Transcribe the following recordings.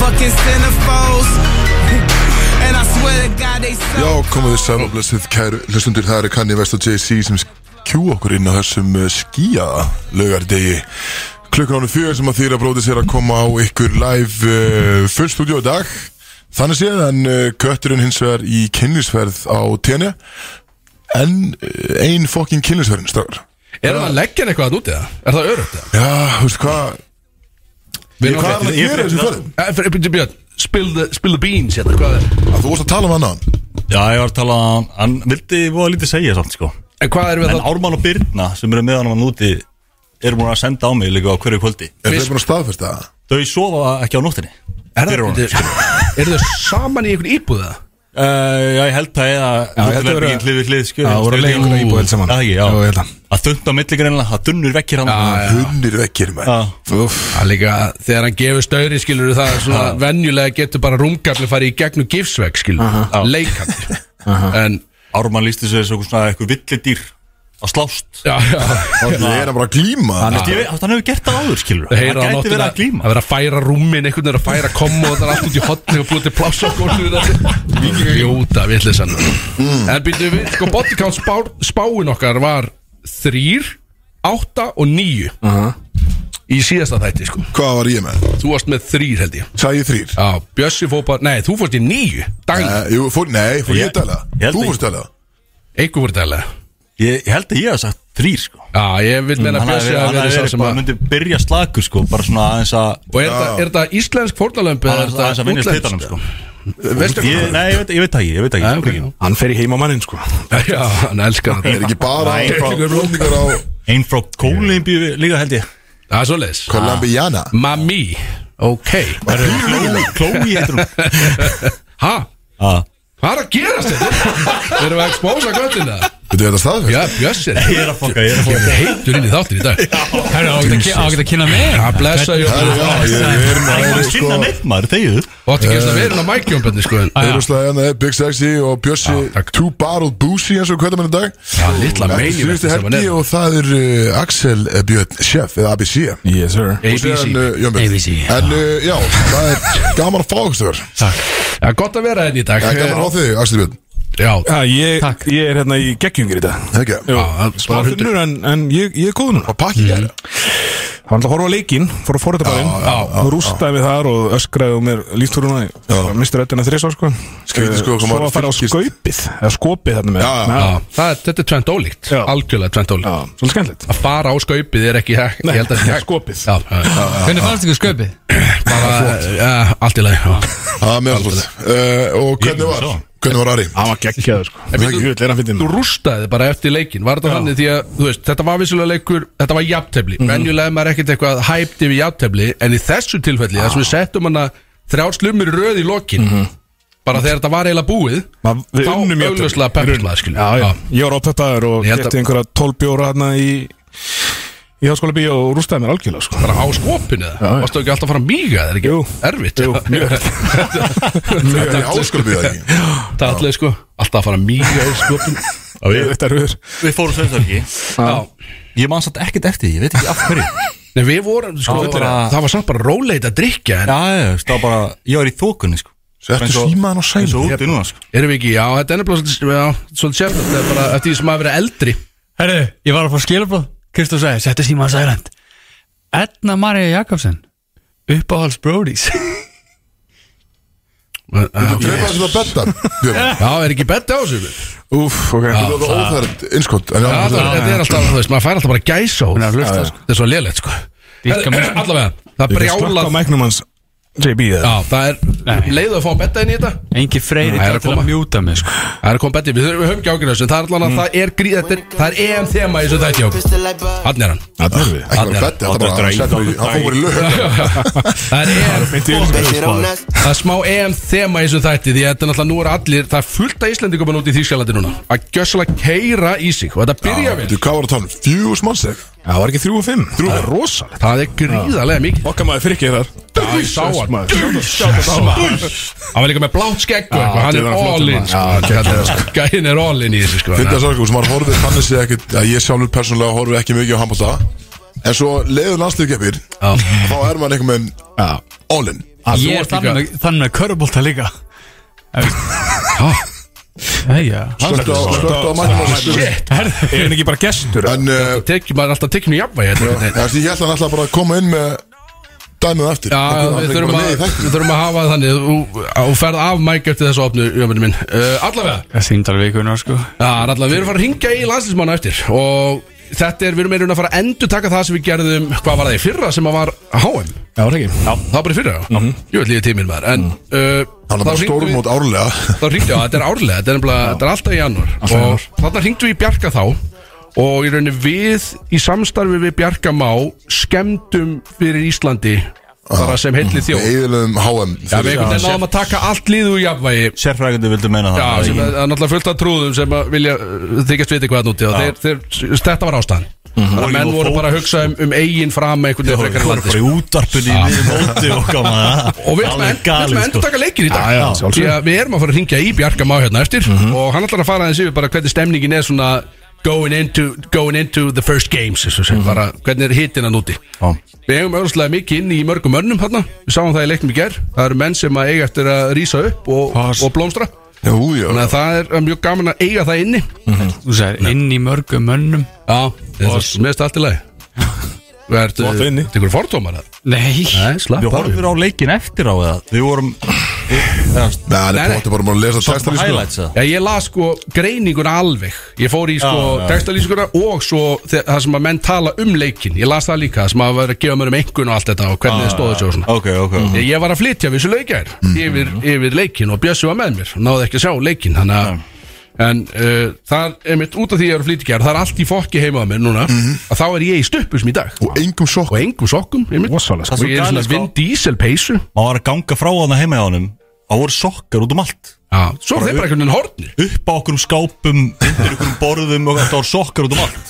fucking centerfolds. And I swear to God they Já, so komið þið sæl og blessið kæru hlustundur, það eru Kanye West og Jay-Z sem kjú okkur inn á þessum eh, skýjaða laugardegi klukkan ánum fjögur sem að þýra bróti sér að koma á ykkur live uh, full stúdíu í dag þannig séð en uh, kötturinn hins vegar í kynlísferð á tenni en uh, ein fokkin kynlísferðin strafur Er það að leggja hann eitthvað að úti það? Er það örugt það? Já, þú veist hvað Við erum hvað er að það að gera í þessu ferðin? Eh, fyrir- Björn, Björn, spill the, spill the beans hérna, hvað er Að Þú vorst að tala um annan Já, ég var að tala um Hann vildi voða lítið segja samt sko En hvað erum við En þá? Ármann og Birna sem eru meðan hann hérna úti eru búin að senda á mig líka á hverju kvöldi Er Fyrst- það búin að staðfesta það? Þau sofa ekki á nóttinni Er það, fyrir honum. byrju, eru þau saman í einhvern íbúða? Uh, já, ég held það eða ég held að vera- hlið við hlið sko. skjör Já, voru að leiða einhverja íbúð held saman. Það ekki, Já, ég held já að. Það þund á milli greinlega, það dunnur vekkir hann Hunnir vekkir með Það er líka, þegar hann gefur stöðri skilur það, svona venjulega getur bara rúmkalli farið í gegnum gifsvegg skilur Já. leikalli En, Ármann lísti sig þessu svona eitthvað villidýr að slást já, já Það er að bara að glíma Þú veist, ég veit- Hann hefur gert það áður, skilur Það heyra á gæti verið nóttina að glíma að vera að færa rúmin einhvern veginn er að færa komu og það er allt út í hotni og búið til pláss á gólfið Ljóta vitleysan Mm. En býttu við, sko body count spá, spáin okkar var þrýr, átta og níu í síðasta þætti sko Hvað var ég með? Þú varst með þrýr held ég Sæði þrýr Já, Bjössi fór bara, nei þú fórst í níu daginn, Eh, Jú, fór, nei, fór ég Ég- að tala ég held Þú ekki. fórst að tala einhver voru dælega Ég ég held að ég hef sagt þrýr, sko Já, ég vil meina Hann að Bjössi hefði að hann verið hefði sá verið sem bara að myndi byrja slagur, sko Bara svona aðeins að Og er þetta- er þetta íslensk fórnalömpi Það er aðeins að vinna stýtanum, sko Veistu Ég- hvað? Nei, ég veit, ég veit það ekki, ég veit það Já, ekki, ok. ég veit Hann fer í heima mannin sko Já, hann elskar þetta Það er ekki bara Flóningar á Ah. ekki Einn frá Kólimbíu líka held ég Það er svoleiðis Colombiana Mami Ok Klói heitur hún Ah, Ha? Já. Hvað er að gerast þetta? Erum við að expósa göttina? Veitu þetta staðfest? Já, Bjössir Ég er að fokka, ég er að fokka Heitur inn í þáttir í dag Herra, á ekki að kynna mig Það blessa ég Það er já, ég við erum Það að það er er ekki að sko kynna neitt maður, þegiðu Og átti ekki Eh. að vera inn á mækjónbönni sko en- Það er úrslega hérna eh, Big Sexy og Bjössi Já, takk. Two Barrel Boozy eins og hvernig mann í dag Já, litla Þetta er meini síðustu sem hann helgi er. og það er eh, Axel eh, Björn Chef eða ABC Yes sir Og síðan, eh, Jón Björn. ABC, já. En eh, já, það er gaman að fá okkur stöður Já, gott að vera henni í dag Það er gaman á þig, Axel Björn Já, Já, Ah, ég, ég er hérna í geggjungir í dag Ekki, það er Smá smá hundur þunnur en, en ég, ég er góð núna og pakki Mm. gæri Það var alltaf að horfa á leikinn, fór að forrita bara Já, já, inn og rústaði við þar og öskraði og mér líftúruna í misti röddina þrísvar sko Skrítið, sko, hvað Svo maður að fara á fylgist. skaupið eða skopið þarna með Já, já. Með- Já, það er, þetta er tvent ólíkt Já. Algjörlega tvent ólíkt já Svolítið skemmtilegt Að fara á skaupið er ekki hægt Ég held að það er skopið Já, já, já, Hvernig fannst ykkur sköpið? bara, já, allt í lagi já. Það er meðallt Eh, Og hvernig var? svo. Hvernig var Ari? Það var geggjaður sko Það er ekki hlut, er hann fyndið þú rústaði bara eftir leikin var þetta þannig því að, þú veist, þetta var vissulega leikur þetta var jafntefli, Mhm. venjulega er maður ekkert eitthvað hæpt yfir jafntefli, en í þessu tilfelli þess að við settum hana þrjár slumur í röð í lokin bara þegar þetta var eiginlega búið Mhm. Ma- við þá unnum jafntefli. augljóslega pepslaði skilur Já, já, ég var ápeppaður og Ég held að- getið einhverja 12 bjóra hérna í í háskóla bíó og rústaði mér algjörlega sko bara á skopinu það, já. varstu ekki alltaf að fara að míga það er ekki Jú. erfitt Jú, mjög Það er ásköpið það ekki það er allir sko, alltaf að fara að míga í skopinu Þetta er hugur Við fórum sem það ekki já Ég man satt ekkert eftir því, ég veit ekki af hverju Nei, við vorum, sko, Það var bara- það var samt bara róleit að drikja en Já, já, þú veist, það var bara, ég var í þókunni sko Settu Eins og- símaðan á eins og sælu úti núna sko erum við ekki, já, þetta er nefnilega svolítið- já, svolítið sérfnætt, það er bara eftir því sem maður verið eldri Herru, ég var að fá skilabóð Kristó sagði, settu síma að sælend Edna Maria Jakobsen Uppáhalds Brodies Já, Drepa þessu að betta Björn. Já, er ekki betta á þessu? Úf, ok Það var Ah. óþært innskott En já, það Já, það þetta er alltaf, þú veist, maður fær alltaf bara gæsa á Hún er að hlusta, sko. Þetta er svo lélegt, sko Dýrka Herðu, mig. Allavega, það Slökk á brjálar mæknum hans JB Já, eða það er Nei. leið að fá betta inn í þetta Engi freyri Það er að til koma. að mjúta mig sko. Það er komið betti, við þurfum við höfum ekki ákveðinu þessu Það er allan að það er grí, þetta er, það er EM þema í þessu þætti okkur Hann er hann Það er við Ekki bara betta, það bara hann settur í- hann fór í lög Það er EM, Beint í yfirlýsingu. það er smá EM þema í þessu þætti Því að þetta er náttúrulega nú er allir, það er fullt af Íslendingum út í Þýskalandi núna Að gjössalega keira í sig og þetta byrja vel Þú, hvað var að tala um? Fjús mannseg Það var ekki 3 og 5 Það er rosalegt Það er gríðarlega mikið Okkar maður fyrir ekki þar Já, ég sá hann Hann var líka með blátt skegg og Já, eitthvað, Hann þetta er er hann flottur all in maður. sko. Já, Þetta er- Gæinn er all in í þessu sko. Fyndi það svo, sko, sem maður horfið þannig sé ekkit að ég sjálfur persónulega horfið ekki mikið á handbólta En svo leiður landslíðkeppir Þá er maður einhvern veginn all in Ég er þannig með, þannig með körubólta líka Æja Slögt á, slögt á mækjum Er hann ekki bara gestur? En uh, Tekjum maður er alltaf tekjum í jafnvægi hérna, einhvern veginn. þessi ég held að hann alltaf bara að koma inn með Dæmið á eftir Já, Hann er bara við þurfum, með í að, þættinum. við þurfum að hafa það þannig Þú- Þú ferð af mæk eftir þessu opnu Jöfnir minn uh, Allavega Það síndar vikunar sko Já, allavega Við erum að fara að ringja í landslismanna eftir Og þetta er, við erum meirinn að fara að endur taka það sem við gerðum Hvað var það í fyrra sem að var HM? Já, er ekki Já, Það var bara í fyrra, já Jú, ætli ég tíminn maður En uh, Hann er bara stórum út árlega þá ringdu, já þetta er árlega, þetta er, nefnilega- þetta er alltaf í janúar og þarna ringdu við í Bjarka þá og í rauninni við í samstarfi við Bjarka Má skemmtum fyrir Íslandi bara sem heilli þjóð Við Já, eðlum HM við einhvern veginn náðum að taka allt liðu í jafnvægi Sérfræðandi vildu meina það Já, það sem ekki. er er náttúrulega fullt af trúðum sem að vilja uh, þykjast viti hvað það núti og þeir, þeir, þetta var ástæðan Þannig að menn Mhm. Og- voru bara að hugsa um, um eigin fram einhvern veginn Við frekar en vorum landi bara í útarpunni í miðjum móti og koma það Og við ætlum að Alveg end- við ætlum að galið, sko. endur taka leikin í dag Já, Mhm. já, Því að við erum að fara að ringja í Bjarka Má hérna eftir Og hann ætlar að fara aðeins yfir bara hvernig stemningin er svona Going into, going into the first games mm Mhm. -hmm. bara, Hvernig er hitina núti Við eigum öðrumslega mikið inn í mörgum örnum hérna. Við sáum það í leiknum í ger Það eru menn sem að eiga eftir að rísa upp og, Pass. og blómstra Jú, jú Þannig að það er mjög gaman að eiga það inni Þú sagðir inn í mörgum mönnum Já, þetta er mest allt í lagi Þú ert, ertu inni. þetta er fordómar eða? Nei Nei, slapp Við af. horfum á leikin eftir á eða Við vorum Nei, hann Nei, er nei. potið bara búin að lesa Sástu textan í sko highlights eða Já, ég las sko greininguna alveg Ég fór í sko Já, já. textalýsinguna og svo þe- það sem að menn tala um leikin Ég las það líka, það sem að vera að gefa mér um einhvern og allt þetta og hvernig þið stóðu svo svona Ah, Ok, ok Mhm. Ég- Ég var að flytja við þessu leikjær yfir, yfir leikin og Bjössi var með mér Náði ekki að sjá leikin, þannig að En uh, það er mitt út af því að ég er að flytja gær Það er allt í fokki heima á mér núna Mhm. Að þá er ég í stöppusum í dag Og engum sokk Og engum sokkum, einmitt Rosalega, sko. Og ég er í svona Það er svo galið, sko. Vin Diesel peysu Má var að ganga frá þarna heima hjá honum Það voru sokkar út um allt Já, Svo er þeir bara einhvern veginn hornir Upp á okkur um skápum Undir okkur um borðum Og það voru sokkar út um allt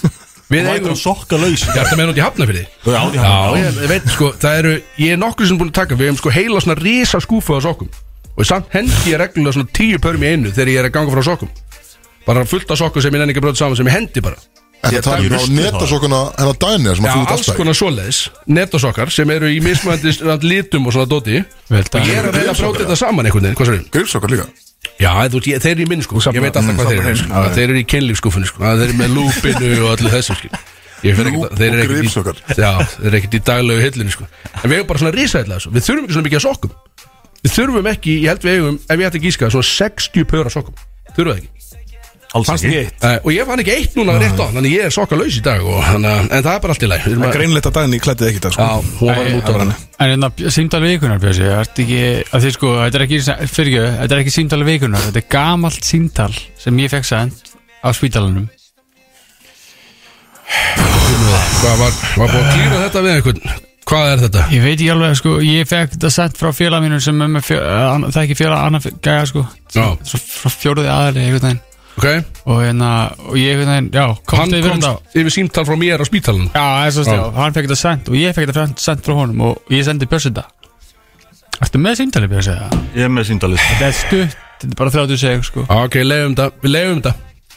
Við Það eigum vætur að sokka laus Ég ætla með hann út í Hafnafyrði Já, já, Já, já. ég ég veit, sko, það eru Ég er nokkur sem búin að taka, við hefum sko heila svona risa skúfa á sokkum Og samt hendi ég reglulega svona tíu pörm í einu Þegar ég er að ganga frá sokkum Bara fullt af sokkum sem ég nenni ekki að brjóta saman sem ég hendi bara En það Ég- talar ég- um netasokkuna hennar Dæni sem að Já, þú alls dæstæk konar svoleiðis Netosokkar sem eru í mismöndi litum og svona dóti Og Vel dag ég er að reyna að brjóta þetta saman einhvern veginn, hvað sér Grifsokkar líka Já, þú veist, ég- þeir eru í minn sko Ég veit alltaf hvað þeir eru sko. Þeir eru í kynlífskúfunni sko Þeir eru með lúpinu og allir þessu sko Ég fer ekkert Lúp að- Þeir eru og ekkert gripsokkar. í- Já, þeir eru ekkert í daglegu hillinu sko En við eigum bara svona risæðlega þessu sko. Við þurfum ekki svona mikið að sokkum Við þurfum ekki, ég held við eigum Ef ég ætti að gíska, svona 60 pör að sokkum Þurfum það ekki Alls fannst ekki ég eitt Eh, Og ég fann ekki eitt núna rétt á Þannig ég er sokkalaus í dag og, hana, En það er bara allt í læg Það er greinlegt að daginn í klættið ekki það sko Já, hún var Nei, út af hann En hérna, símdal vikunar Björsi Þetta er ekki, að þið sko, þetta er ekki Fyrir þetta er ekki símdal vikunar Þetta er gamalt símdal sem ég fekk sænt á spítalanum Hvað var, var búin að klýra þetta við einhvern Hvað er þetta? Ég veit ekki alveg, sko, ég fekk þetta sænt frá félag mínu sem er með fjö, eh, an, það er ekki félag annað gæja, sko Já, Svo frá fjóruði aðri, einhvern veginn ok Og hérna, og ég einhvern veginn, já, Hann komst yfir um þetta komst yfir símtal frá mér á spítalun Já, það er svo stjá, hann fekk þetta sænt og ég fekk þetta sænt- sænt frá honum og ég sendi Björsi þetta Ertu með símdali Björsi? eða? Ég er með síndalist Þetta er stutt, þetta er bara 30 segjum, sko Ok, leiðum þetta, við leiðum þetta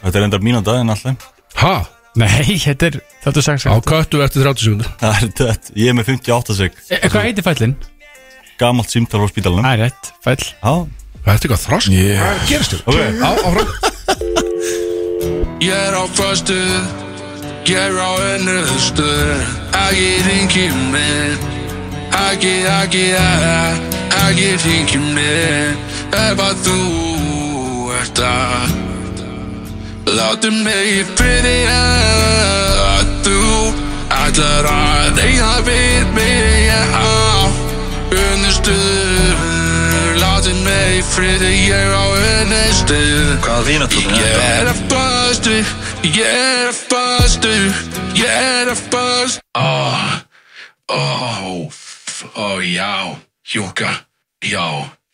Þetta er enda mína daginn alltaf Ha, Nei, þetta er 36 á sekúndur. köttu eftir 30 sekundur Það er þetta Ég er með 58 seg E, Hvað heitir fællin? Gamalt símtal á spítalunum Það er rétt, fæll Já Þetta er eitthvað þrosk yeah. Hvað gerist þér? Ok. Á, áfram Ég er á föstu Ég er á önnustu Ekki ringi mig Ekki, ekki, eh, ekki ringi mig Ef að þú ert að Láttu mig í fyrir að þú Ætlar að eiga við mig á Önnustu Láttu mig í fyrir ég er á önnustu Hvað er þín að þú? Ég er að fastu, ég er að fastu, ég er að fastu Ó, ó, f- ó, já, hjúka, já,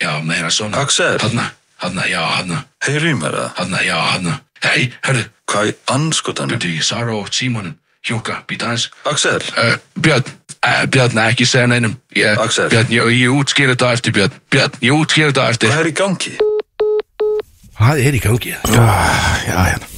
já, meira svona Axel. Hanna, hanna, já, hanna, Heyri í mér það? hanna, já, hanna Hei, herðu, Hvað í anskotanum? byrju, ég Sara og Símonum, hjúka, býta aðeins Axel, uh, Björn, uh, Björn, ekki segja neinum ég, Axel. Björn, ég, ég útskýr þetta á eftir, Björn, Björn, ég útskýr þetta á eftir hvað er í gangi? Hvað er í gangi? Já, hérna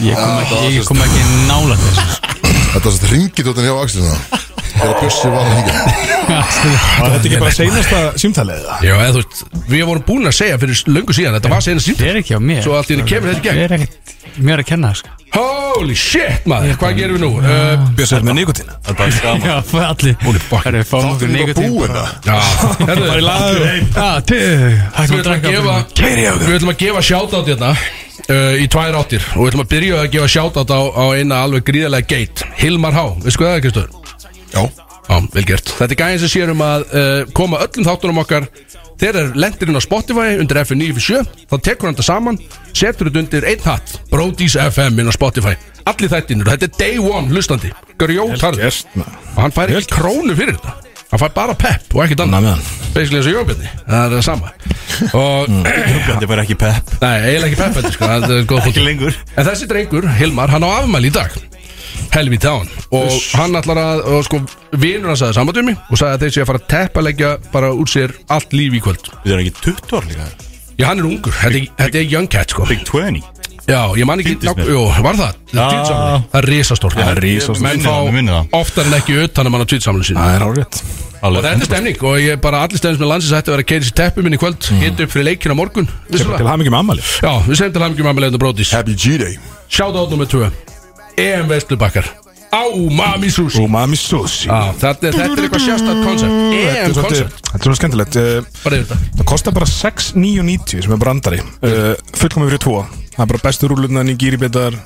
Ég kom ekki, ég kom ekki nála þess Þetta er svo ringið út en hjá Axel það Þegar Bjössi var að hingja Var þetta ekki bara seinasta símtalið eða? Já, eða þú veist, við vorum búin að segja fyrir löngu síðan Þetta var segna Það símt er ekki á mér Svo allt í henni kemur þetta í gegn Það er ekkert mér að kenna sko. Holy shit, maður, hvað gerum við nú? Uh, Bjössi er með nikotina Það er bara skaman Já, það er allir Hún er bakk Það er fáum okkur Þátturinn var nikotín búinn hérna. það já, herðu, Bara í lagu Já, tíðu Við ætlum Hættum að að draka gefa Við ætlum að gefa shoutout hérna uh, Í tvær áttir Og við ætlum að byrja að gefa shoutout á, á eina alveg gríðarlega gate Hilmar Há, veistu hvað það er Kristur? Já, Já, vel gert Þetta er gæðin sem sér um að uh, koma öllum þáttunum okkar Þeir er lendirinn á Spotify undir FM 957 Þá tekur hann þetta saman Setur þetta undir einn hatt Brody's FM inn á Spotify Allir þættinir og þetta er day one hlustandi Grjótarð Og hann fær ekki krónu fyrir þetta Hann fær bara pepp og ekkert Ná annað meðan Basically eins og jóbjörni Það er það sama Og Þetta var ekki pepp Nei, eiginlega ekki peppandi sko, það er góð Ekki punktur. lengur En þessi drengur, Hilmar, hann á afmæli í dag Helvítið á hann Og hann ætlar að, og sko, vinur hann sagði samband við mig Og sagði að þeir séu að fara að teppalegja bara úr sér allt líf í kvöld Við erum ekki 20 ár líka Já, hann er ungur, þetta er, þetta er young cat sko Big 20 Já, ég man ekki, Tíndist nák- mér. jú, var það? Já. Tvíðsamlega, það er risastórt Það er risastórt. Menn Minni það, minni það. fá oftar en ekki utan að mann á tvíðsamlega sín Það er árið Og þetta er stemning og ég bara allir stefnins með landsins ætti að vera að keiri sér teppu minni í kvöld Mm. Hita upp fyrir leikina morgun, Til vissulega hafa mikið með ammali Já, við sendum til hamingjum að með leiðinu brótis Happy G-Day Shoutout nummer 2 EM Vestubakkar Á Mami Sushi Umami sushi ah, þetta, er- þetta er eitthvað sérstætt koncept Þetta EM er svolítið- koncept þetta er svona skemmtilegt Eh, Bara yfir þetta Það kostar bara 6,990 sem er brandari uh, Fullkomið fyrir tvo Það er bara bestu rúlutnar, nigiribitar,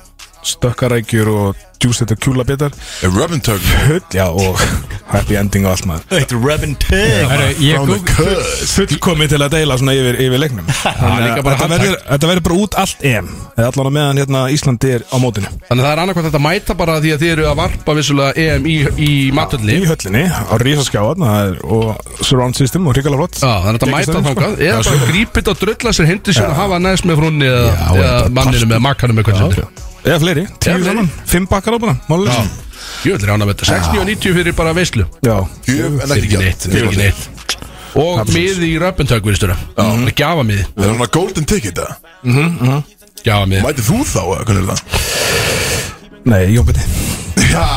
stökkarækjur og djústættar kjúlabitar Robin Tug Hull, já, og happy ending og allt maður Eitt Rebin Pig Herru, ég From the googla Cuz Fullkomið til að deila svona yfir, yfir leiknum Þannig líka bara að Þetta handtak. verður þetta verður bara út allt EM Eða allan á meðan hérna Íslandi er á mótinu Þannig að það er annarkvæmt þetta mæta bara því að þið eru að varpa vissulega EM í, í matöldi Í höllinni, á risaskjáðan og surround system og hrikalega flott sko. Já, Ah, þannig að þetta mæta Geggjastemming, þangað Eða bara grípið og drulla sér hindi sér að hafa næst með frúnni eða, Já, eða þetta er manninu með makkanum með hvað sem þetta sko. Eða fleiri, tíu Eða fleiri. saman, fimm bakkar á bara Mális Já, ég vil rána með þetta 60 og 90 fyrir bara veislu Já, Gjöf en Það er ekki ekki gjöf neitt, það er ekki neitt Og miði í röpintök, virðistur Það er gjafa miði, Það er svona golden ticket það gjafa miði Mætið þú þá, eða hvernig er það? nei, jómbiti Já,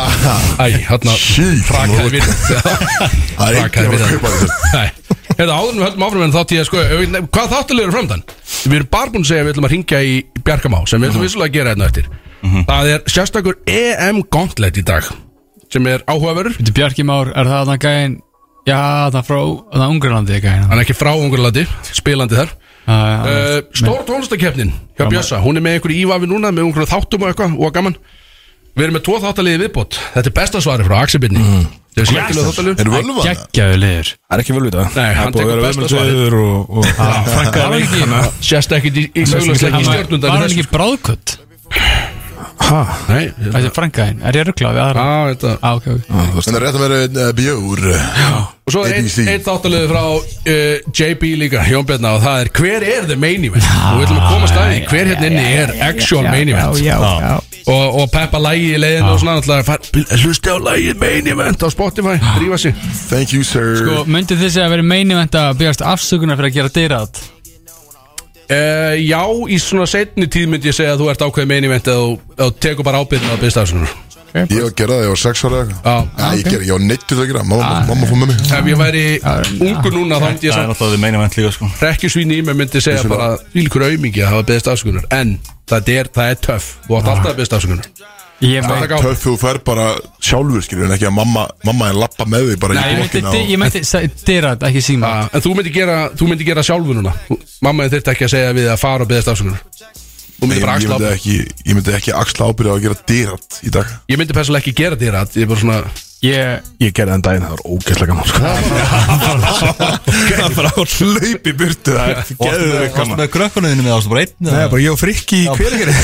Æ, hann að Shit, frakaði nú- við það er ekki Rakaði að við fara að það. kaupa þetta Nei, hérna áður en við höldum áfram en þátt ég að sko eh, Hvað þáttulegur er framdann? Við erum bara búin að segja að við ætlum að ringja í Bjarkamá sem við Mhm. ætlum vissulega að gera hérna eftir Það er sérstakur EM Gauntlet í dag sem er áhugaverur Þetta er Bjarki Már, er það þannig gæinn Já, það er frá, það er Ungarlandi gæinn Hann er ekki frá ungurlandi, spilandi þar Það uh, Stór tónlistakefnin hjá Bjössa Hún er með einhverju ívafi núna með einhverju þáttum og eitthvað og gaman Við erum með tvo þáttaliði viðbót Þetta er besta svari frá Axibinni Mhm. mm. Það er skemmtilega þáttalið Er völvan það? geggjaðu liður Það er ekki völvita Nei, hann tekur besta svarið. og, og Var hann ekki Sérst ekki í, í, í, í sko. Var stjórnundan hann ekki bráðkött? Nei, ég- Þetta er frankaðinn, er ég rugglað við aðra? Á, þetta Á, ok, ok Þannig að rétt að vera einn eh, bjór Og svo er einn ABC. ein þáttalegu frá uh, JB líka, Jón Bjarnar og það er hver er the main event og við ætlum að komast að því hver hérna inni er actual main event Ah. og, og peppa lægi í leiðinu og svona alltaf far- hlusta á lægi main event á Spotify drífa sig Thank you sir Sko, myndið þið segja að vera meini venda að byggjast afsökunar fyrir að gera dyrað uh, Já, í svona setni tíð myndi ég segja að þú ert ákveðið main event eða þú- eða þú tekur bara ábyrðin á byrstafsunar Ég var að gera það, ég var sex ára eða eitthvað Já. Ah, Nei, ég gerði, ég var neittur það að gera Mamma, mamma fór með mig Ef ég væri ungur núna þá myndi ég Það er samt náttúrulega meina vent líka sko rekkjusvín í mig myndi segja bara vilkur aumingi að hafa beðist afsökunar en það er, það er töff og Ah. átt alltaf að beðist afsökunar Það Ég er meinti, gáð. Töff þú fer bara sjálfur, skilur En ekki að mamma, mamma er lappa með því bara Nei, ég í meinti, blokkina dy- og- ég meinti sa- dyrað, ekki síma Ah, En þú myndi gera, þú myndi gera sjálfu núna Mamma þurfti ekki að segja við að fara og beðast afsökunar Nei, Þú myndi bara Ég axla myndi ábyrgð. ekki, ég myndi ekki axla ábyrða að gera dyrat í dag Ég myndi persónlega ekki gera þér að Ég er bara svona Ég, Ég gerði þann daginn, það var ógeðslega gaman sko. Það er bara að hlaupi burtu það er geðveikt Varst með krökkunniðinu með ástu bara einn Nei, eða? bara ég og Frikki í hverjargeri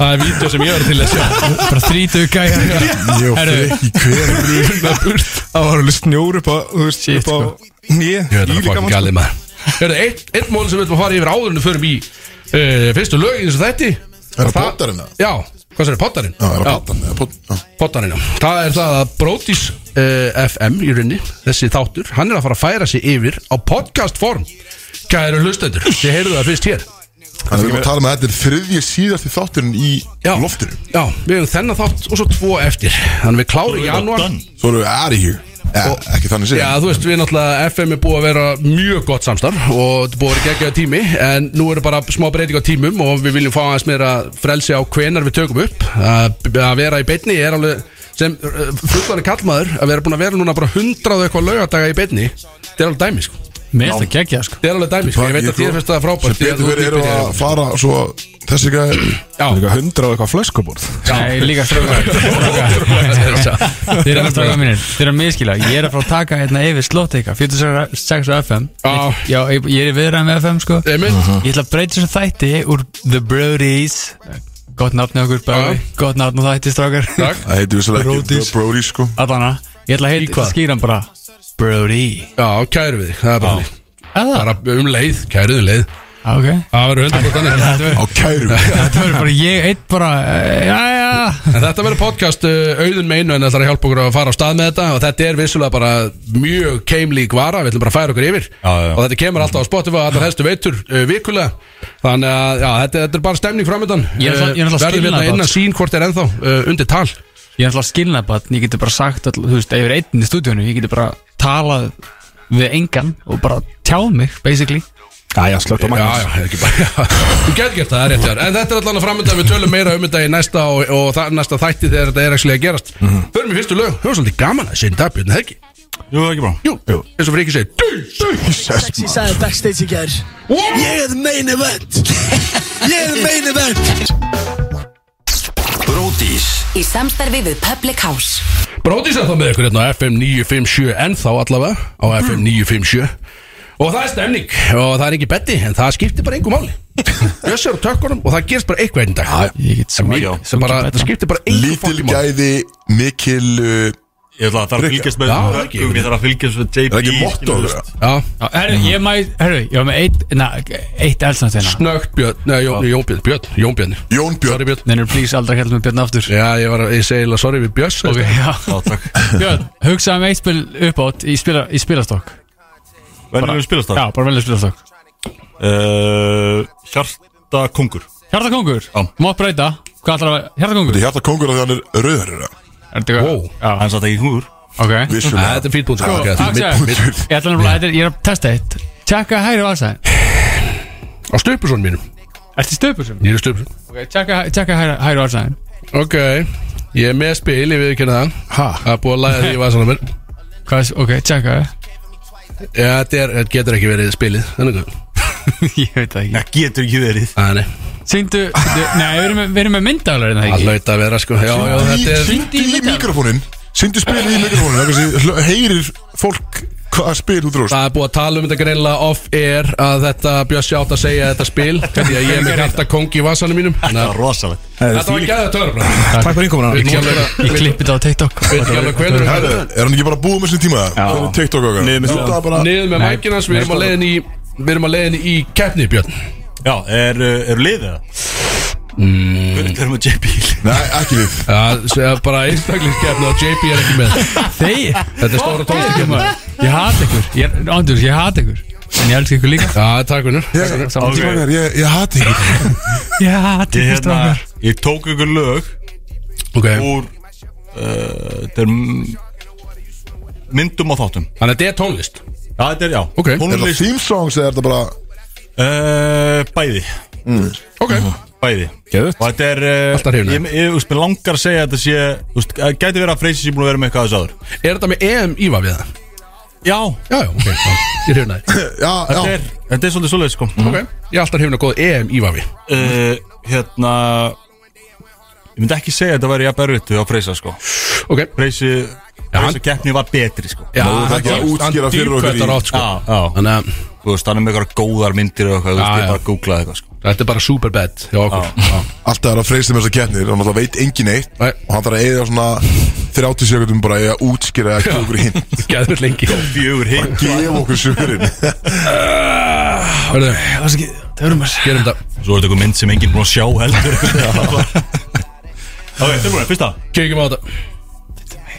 Það er vídeo sem ég verður til að sjá bara þrítu gæja Ég og Herru. Frikki, hver er Það var alveg snjór upp á, þú veist, Shit, upp á sko. Nýja, Ég veit að það er ílíka fokkin galið maður Hörðu, eitt, eitt mól sem við ætlum að fara yfir áður en við förum í uh, Fyrstu lög í þessu þætti Er það Og poddarinn eða? Já, hvað sér, pottarinn? Já, það er að potta með potta Pottarinn, já Það er það að Brodís uh, FM í runni Þessi þáttur, hann er að fara að færa sig yfir á podcast form Kæru hlustendur, þið heyrðu það fyrst hér Þannig að við erum að tala með að þetta er þriðji síðasti þátturinn í Já. loftinu Já, við höfum þennan þátt og svo tvo eftir Þannig við klárum í janúar Done. Svo erum við out of here ja, Ekki þannig Já, segja þú veist, við náttúrulega FM er búið að vera mjög gott samstarf og þetta er búið að vera geggjaða tími en nú eru bara smá breyting á tímum og við viljum fá aðeins meira frelsi á hvenar við tökum upp að, að vera í beinni er alveg sem fullanir kallmaður að vera búin að vera núna bara hundrað og eitthvað laugadaga í beinni þetta er alveg dæmi, sko Mér er það geggja sko þetta er alveg dæmi, sko, ég veit að þér finnst það Sem frábært því að betur þú verið eru ert í að fara svo Þessi gæði byrjaði. Líka hundra og eitthvað flöskuborð Nei, líka strókar Já. Þeir eru að stráka mínir Þeir eru að miskila Ég er að fara að taka hérna yfir slótt eitthvað 46 á FM Já. Já, ég ég er í viðræðan með FM sko Einmitt. Ég ætla að breyta þessu þætti úr The Brodies Gott nafn hjá okkur Já. Báði Gott nafn á þætti strákar Takk. Það heitir vissulega ekki Brodies. Brody sko Allana Ég ætla að heita hvað? skýra hann bara Brody Já, kæru við þig, það er bara þannig. Eða? bara um leið, kæruðu leið Já, ok það verður hundra Þetta verður- Á kæru Þetta verður bara ég eitt bara eh, Jæja En þetta verður podcast uh, auðun meinu en ætlar að hjálpa okkur að fara á stað með þetta og þetta er vissulega bara mjög keimlík vara, við ætlum bara að færa okkur yfir Já, já. og þetta kemur alltaf á Spotify, allar helstu veitur uh, vikulega, þannig að já, þetta, þetta er bara stemning framöndan Ég er náttúrulega- ég er verður náttúrulega skilnaðarbarn. hérna innan sín hvort er ennþá uh, undir tal Ég er alltaf skilnaðbarn, ég geti bara sagt all, þú veist, ef ég er einn í stúdíunum, ég geti bara talað við engan og bara tjáð mig, basically Æja, slögt á Já, magnus já, ekki bara Þú getur gert það, það er rétt hjá þér. En þetta er allan að framöndan, við tölum meira um þetta í næsta og, og það, næsta þætti þegar þetta er ekki að gerast Mhm. Förum í fyrstu lög, höfum svolítið gaman að senda björn helgi Jú, ekki bara Jú, eins og fríkir segir Dú, dú, Sexy sagði backstage í gær Ég er the main event Ég er the main event Bródís Í samstarfi við Public House Bróðis er þá með ykkur hérna á FM 957 ennþá allavega á FM 957 og það er stemning og það er ekki betti en það skiptir bara einhver máli Bjössar og tökkunum og það gerst bara eitthvað einn dag Ég get Mig- sungið sem bara, það betra. skiptir bara einhver Lítil fólki máli gæði Mikil uh, Ég ætla að það er að fylgjast með Já, það er ekki. Ég þarf að fylgjast með JP Það er ekki motto skilur, þú veist. Já, Já, Herru, ég mæ, herru, ég var með eitt, na, eitt hérna. elsnáttina snögt Björn, neða Jón, Jón Björn, Björn, Jón Björn Jón Björn Sorry Björn Þannig er please aldrei að kalla mig Björn aftur Já, ég, var, að- ég segi eiginlega sorry við Bjöss Ok, já Já, takk Björn, hugsaði með eitt spil uppátt í, spila, í spilastokk Venjulegum spilastaf Já, bara velja spilastokk uh, Hjarta kongur Hjartakongur, Já. mátt breyta Hvað ætlar að Þetta vera? Hjartakongur? er hjarta kongur að því hann er rauðherra Er þetta eitthvað? Wow. Já, Hann satt ekki kongur ok Vissulega Þetta er fínt búin Sko, Axel, Ég ætla nefnilega, þetta er- ég er að testa eitt Tjekka hægri vasa Á stöpusónu mínum, Ertu stöpur sem? ég er stöpusónu Ok, tjekka, tjekka hæra, hæra orðsæðin Ok, ég er með spil, ég við ekki það Það er búið að læða því í vasanum minn Hvað, er- ok, tjekka Já, þetta er- þetta getur ekki verið spilið, þannig að Ég veit það ekki Það getur ekki verið Æ, nei, Sýndu, nei, við erum, við erum með myndaðalega en það það ekki laut að vera sko Já, já, þetta er Sýndi í mikrofónin Sýndi spilið í mikrofónin Þannig að heyrir fólk hvað spil þú dróst Það er búið að tala um þetta greinlega off-air að þetta Bjössi átt að segja þetta spil því að ég er með hjarta kongi í vasanum mínum Ná, Það er rosalegt Þetta var ekki aðeins törn Takk fyrir innkomuna Við ekki alveg Ég klippi þetta á TikTok Við ekki alveg Herru, hvernig Er hann ekki bara búið með sinni tíma? Já TikTok okkar Nei, með þetta bara Niður með mækinans, við erum að leiðin í Við erum að leiðin í keppni, Björn Já, er, uh, er liðið það? Mm. Hvernig erum við JP? Nei, ekki við Það er bara einstaklingskeppni og JP er ekki með Þeir, Þetta er stóra tónlistakefni ég hati ykkur Ég er, ándur, ég hati ykkur En ég elska ykkur líka Já, takk vinnur Ég- Strákar, Ég ég hati ekki Ég hati Ég, ykkur hérna, strákar ég tók ykkur lög Ok, úr uh, Þetta er m- myndum á þáttum þannig að þetta er tónlist Já, þetta er, já Ok. Er það Tónlist theme songs eða er þetta bara uh, Bæði Ok, Bæði Geðvögt. Og þetta er uh, Alltaf hrifnir. Ég, ég úst, mér langar að segja að þetta sé úst, Gæti verið að freysi sé búin að vera með eitthvað aðeins áður er þetta með EM íva við það? Já Já, já, ok, já, ég hrifnaði Já, Þetta já er, þetta er svolítið svolítið sko Ok, ég er alltaf hrifna góð EM íva við uh, Hérna Ég myndi ekki segja að þetta væri jafn erfitt á Freysa sko Ok, Freysi hann- Freysa keppni var betri sko Já, Nú, það er ekki að útskýra fyrir okkur í- dýrkvættar átt sko Já, já. Þannig að Þú veist, hann er með eitthvað góðar myndir og eitthvað Já, Þú veist, já. ég bara googlaði eitthvað sko þetta er bara superbad hjá okkur Já, Alltaf er að freysa með þessar keppnir og náttúrulega veit engin eitt Nei. og hann þarf að eyða svona 30 sekundum bara í að útskýra að gefa okkur hinn geðvill lengi Fjögur hinn gefa okkur sögurinn Hörðu, Það verður maður gerum þetta Svo er þetta eitthvað mynd sem enginn búin að sjá heldur Ok, tilbúin, fyrsta Kekjum á þetta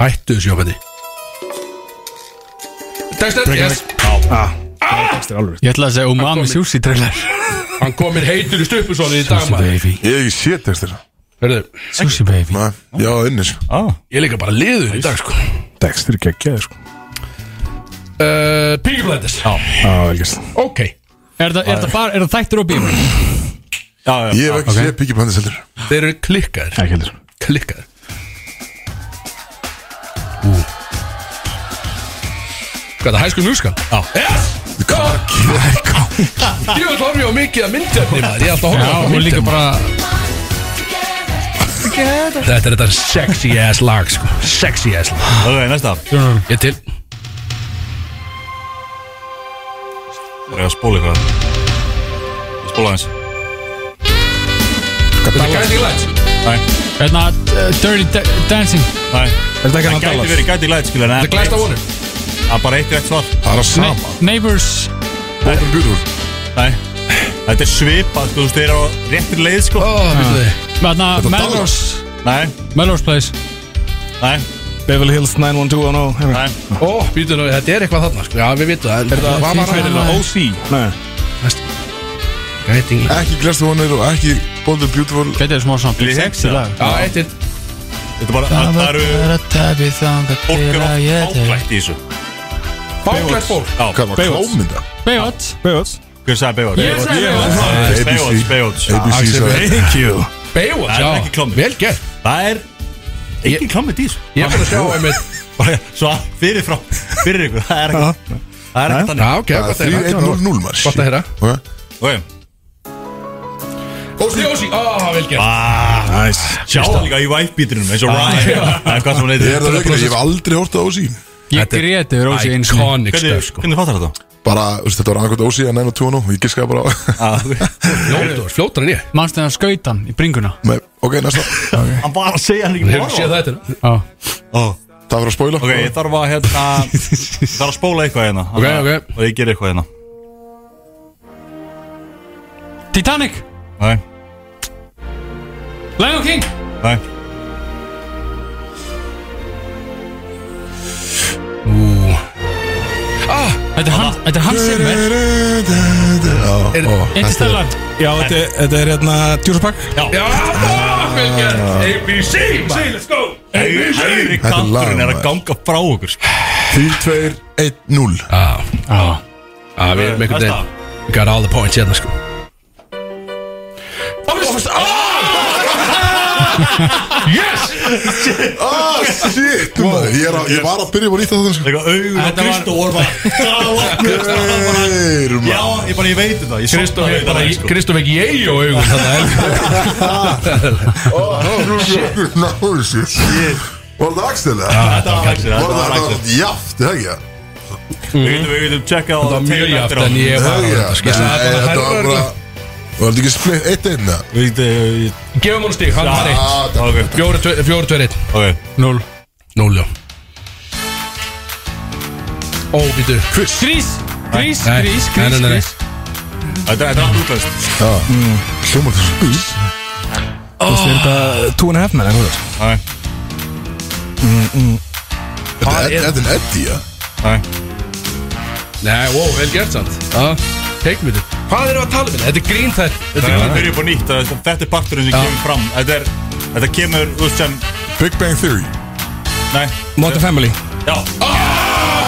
Hættu þessu hjófandi Textur, yes Það er alveg Ah. Ah. Ég ætla að segja umami sushi trailer Hann komir heitur í stupusónið í dag maður baby Ég hef ekki séð textir Hörðu, Sushi baby Nei, Já, inni sko ah, ég er líka bara liður í dag sko Dexter er geggjaði sko uh, Piggy Blinders Já, velkist Ok Er það- er það bara- er það þættir og bíum? já, já, Ég hef ekki séð Piggy Blinders heldur Þeir eru klikkaðir Ekki heldur Klikkaðir Hvað er það, hæsku njúskan? Já Yes! Góð Ég vil horfa á mikið að myndefni maður Ég er alltaf að Já, horfa á hún líka myndefni bara Þetta er þetta sexy ass lag sko Sexy ass lag ok, næsta Ég er til Það er að spóla eitthvað Ég Spóla aðeins Þetta er Guiding Lights Nei, Hérna, uh, Dirty Da- Dancing nei Er Það þetta ekki hann að gæti dalað? verið gæti í læt, skilja Þetta er Glæsta vonur Það er bara eitt rétt svar Það er að Ne- sama Neighbours Bóttur bjúrúl Nei Þetta er svipað, sko, þú veist, þeir eru á réttir leið, Ah. sko Ó, býttu þið Hérna, Melrose Nei, Melrose Place nei, Beverly Hills 91210 nei Ó, býttu nú, þetta er eitthvað þarna sko Já, við vitum það Er það, hvað var Er hann? það OC? Nei Guiding Lights Ekki glæstu vonir og ekki Bóttur bjúrúl Gæti þér smá svona Vil ég sexy hengja? lag Já, eitt til Þetta er bara, það það eru tabið þanga Fólk er oft áklætt í þessu Báklætt fólk Hvað var klómynda? Bejótt Bejóts Hver sagði Baywatch? Ég sagði Baywatch, Baywatch, ABC Baywatch ABC sagði Thank you Baywatch, Það er já ekki klómynd. Vel gert Það er ekki klammið í þessu Ég er fyrir að sjá um einmitt Bara svo fyrir frá, fyrir ykkur Það er ekki, það er Já, ekki þannig ok, gott að heyra. 3100 maður Gott að heyra Ok. Ok, Ósi, ósi, á, vel gert aaaah Nice Ah, Sjá það líka í væpbítunum eins og Ryan Það er hvað sem hún Ah, Ég er heitir það veikir, ég hef aldrei hortið á Ósí Ég gréti yfir ósi eins og Iconic Hvernig, stöf, sko hvernig fattar þetta? Bara, þú veist, þetta var annarkvæmt Ósí en enn og tjónu Ég giskaði bara á Ah. Fljótur, fljótur en ég Manstu hann skautan í bringuna Nei, Ok, næsta Það Hann var að segja hann Við ekki hefum séð þetta nú. Ó. Já var að spoila Ok, ég þarf að hérna Ég þarf að spóla eitthvað hérna Ok, ok. Og ég ger eitthvað hérna Titanic Nei, Lion King nei Þetta er hann Þetta er hans sem er Já, ó, Interstellar Já, þetta er- þetta er hérna Djúrspark Já, ó, vel gert ABC, ABC, let's go Æri Þetta er kanturinn lag, er að maður. ganga frá okkur sko. 3, 2, 1, 0 Já, við erum einhvern Næsta. veginn We got all the points hérna, sko Ah, shit, maður Ég er að- Ég var að byrja bara nýtt sko. að þetta Eitthvað augun og Þetta var- Kristó var bara Þeir, Já, maður ég bara, ég veit þetta Ég Kristof sofnaði er bara, við þetta, sko. Kristof er ekki ég og augun Ná, shit Var það Axel, eða? Þetta var Axel, Var þetta Ah. var það Axel það jaft, hegja? Já Við getum, við getum checkað á Það var mjög tape jaft eftir á. en ég var á Hegja, þetta, sko Ég sagði bara, þetta var herra, bara Var þetta ekki splitt, eitt einn, eða? Við getum, ég- Gefum hún stík, hann var Já, eitt þetta ok, Fjóru, tve- fjóru, tveir, einn ok Null Núl, já Ó, býtu Quiz Grís Grís Nei. Grís Nei, Grís nei, nei, nei. Grís Þetta er alltaf útlöst Hljóma þessu Quiz Þetta er þetta Two and a half men, en þú veist Nei, Mm, Þetta er Ed- Ed and Eddie, ja nei Nei, ó, vel gert samt Já, teikmyndu Hvað erum við að tala um þetta? Þetta er grín þær Þetta Þetta er er grín að byrja upp á nýtt það er- Þetta er parturinn sem kemur fram Þetta er, þetta kemur út sem Big Bang Theory Nei, Modern Family já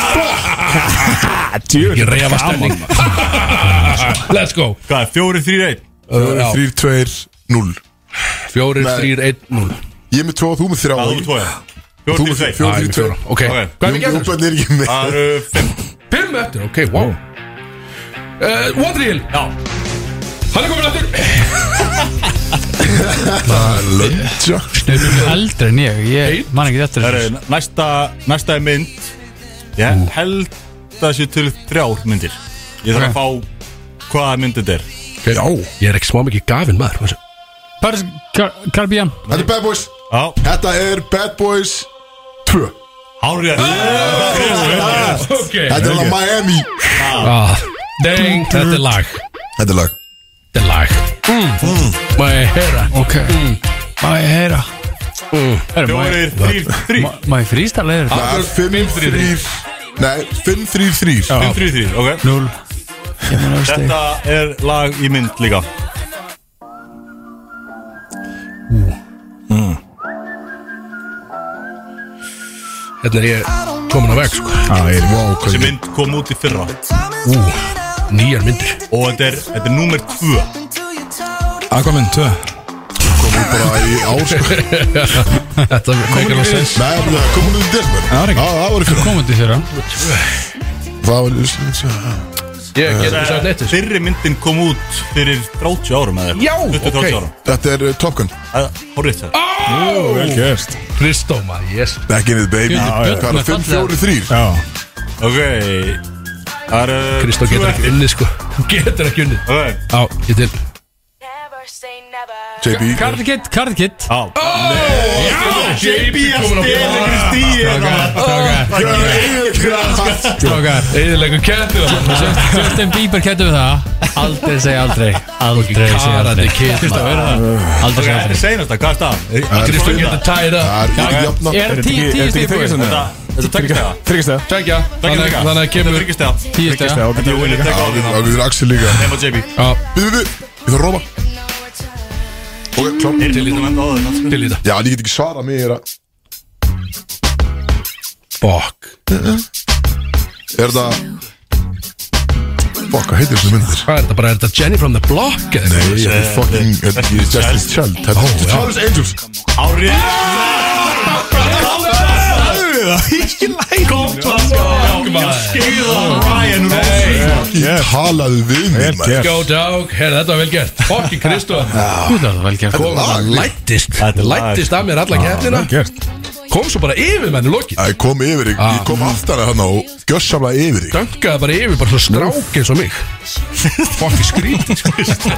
Ah, Ég reyfa stemning Let's go Hvað er, fjóri, þrýr, einn Já. 3, 2, 0 Fjórir, Nei. þrýr, einn, núl Ég er með 2 og þú með 3 Það er tvoja Þú Fjóri, með þrýr, 4 tveir og 3, 2 Ok, Ok. hvað er Jón við gerðum? Júben er ekki með Það eru fimm Fimm eftir, ok, wow Uh, Wondriel, Já, hann er komin aftur Það er löndja Stundum er eldri en ég Ég Eitt. man ekki þetta það eru næsta, næsta er mynd Ég held það sé til þrjár myndir Ég þarf að fá hvaða mynd þetta er Já Ég er ekki smá mikið gafin maður Paris Car- Caribbean Þetta er Bad Boys Já, Þetta er Bad Boys 2 hárið Ok Þetta er alveg Miami ah, Deng, þetta er lag Þetta er lag Þetta er lag Mm. Mm. Má ég heyra Ok Mm. Má ég heyra Herra, má ég- Fjóri, þrýr, þrýr Ah. má- Má ég frístala þér Það er 5, 3 Nei, 5-3-3 5-3-3, ok 0 Þetta er lag í mynd líka Hérna er ég komin á veg sko Þessi mynd kom út í fyrra Nýjar myndir Og þetta er, þetta er númer 2 Aquaman 2 Bara í ár Þetta meikar alveg sens Nei, það kom hún um desember Það var ekki. Það var í fyrra Komandi þeirra Það var í Ég get ekki sagt neitt þessu. Fyrri myndin kom út fyrir 30 árum eða Já, 20-30 ok. Ah. árum Þetta er uh, Top Gun Það horrið það Vel gert Kristó maður, yes Back in the baby Björn Hvað er með fallega- 5-4-3? Já Ok Það er uh, Kristó tvö getur ekki unnið sko Hún getur ekki unnið Ok Já, ég til JB Karl Kitt, Karl Kitt Já JB að stela ykkur stíð hérna. Strákar Eðilegum kættu Justin Bieber kættu við það Aldrei segja aldrei Aldrei segja aldrei Karate Kid, Kristó, er það? Þetta Aldrei segja er aldrei seinasta, hvað er staðan? Kristó getur tæra Það er jafna Er það tíu tíu stíð búið? Þetta þetta er tökistega Þryggistega Tækja Þannig Tökistega þannig að Þetta er kemur tökistega Tíu stíð og Þetta er Willi, tek á því Það við erum Axel líka Nefn og JB Já, Býðu við Ég þarf að rópa Ok, klár Er þetta með áður náttúrulega? til í það Já, en ég get ekki svarað mér er að- Fuck Er það Fuck, hvað heitir þessu myndir? Hvað er þetta bara, er þetta Jenny from the Block eða? Nei, ég er fucking Ég er Justice Child Oh, Þetta er Charles Angels Árið Talaðu við mig Vel maður. gert Go dog, herri þetta var vel gert Fucking Kristó Þú það vel gert Þetta er lag. Lættist Þetta er lag. Lættist af mér alla kættina Gert Kom svo bara yfir menni Æ, lokið Ég kom yfir þig, Ah. ég kom aftara hann og gjössamlega yfir þig Dönkaði bara yfir, bara svo strák eins og mig Fucking skrítið sko. Er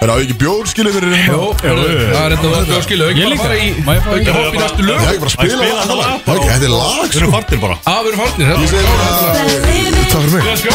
það ekki bjór skilið fyrir Jó, hérna? það er þetta það að skilja Ég líka. líka Má ég fá Ekki líka? hopp í Ég næstu lög er ekki bara að spila spila þetta þetta lag lag. Það er ekki- Þetta er lag Við sko erum fartir bara Afur farnir, þetta Ég var segi bara, Takk fyrir mig Let's go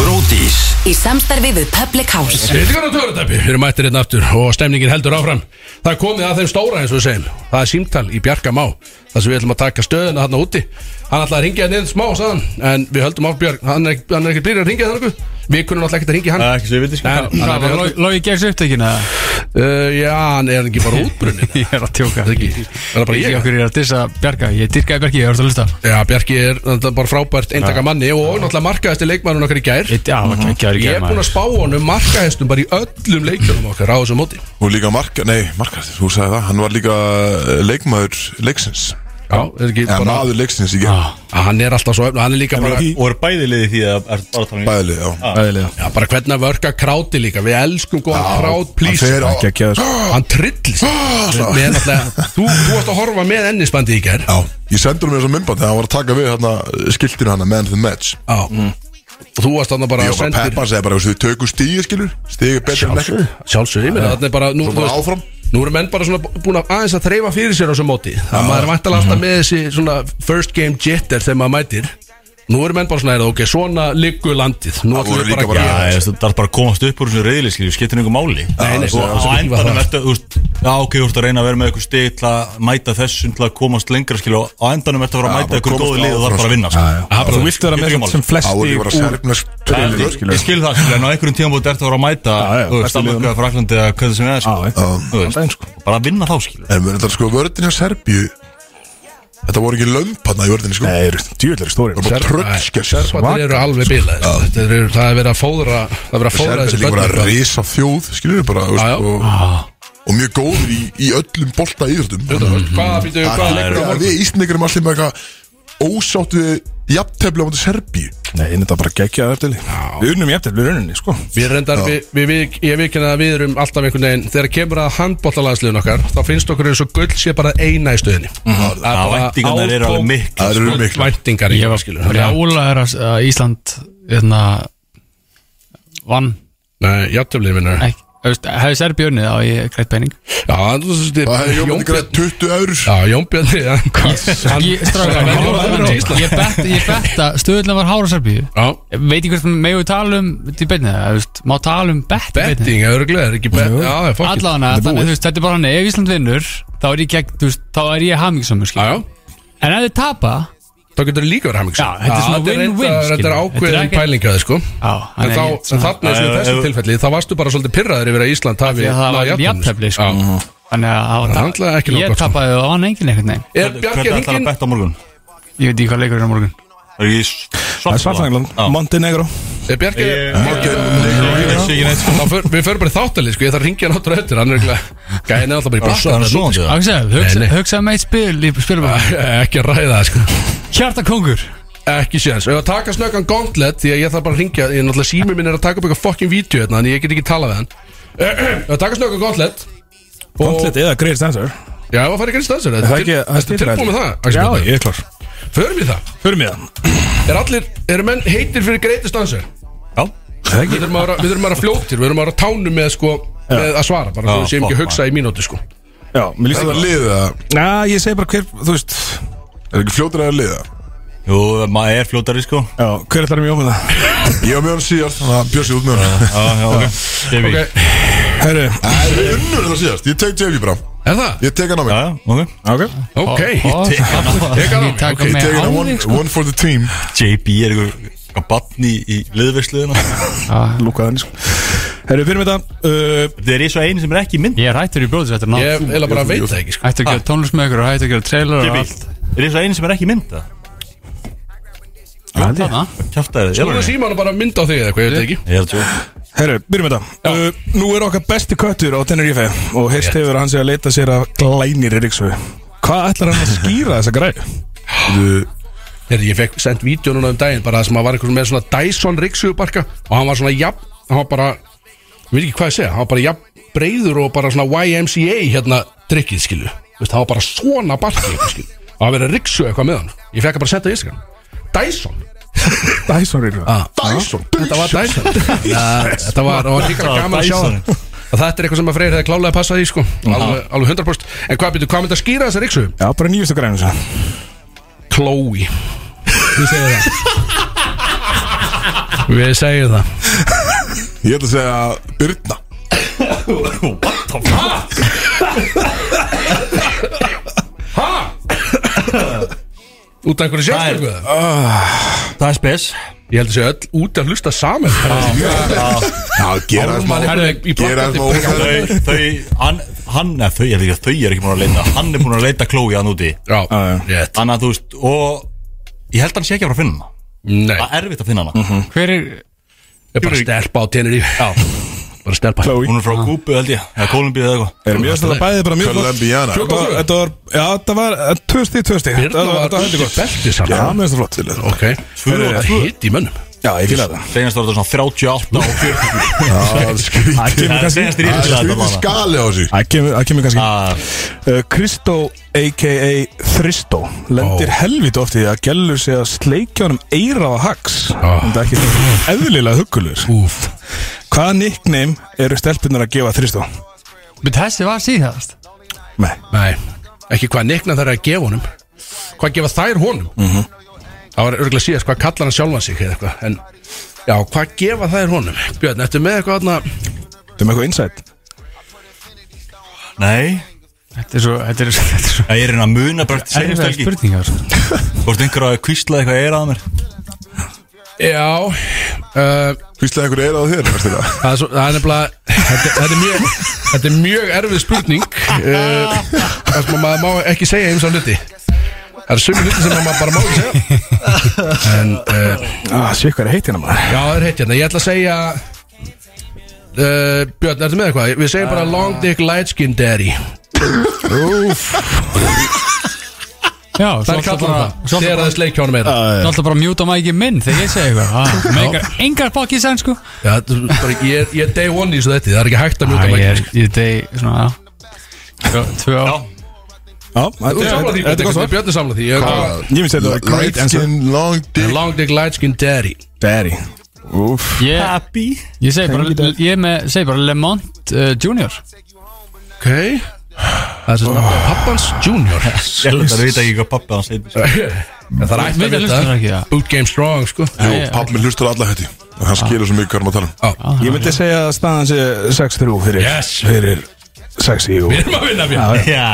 Bródís Í samstarfi við Public House Hildikarna törutæpi, við erum mættir hérna aftur og stemningin heldur áfram Það er komið að þeim stóra eins og við segjum Það er símtal í Bjarka Má þar sem við ætlum að taka stöðuna þarna úti Hann ætlaði að ringja hérna einn smá, sagðan En við höldum á Björg, hann er ekkert- hann er ekkert blýrið að ringja þannig Við kunum alltaf ekkert að ringja hann Það er ekki svo ég veit Nei, sko hann er bara- Lógi Geirs upptekina Uh, Já, hann er ekki bara útbrunnin Ég er að tjóka Það er ekki- það er bara ég. okkur er að dissa Bjarga Ég dyrkaði Bjarki, ég var að hlusta Já, Bjarki er náttúrulega bara frábært eintaka manni og náttúrulega markaðist er leikmannun okkar í gær Eitt- Já, það Mhm. var ekki að Ég er búin að spá honum markaðistum bara í öllum leikmannum okkar á þessu móti Og líka marka, nei, markastir, þú sagði það Hann var líka eh, leikmaður leiksins Já, er ekki Eða bara maður leiksins í Ah. gerð Hann er alltaf svo öfn og hann er líka bara Og eru bæði liði því að er bara að tala um Bæðileg, Ah. já Æðilega Já, bara hvernig að vörka kráti líka Við elskum góðan krát, please Þeir á Ekki að geða sko Hann trillist Ah, Með náttúrulega Þú, þú varst að horfa með ennisbandi í gær Já, ég sendur mér þessum myndband Þegar hann var að taka við hérna skiltinu hann Man of the match Já Og þú varst þarna bara Ég að var bara sendir peppa að segja bara, þú veist, við tökum stíði skilur Stíði betur en ekki Sjálfsög, ég meina þarna er bara Nú, Svo þú bara veist, áfram nú eru menn bara svona búin að aðeins að þreifa fyrir sér á þessu móti Það maður er vantalega Mhm. alltaf með þessi svona First game jitter þegar maður mætir Nú eru menn bara svona, er það ok, svona liggur landið Nú ætlum voru við líka bara að bara- gera Já, ég veist, það er bara að komast upp úr þessu reyðli, skiljum, skiptir einhver máli Nei, nei, það er Og á svo mikið var endanum það. ertu, þú veist, já, ok, þú ert að reyna að vera með eitthvað stið til að mæta þessum til að komast lengra, skiljum, og á endanum ertu að fara Já, að bara mæta einhver komast góðu lið og það er áfram, bara að vinna, sko. sko. Já, Þú vilt vera Skiptir með ekki sem Á, flest og í ég var að serfnast trailer, máli. Ég skilur skil það, skiljum, en á einhverjum tíma búið ertu að fara að mæta, já, þú veist, bestu liðunum. Ameríku eða Fraklandi eða hvað sem er, sko. Þú veist, Daginn, sko. bara að vinna þá, skiljum. En þetta sko, vördin hjá Serbíu Þetta voru ekki lömpanna í vördinni sko Nei, eru djúvillir stóri Það voru bara tröllskess Serbarnir eru alveg bilaðir Þetta eru- Það er verið að fóðra Það er verið að fóðra Serbíu er þessi líka börn bara eitthvað. risa þjóð Skilur bara, þú Já, já. veist og, og mjög góður í, í öllum bolta íðröndum Þú veist, Hvaða býtu, hvaða Það leikur er á morgun? við Íslandingarum allir með eitthvað Ósátt við jafntefla á mútið Serbíu Nei, þetta er bara geggjað eftir Við unnum jæftið, við unnum sko Við reyndar, við, við, við, ég viðkynna að við erum alltaf einhvern veginn Þegar kemur að handbóttalagsliðun okkar Þá finnst okkur eins og gull sé bara eina í stöðinni Það Mhm. Já, bara væntingarnar eru alveg auto- miklu. Það eru miklu Væntingar Ég var skilur Rjála er að að Ísland Þannig að Vann Nei, játtöflið minnar Ekki- þú veist, Hefði Serbi unnið á ég greitt penning Já, þú veist, Það hefði Jón Jón Bjarni Björn grætt 20 eurur Já, Jón Björn já. Hann- Ég- strákar, Hann- ég Hann- lofa Hann- þér, Ég betta Ég betta Stöðulega var Hára Serbíu Já, Veit ég hvert Megu tala um Þetta er beinni það þú veist, Má tala um bett í beinni? betting, örgulega, er ekki betting Já, já, fokkin Allavega, þannig, þú veist, þetta er bara hann Ef Ísland vinnur Þá er ég gegn, þú veist Þá er ég hamingisamur, Já, skil já, En ef þið tapa Þá getur það líka verið hamingið Já, þetta er svona win-win, Þetta er skilur. Þetta er ákveðin ekki- pælingaði sko Já, En hann þá, en er þarna eins og í Já, þessu ef- tilfelli Þá varstu bara svolítið pirraður yfir að Ísland hafi Því að það náð var jafntefli, jafntefli sko. Já. Þannig að það var Það er náttúrulega ekki nóg Ég gott, sko. tapaði og hann enginn einhvern veginn Er Bjarki Hvernig ætlar að Hengin betta á morgun? Ég veit ekki hvað leikur er á morgun Er ég Það er svart? Svartangland, Montenegro Er Bjarki Ég veist ekki neitt sko Þá för- Við förum bara í þáttalið sko Ég þarf að ringja hann áttur og eftir Hann er ekki Gæðin er alltaf bara í Það er brúsa svona sko Axel, Nei, hugsa- nei. hugsaðu með eitt spil í spilum Ekki að ræða það sko Hjarta kongur Ekki séns, ef að taka snöggan gauntlet Því að ég þarf bara að ringja, ég náttúrulega símur minn er að taka upp eitthvað fokkin vídeo hérna En ég get ekki talað við hann Ef að taka snöggan gauntlet og- Gauntlet eða Greatest Answer Já, ef að fara ekki að staðsöru Það er ekki- það er Þetta er stífræði. tilbúið með það, Já, Axel ég er klár Björn. Förum við það Förum í það Er allir, eru menn heitir fyrir greatest answer? Já. Við þurfum að vera- við þurfum að vera fljótir, við þurfum að vera á tánum með sko með að svara, bara svo Já, við séum ekki að flott, hugsa í mínúti sko Já, mér líst Það það er að liða, Já, ég segi bara hver, þú veist er ekki fljótur að liða Jú, maður er fljótari sko Já, hver ætlar mér ofin það? Ég var með hann síðast, þannig að björsi út með hann Já, já, ok Devi Ok, Já, er Herru Það er unnur það síðast, ég tek JV bara það? Ég tek hann á mig já, ok Ok Ok, ég Ég kann á taka Ég með tek hann á á one, þig sko one for the team JB er eitthvað batni í liðversluðina Lúkaði hann, sko Herru, fyrir með það uh, Þetta er eins og einu sem er ekki í mynd Ég er hættur í bróðis eftir Ég nátt eða bara veit það ekki sko Hættur að gera tónlist með ykkur og hættur að gera trailer og JB, allt er eins og einu sem er ekki í mynd það Þarna? Kjáftæði, ég Þú er var síman bara að mynda á þig eða eitthvað, ég veit það ekki Ég er að tjóka Herru, byrjum með það uh, Nú er okkar besti köttur á Tenerife og heist hefur að hann sé að leita sér að glænir í Ríksvögu Hvað ætlar hann að skýra þessa græðu? Þegar ég fekk sendt vídeo núna um daginn bara það sem að var eitthvað með svona Dyson riksugubarka og hann var svona jafn, hann var bara ég veit ekki hvað ég segja, hann var bara jafn breyður og bara svona YMCA hérna drikkið skilu, Vist, hann var bara svona barki eitthvað, skilu, og hann verið að riksu eitthvað með hann ég fekk að bara setja í Instagram Dyson, Dyson Ríksvögu Dyson, þetta var Dyson Ja, þetta var, og líka gaman að sjá það og þetta er eitthvað sem að Freyr hefði klálega passað í sko, alveg, alveg 100% en hvað byrju, hvað myndi að skýra þessa riksu? Já, bara nýjustu græðinu sem Chloe Við segjum það Við segjum það Ég ætla að segja Birna Út af einhverju sérstöku það? Það er spes Ég held að segja öll út að hlusta saman Já, gera þess Ármann maður er í Gera þess plakati maður prekar. óþægilegt. Þau, þau, hann, hann, eða þau, ég veit ekki að þau er ekki búin að leita Hann er búin að leita klói hann úti Já, rétt Þannig að þú veist, og ég held að hann sé ekki að fara að finna hana Nei, Það er erfitt að finna Mhm. hana Hver er ég bara stelpa á tennir í Bara stelpa Chloe Hún er frá Kúbu held ég, eða Kólumbíu eða eitthvað Erum mjög stöða bæði bara mjög flott Colombiana Þetta var- Þetta var, já, þetta var eh, Tvösti, tvösti Birna var undir belti Já, saman mér finnst það flott til Ok, Tvö og tvö. hitt í mönnum Já, ég fíla það Seinast var þetta svona 38 og 40 Já, Það skrítið kemur Ah. Það er kannski seinast í Það er ríðislega skrítið þetta skali á sig Það kemur, það kemur kannski bara Uh, Kristó a.k.a. Þristó lendir helvít oft í því að gælur sig að sleikja honum eira á hax Ah. en það er ekki eðlilega huggulur Úf Hvaða nickname eru stelpunar að gefa Þristó? Menn þessi var síðast Nei, Nei, ekki hvað nikna þær eru að gefa honum Hvað gefa þær honum Það var örgulega síðast hvað kallar hann sjálfan sig eða eitthvað En já, hvað gefa þær honum Björn, ertu með eitthvað þarna þetta er með eitthvað insight Nei, Þetta er svo, þetta er, þetta er svo það er hérna að muna bara eftir seinast Erfiðar helgi spurningar sko. Hvort einhver að kvísla eitthvað er að mér Já, uh, Hvíslega einhver er á þér veistu það? það, er svo, það er nefnilega þetta, þetta, er mjög, þetta er mjög erfið spurning uh, Það sem að maður má ekki segja eins og hluti Það er sömu hluti sem að maður bara má ekki segja En uh, Ah, sé hvað er heitt hérna maður já, það er heitt hérna Ég ætla að segja uh, Björn, ertu með eitthvað? Við segjum bara long dick light skin daddy Já, Það er kallar það Þegar það sleik hjá honum meira Það er alltaf bara að mjúta mækið minn þegar ég segi eitthvað ah, meikar Engar fokkið senn sko Já, þetta er bara ekki- Ég ég er day one í þessu þetta Það er ekki hægt að mjúta Æ, Ég er mækir í deg svona já. Tvö- Tvö á Já, þetta Þú er þetta- samlað því, þetta er gott Björn. svar Björn er samlað því Ég- Ég finnst þetta var great Light answer skin, long dick Long dick light skin daddy Daddy Úf Ég, Happy ég segi bara, ég með, segi bara Lemont uh, Junior Ok Það er sem sagt oh. pappans junior Ég held að það veit ekki hvað pappi hans heitir En Það er ætti að Vita hlustar ekki, vita já. Boot game strong sko Jú, Nei, pappin hlustur á alla hætti og hann skilur svo mikið hvað hann að tala um Ég myndi segja að staðan sé 6-3 fyrir Yes. Fyrir 6 í og Við erum að vinna fyrir Já,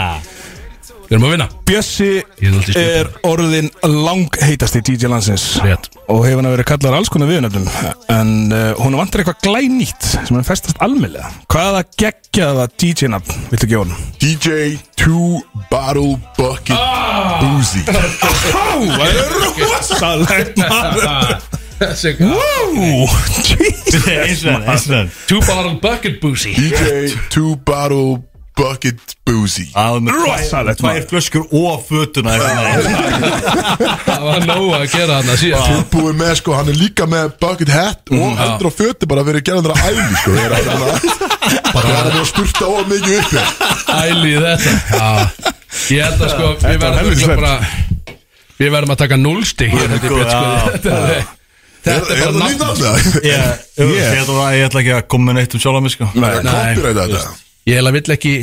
Við erum að vinna Bjössi Ég er aldrei stjórn. er orðin langheitasti DJ landsins Rétt. og hefur hann að vera kallar alls konar viðunöfnum en uh, hún vantar eitthvað glænýtt sem hann festast almennlega Hvaða geggjaða DJ-nafn viltu gefa honum? DJ 2 Bottle Bucket Boozy Það er rosalegt maður Wow, Jesus Eins og enn, eins og enn Two bottle bucket boozy DJ 2 Bottle Bucket Boozy Ah. Það er Rosalegt maður flöskur og fötuna Það var nóg að gera þarna síðan Búið með sko, hann er líka með bucket hat og hendur á föti bara fyrir gerðandra æli sko, það er alveg svona Það er alveg að spurta of mikið upp hér. Æli í þetta Já. Ég held að sko Við var verðum helviti örugglega slæmt. bara Við verðum að taka núlstig hér held ég, Björn, sko. Þetta Er er- Þetta er er það bara nýtt af nafn það? Ég ætla að- ég ætla ekki að koma með neitt um sjálf að mig sko Það er copyright að þetta Ég held að vill ekki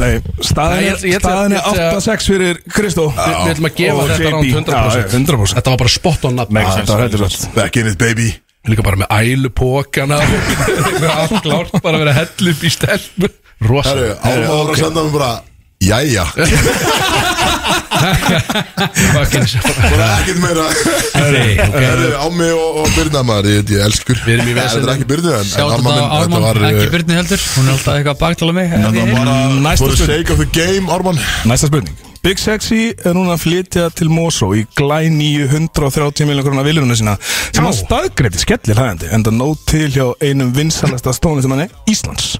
Nei, Nei, ég staðin er, ætla- ég ætla- staðin ég er ætla- 8-6 fyrir Kristó Við við ætlum að gefa Og þetta JB. ránd Já, já, 100%. 100% Þetta var bara spot on nafn Makes Þetta var hættur allt Back in it baby Líka bara með ælupokana Með allt klárt bara að vera hell upp í stelp Herru, Rosa Álma var að senda mér bara Jæja, Fucking- bara ekkert meira Nei, ok. Herru, Ámi og, og Byrna maður, ég, ég elskur Við erum í veseni. Þetta er ekki Byrna en, en Sjátt amma þetta á minn, þetta Ármann, var ekki eh, Byrni heldur Hún er alltaf eitthvað að baktala mig en Þetta ég- var bara Næsta For the spurning. sake of the game, Ármann Næsta spurning Big Sexy er núna að flytja til Mosó í glæn 930 miljonar krona viljuruna sína sem að staðgreiti skellir hægandi en það nóg til hjá einum vinsalasta stónlistamanni Íslands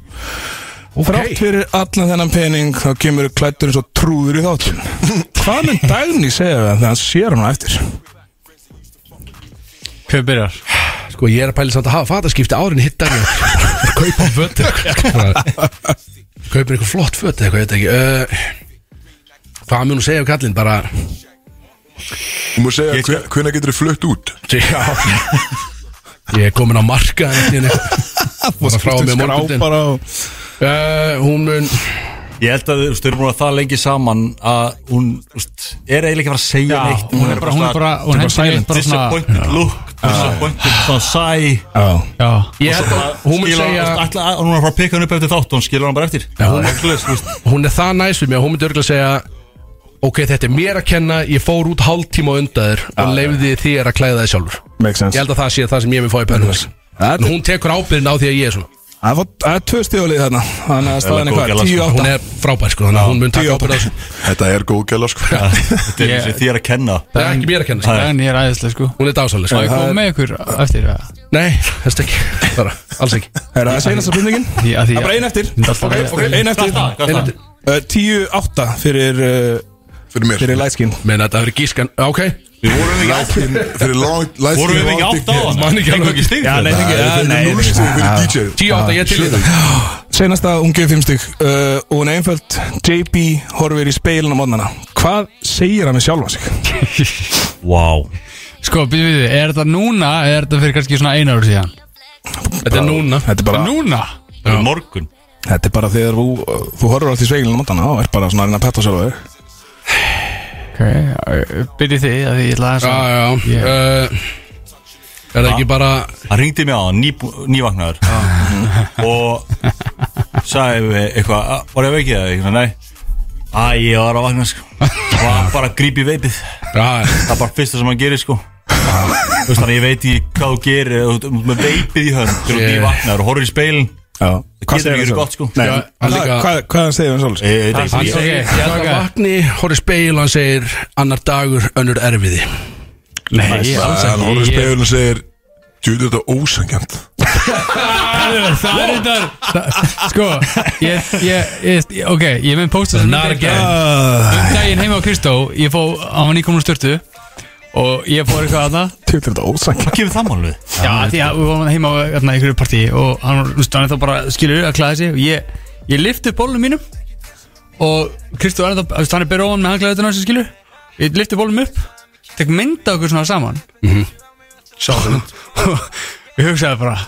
Þrátt fyrir allan þennan pening þá kemur klættur eins og trúður í þáttun Hvað mun Dagný segja það þegar hann sér hann á eftir? Hver byrjar? Sko ég er að pæli samt að hafa fataskipti árin hitt dæmi Kaupa föt sko. Kaupir eitthvað flott föt eða eitthvað, ég veit ekki uh, Hvað mun hún segja um kallinn bara Þú múið segja, hve- hvenær getur þið flutt út? Já Ég er komin á marka Bara frá mig morgundin Skrápar á uh, Hún mun Ég held að þú veist, við erum búin að það lengi saman að hún þú veist, er eiginlega ekki að fara að segja neitt Hún er bara, hún er bara, hún hendur í eitt bara svona disappointed look disappointed, svona sæ Já, Ég held að hún mun Skila- segja ætla að hún er að fara að pika hann upp eftir þátt og hún skilur hann bara eftir hún- Makklaust, þú veist. hún er það næst við mig að hún myndi örgulega segja ok, þetta er mér að kenna, ég fór út hálftíma á undaður og leiði þér að klæða þig sjálfur Make sense ég held að það sé það sem ég vil fá í pennaðis en hún tekur ábyrðin á því að ég er svona Það var- það er tvö stíðalið þarna Þannig að staðan er góð gæla, hvað? sko. 10-8 hún er frábær sko, þannig að hún mun taka Tíu ábyrð á þessu Þetta er góð gæla, sko þetta er Ég- þessi þér að kenna það er ekki mér að kenna, sko. Dagný er æðislega sko hún er dásaleg Má ég sko. koma með ykkur á eftir eða? nei, þess ekki, bara, alls ekki Er það seinasta spurningin? Því að því Það er bara ein eftir Þetta er bara ein eftir. Ein eftir Einmitt. Uh, 10-8 fyrir, uh, Fyrir mér fyrir læskin menn þetta verður gískan, ok Við vorum ekki átt Lækin, fyrir long lækin, Vorum við ekki long átt á dick- Man það? ekki alveg. Fengum ekki stig fyrir nei, það? Nei, fengi- ja, þetta er nei, nei, núlstig fyrir DJ 10-8, ég til í þetta Senasta hún gefið 5 stygg uh, og hún er einföld JB horfir í speilin á mótnana Hvað segir hann með sjálfa sig? Wow Sko, býðu við þið, er þetta núna eða er þetta fyrir kannski svona eina ár síðan? þetta er núna Þetta er bara, Núna? Það er morgun þetta er bara þegar þú, uh, þú horfir allt í speilin á mótnana og er bara svona að reyna að petta sjálfa þig Ok, byrju þið að því ég ætla að já, já, Ég- uh, er það ekki bara Hann ringdi mig á hann, nývagnar Og Sæði við eitthvað, "Ah, var ég veikið eða eitthvað, nei Æ, ég var að vakna sko Og hann bara grípi veipið já, Það er bara fyrsta sem hann gerir sko Þú veist þannig, ég veit í hvað þú gerir Þú ert með veipið í hönd Þegar þú Ég- nývagnar og horfir í speilin Já, Getur ekki verið sjálfa? gott, sko. Nei, Já, hann hvað, líka- hvað, hvað hann segir hann sjálfa sig? Ég veit Hann ekki, segir, Ég held að okay. vakni, horfði í speil og hann segir annar dagur, önnur erfiði Nei, alls Hann horfður í ekki Ég- speilin og segir Djúðu þetta er ósangjant Það er þetta Sko, ég, ég, ég, ok, ég með posta sem Not again. Um daginn heima á Kristó, ég fó, hann var nýkomin úr störtu Og ég fór eitthvað að það Þetta er þetta ósangja hvað kemur það málum við? Já, því að við vorum heima á hérna, einhverju partí Og hann, þú veist, hann er þá bara skilur að klæða sig Og ég, ég lifti upp bólnum mínum Og Kristó er þetta, hann er byrja ofan með hanglaðið Þannig að skilur Ég lifti bólnum upp, tek mynda okkur svona saman Mhm. Sáðan Við hugsaði bara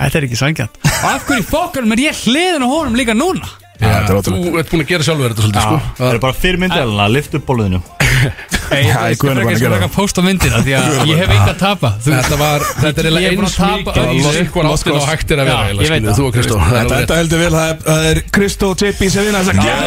Þetta er ekki sangjant Og af hverju fokkanum er ég hliðin á honum líka núna Þú ert búin að gera sjálfur þetta svolítið sko Það er bara fyrir myndalina, lift upp bóluðinu Nei, Já, í ég guðanna skal bara að gera ekki að posta myndina Því að ég hef eitthvað að tapa Þú- Þetta var, þetta er Ég eiginlega er búinn eins að tapa mikið öllu. í sikkur áttin og hægt er að vera Já, eiginlega, ég veit skilur, það. Þú og Kristó Þetta það er enda heldur vel, það er- það er Kristó og JP sem vinna þess að gera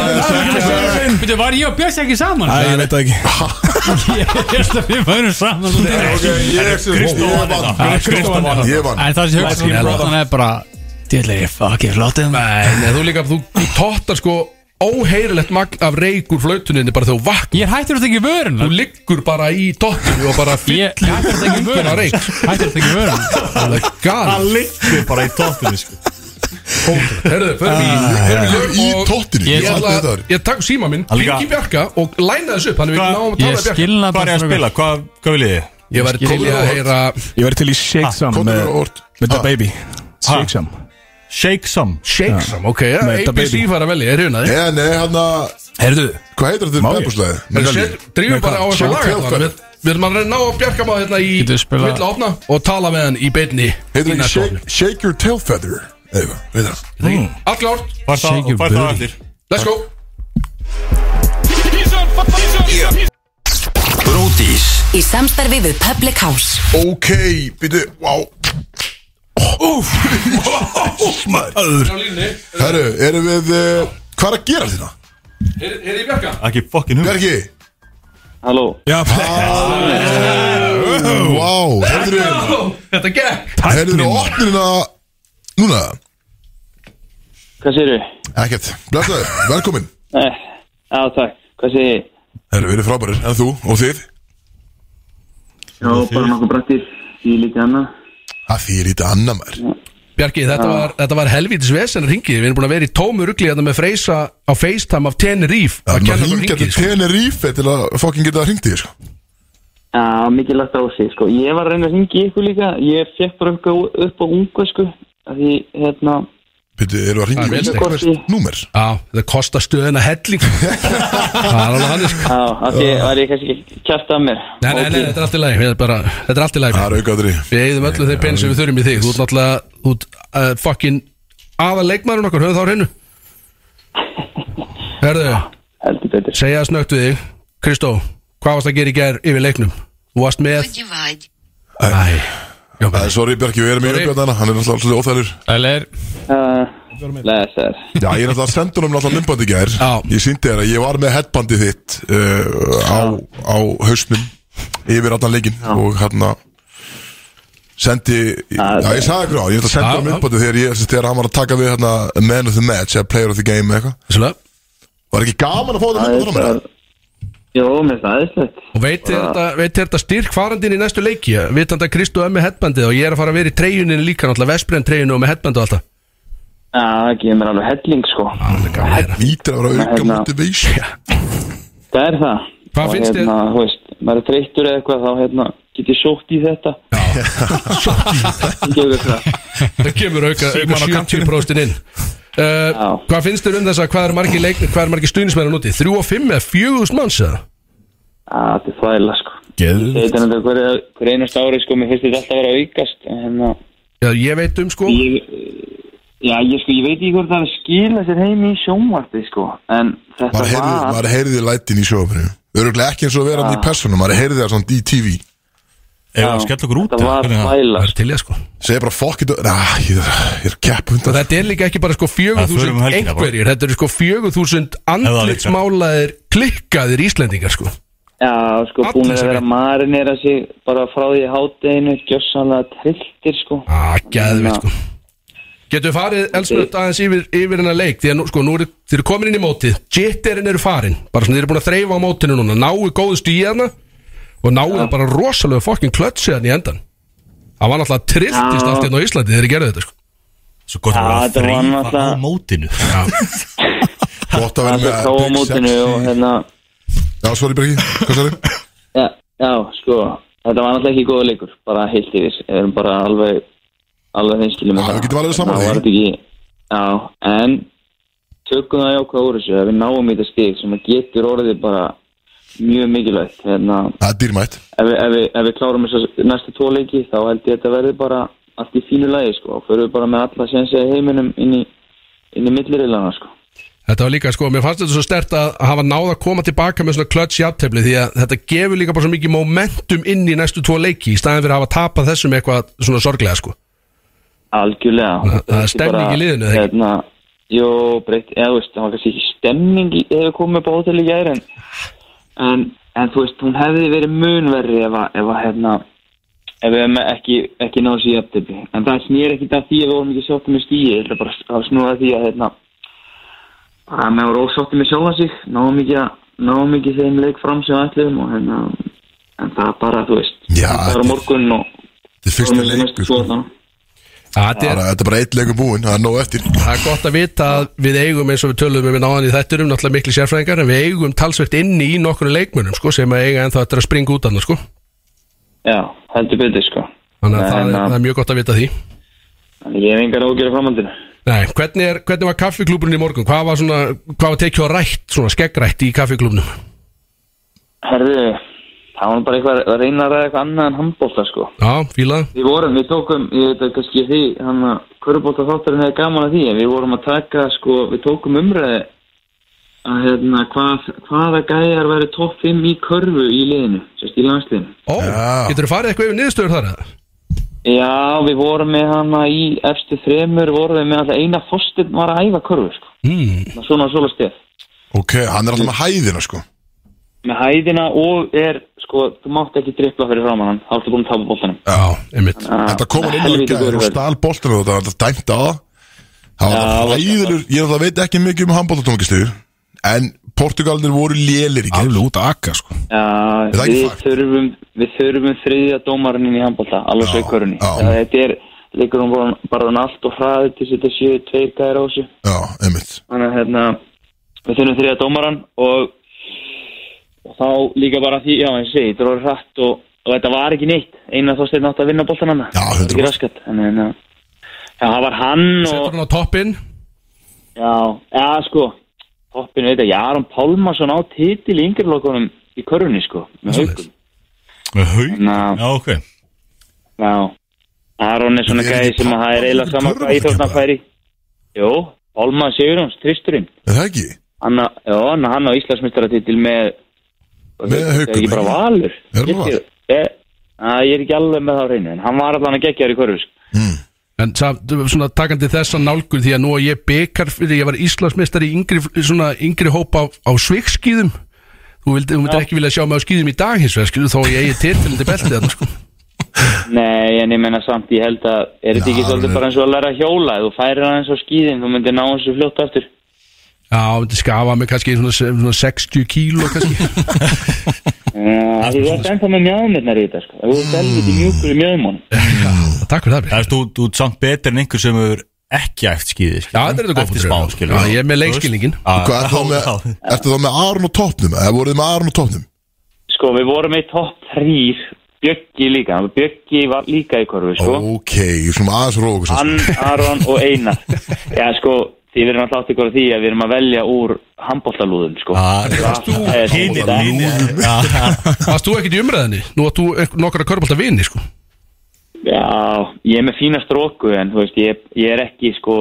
Veitu, var ég og Björns ekki saman? Æ, ég veit það ekki Ég held að við varum saman Ok, ég ég vann Kristó vann Ég vann En það sem ég hugsa Let's get um Brotan er bara Djöðlega ég fucking flotið maður. Nei, nei, þú líka, þú, þú tóttar sko óheirilegt magn af reykur flautuninni bara þegar þú vaknar Ég er hættur að þekki vörun Þú liggur bara í tóttinu og bara fyllir Ég Oh ég er hættur að þekki vörun af reyk Hættur að þekki vörun Það er galt liggur bara í tóttinu sko. Herðu, förum í- Ah, förum í lög Í og- tóttinu Ég Ég ætla vann þetta að, ég takk síma minn, Hann líka- hringi Bjarka og læna þessu upp Þannig við Hvað- náum að tala Ég við Bjarka skilna Hvað er ég að spila? Hvað, hvað vil ég? Ég væri til í að heyra Ég verði til í Shake Some Kóttur með og orð með The Baby Ha? Shake Some Shake some Shakesam, ok, ja, Með þetta ABC baby. fara vel, ég hérna er hjónaði Nei, Eh, nei, hann að Heyrðu Hvað heitir þetta ég? bæbúslæði? Drýfum bara á þessu Sjá laga tjaldar. þarna. Við við erum að reyna að ná að Bjarka maður hérna í Getur við spilað- vill opna og tala með hann í beinni Heitir í þetta næstu shake, opnu. shake Your Tail Feather Eða, veit það Mm. Mm. Allt klárt, Fær það Shake your fær það booty. allir let's go Bródís Í samstarfi við Public House Ok, Oh. býtu, wow Úf Á línni, Herru, erum við uh, Hvað er að gera þérna? er er þið Bjarka? Ekki fokkin hug Bjarki Já, Wow, heyrður við Ó, Þetta gekk Heyrður við opnirina Núna Hvað sér þau? Ekkert, blessaður, velkomin Já, takk. Hvað sér þið? Herru, við erum frábærir, en þú og þið Já, bara nokkuð brættir. Ég hérna. lítið annað. Það þýr í þetta annað maður Bjarki, þetta var, þetta var helvítis vesen ringið Við erum búin að vera í tómu rugli hérna með Freysa á FaceTime af Tenerife Það er að maður kenna okkur hingað til ringið sko. Tenerife til að fokkin geta hringt í þér sko. Já, mikið lagt á sig, sko. Ég var að reyna að ringi ykkur líka. Ég fekk bara eitthvað upp á ungu, sko. Af því, hérna, Býtu, erum við að Það er hringi vel í steikt. hvert númer? Já, þetta kostar stöðuna helling Það er alveg hann sko. já, af því var ég kannski ekki kjæft að mér. Nei, nei, nei, þetta er allt í lagi Þetta er bara- þetta er allt í lagi Það er aukaðri Við eigðum öllu þeir pein sem við þurfum í þig Þú ert náttúrulega, þú ert uh, fucking aðal leikmærin okkar, höfðu þá á hreinu Herðu, Heldur betur. segja snögt við þig Kristó, hvað varst að gera í gær yfir leiknum? Þú varst með Æ, já, Æ, sorry Bjarki, við erum í Sorry. uppjöndana Hann er náttúrulega alltaf óþælur Ælir Uh, Lesaður. Já, ég er náttúrulega að senda honum alltaf myndbandi gær Já. Ég síndi þér að ég var með headbandi þitt uh, á, á hausnum yfir allan leikinn og hérna sendi, já ég sagði ykkur á ég ætla að senda Já, honum já. myndbandi þegar, ég, sem sagt, þegar hann var að taka við hérna, man of the match eða player of the game eða eitthvað Svona, Var ekki gaman að fá þetta Það er myndbandi frá mér? bara... Jó, mér finnst það aðeinslegt. og veit þér þetta, veit þér þetta styrk farandinn í næstu leiki Vitandi að Kristó er með headbandið og ég er að fara að vera í treyjuninni líka Náttúrulega vestbrenn treyjunni og með headbandið og alltaf Já, það gefur mér alveg helling, sko. Það Lítur að vera auka Hérna. motivation Það er það. Hvað Og, finnst þér? Hérna, þú veist, maður er þreyttur eða eitthvað, þá hérna, get ég sótt í þetta. Já. Sótt í þetta. Það kemur auka, auka 70% inn Já. uh, Hvað finnst þér um þess að hvað er margir, leik- hvað er margir stuðnismenn á úti? 3 og 5 eða 4000 manns eða? Já, þetta er þvægilega sko Geðvikt. Þetta er náttúrulega hver, hver einast ári sko Mér finnst þetta alltaf að vera að aukast en hérna, Já, ég veit um sko ég, Já, ég sko, ég veit ekki hvort það er að skila sér heim í sjónvarpi sko En þetta Maður heyrði, var maður heyrði lætin í sjófinu Öruglega ekki eins og vera hann í persónum Maður heyrði það samt í TV Ef það skell okkur út Þetta var Hvernig það? Það þvægilega er til ég sko Segði bara fuck it Næ, ég ég er kepp Og undan þetta er líka ekki bara sko Það förum 4000 um helgina, bara. einhverjir Þetta eru sko 4000 það virkar. andlitsmálaðir klikkaðir Íslendingar sko Já, sko, Allir búin að sem vera veit. að marinera sig Bara frá því hátteginu, gjössanlega trilltir sko Ah, gæðveit Já. sko Getur við farið elsmöld aðeins yfir, yfir hennar leik Því að nú, sko, nú eru, þeir eru komin inn í mótið Jitterinn eru farin Bara svona þeir eru búin að þreyfa á mótinu núna Náu góðu stíð hérna Og náu það bara rosalega fokkin klötsi hérna í endan Það var náttúrulega trilltist Já. allt hérna á Íslandi Þeir gerðu þetta sko Svo gott að Já, vera að þetta var þrýfa á náttúrulega- mótinu Gott að vera Það með er þá á big mótinu sexy- og hérna Já, sorry Birgi, hvað sagði? Já, já, sko, þetta var náttúrulega ekki góða leikur Bara heilt yfir, við erum bara alveg Alveg hinskilum Já, við getum alveg saman Það því. var þetta ekki, já, en Tökum það jákvæða úr þessu að Við náum í þetta stig sem að getur orðið bara Mjög mikilvægt hérna, Það er dýrmætt ef, við, ef, við, ef við klárum þessu næstu tvo leiki Þá held ég að þetta verði bara allt í fínu lagi sko Og förum við bara með alla sénsið í heiminum Inn í, inn í millirilana sko Þetta var líka, sko, mér fannst þetta svo stert að hafa náð að koma tilbaka með svona klöts jafntefli því að þetta gefur líka bara svo mikið momentum inn í næstu tvo leiki í staðin fyrir að hafa tapað þessum eitthvað svona sorglega, sko Algjörlega það er stemning Bara, í liðinu, eða ekki? hérna, Jó, breytt, eða þú veist, það var kannski ekki stemning í- ef við komum upp á hótel í gær en, en, en þú veist, hún hefði verið munverri ef að, ef að hérna ef við hefum ekki, ekki náðu sér jafntefni en það snýr ekki það því að við vorum ekki sáttum með stíi það er bara að snúa að því að hérna bara að með voru ósáttum með sjálfa sig náðum ekki, að- náðum ekki þeim leik fram sem við ætlum og hérna en það bara, þú veist, Já, það var morgun og Þetta er fyrsta og leikur næstu sko. tvo þarna. Ja, Þetta er, Bara, Þetta er bara eitt leikur búinn, það er nóg eftir það er gott að vita að við eigum eins og við töluðum um náðan í þætturum náttúrulega miklu sérfræðingar en við eigum talsvert inni í nokkru leikmönum sko, sem að eiga ennþá eftir að springa út af það sko. Já, heldur betur sko þannig að það, er, Nei, það er mjög gott að vita því Þannig ég hef engar ágjör af framhaldinu Nei, hvernig, er, hvernig var kaffiklúbrun í morgun? Hvað var, svona, hvað var tekið á rætt, svona skeggrætt í kaffiklúbnum? Herðu, það var nú bara eitthvað að reyna að ræða eitthvað annað en handbólta sko Já, fílað Við vorum, við tókum, ég veit að kannski því hann að körubólta þátturinn hefði gaman að því en við vorum að taka sko, við tókum umræði að hérna hvað, hvaða gæjar væri topp 5 í körfu í liðinu, sérst í landsliðinu Ó, Já. getur þú farið eitthvað yfir niðurstöður þar? eða? Já, við vorum með hana í efstu þremur, vorum við með alltaf eina fóstinn var að æfa körfu sko, Mm. svona svona stef Ok, hann er alltaf með hæðina sko með hæðina og er sko, þú mátt ekki drippla fyrir framann hann þá ertu búin að tapa bóltanum Já, einmitt Þetta kom hann inn í Helvíti gæðir Ah, góður og vörður. stál boltinu og þetta var dæmt á það Það Já, var hæðilur, ég það veit ekki mikið um handbóltatónkistuður En Portugalinir voru lélir í gær Alveg út að akka sko Já, Er það ekki við fakt? þurfum, við þurfum þriðja dómarinn inn í handbólta, alveg svo í körunni já. Það- þetta er, leikur hún bara, bara hann allt og hraði til þess að þetta séu tveir gæðir á þessu Já, einmitt þannig að hérna, við þurfum þriðja dómarann og, og þá líka bara því, já eins og ég segi, þetta var hratt og, og þetta var ekki neitt eina þó stein átt að vinna bóltan hann Já, það 100%. var ekki raskat en, en, já, það var hann og, Setur hann á toppinn Já, já sko Toppin veit að Jaron Pálmarsson á titil í yngreflokunum í körfunni sko með haukum Með haug? Ná, Já, ok já Aron er svona Við erum gæði ekki sem að það er Pálmarsson í eiginlega sama hvað körfubolta íþjóðna bara. færi Jó, Pálma Sigurjóns, Tristurinn Er það ekki? Hann á- já, hann- hann á Íslandsmyndstaratítil með Með Er Haukum, ekki bara ekki? valur Er hann Valur? Ég, að, ég er ekki alveg með það á reynu en hann var allan að gegja þér í körfu sko. En samt, svona takandi þessa nálgun því að nú að ég bekar fyrir, ég var Íslandsmeistari í yngri, svona yngri hópa á, á svikskýðum Þú vildi, þú myndir ekki vilja sjá mig á skýðum í dag hins vegar, skilur þó að ég eigi titilindi beltið þarna, sko. Nei, en ég menna samt, ég held að er þetta ekki Já, svolítið hann er- bara eins og að læra að hjóla Ef þú færir hann eins á skýðin, þú myndir ná þessu fljótt aftur Já, myndi skafa mig kannski í svona, svona 60 kíló kannski Já, Þú ert ennþá með mjöðumirnar í þetta sko Þú ert helviti mjúkur í mjöðumunum Takk fyrir það, Björn Það er þú, þú ert samt betur en einhver sem hefur ekki æft skýði Já, þetta er þetta góð Eftir punktur, smá, já. skilur Já, ég er með leikskilningin. Hvað, ertu þá með, ertu þá með Aron og Topnum? Eða voruð þið með Aron og Topnum? Sko, við vorum í topp 3 Bjöggi líka, Bjöggi var líka í korfu sko Ok, svona aðeins róa okkur svo Hann, Aron og Einar Já, sko, því við erum alltaf ykkur á því að við erum að velja úr handbóltalúðum sko Það er hinn í dag Varst þú ekkert í umræðinni? Nú að þú einhver- nokkra körbólta vini, sko Já, ég er með fína stróku en þú veist, ég, ég er ekki sko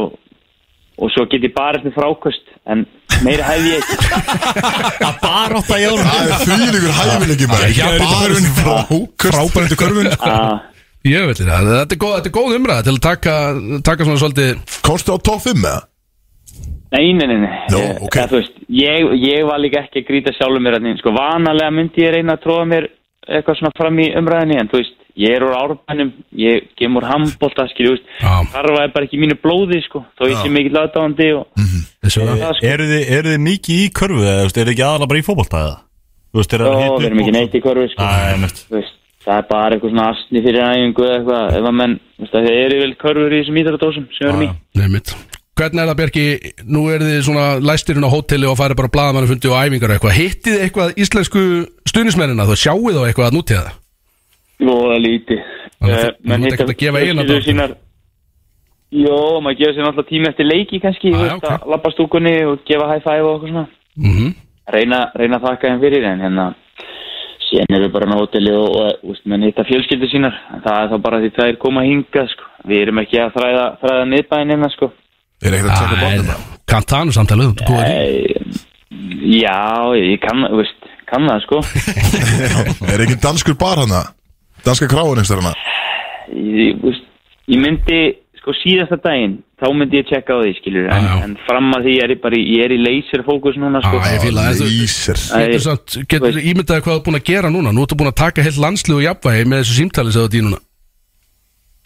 og svo get ég bara eftir frákost en meira hef ég ekki Það bar átt að jóla Það er því líkur hæfileiki maður Já, bara frákast Frábærendu körfun að Ég veit það, þetta er góð, þetta er góð umræða til að taka, taka svona svolítið Komstu á topp 5 eða? Nei, nei, nei, nei. Nú, Ég- ok. eða, þú veist, ég, ég var líka ekki að grýta sjálfur mér þannig, sko, vanalega myndi ég reyna að tróða mér eitthvað svona fram í umræðinni en þú veist, ég er úr árbænum ég kem úr handbólta, skilju, þú veist Já. þarfa er bara ekki í mínu blóði, sko þó ég sé mikið laðdáandi og Mhm. þessu það, sko, Eru þið, eru þið mikið í körfu eða þú veist, eru þið ekki aðalega bara í fótbolta eða? Þú veist, eru Jó, það við erum ekki neitt í korfi, sko Æ, einmitt. Þú veist, það er bara eitthvað svona astni fyrir æfingu eða eitthvað, ef að menn, þú veist, það eru vel körfur í þessum íþjóðardósum sem við erum í Nei mitt Hvernig er það Bjarki, nú er þið svona læstirinn á hóteli og farið bara á blaðamannafundi og æfingar og eitthvað, hittið þið eitthvað íslensku stuðnismennina, þú sjáuð þá eitthvað að nútið það Voða lítið Þannig að Eh, þú- þú ert ekkert að gefa eiginlega fjölskyldur dálítið? sínar Jó, maður gefa sér náttúrulega tími eftir leiki kannski Ah, ah, já, veist, ok. að labba stúkunni og gefa high five og eitthvað svona mm -hmm. reyna, reyna að þakka þeim fyrir en hérna síðan eru bara náteli og, og úst, menn hitta fjölskyldur sínar En það er þá bara því það er koma hinga sko. við erum ekki að þræða, þræða miðbæinn hérna sko. Er ekkert að taka bóðum það? Kannt það nú samtalið, þú ert góður í Nei, Já, ég kann, þú veist, kann það sko Er ekki danskur bar hana? Danska kráin einhver hana? ég, þú veist, ég myndi sko síðasta daginn, þá myndi ég tjekka á því skilur, en, Já, já. en fram að því er ég bara, í- ég er í laserfókus núna sko Já, ég fíla það. Ísir Æ, Getur, samt, getur ímyndaði hvað þú ert búin að gera núna Nú ertu búin að taka heilt landslið og jafnvægi með þessu símtali sem þú ert í núna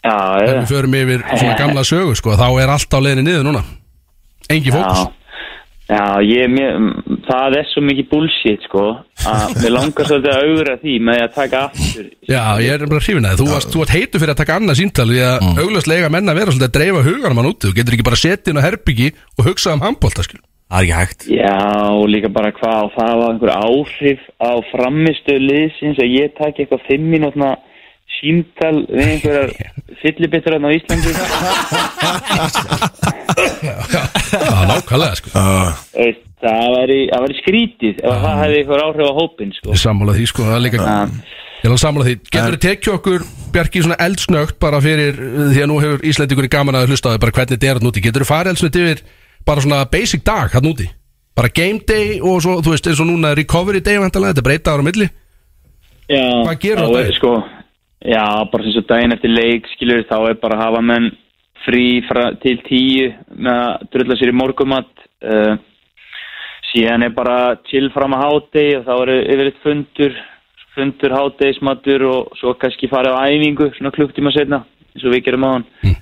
já, Ef já, við förum yfir svona gamla sögu sko, þá er allt á leiðinni niður núna Engi fókus já, já ég, mér, mm, það er svo mikið bullshit sko að mér langar svolítið að augra því með því að taka aftur Já, ég er bara hrifin að þið. þú varst, þú varst heitu fyrir að taka annað símtali Því að mm. augljóslega menna vera svolítið að dreifa huganum hann úti Þú getur ekki bara setið inn á herbyggi og hugsað um handbólta skil Það er ekki hægt Já, og líka bara hvað og það var einhver áhrif á framistöðu liðsins að ég taki eitthvað fimm mínútna síntal við einhverjar fyllibittur á Íslandi Já, nákvæmlega sko Veist, það væri, það væri skrítið ef það hefði eitthvað áhrif á hópin sko. Ég sammála því sko, það er líka Ég er alveg sammála því, getur þið tekið okkur Bjarki svona eldsnögt bara fyrir uh, Því að nú hefur Íslendingurinn gaman að hlusta á því bara hvernig þetta er hann úti, getur þið farið eldsnögt yfir bara svona basic dag hann úti bara game day og svo, þú veist, eins og núna recovery day vantanlega, þetta breyta ára á milli já, Hvað gerir þá þetta? er, sko, Já, bara sem svo daginn eftir leik skilur þá er bara að hafa menn frí fra, til tíu með að drulla sér í morgumat uh, síðan er bara chill fram að hádegi og þá eru yfirleitt fundur fundur hádegismatur og svo kannski farið á æfingu svona klukktíma setna eins og við gerum á hann Hm.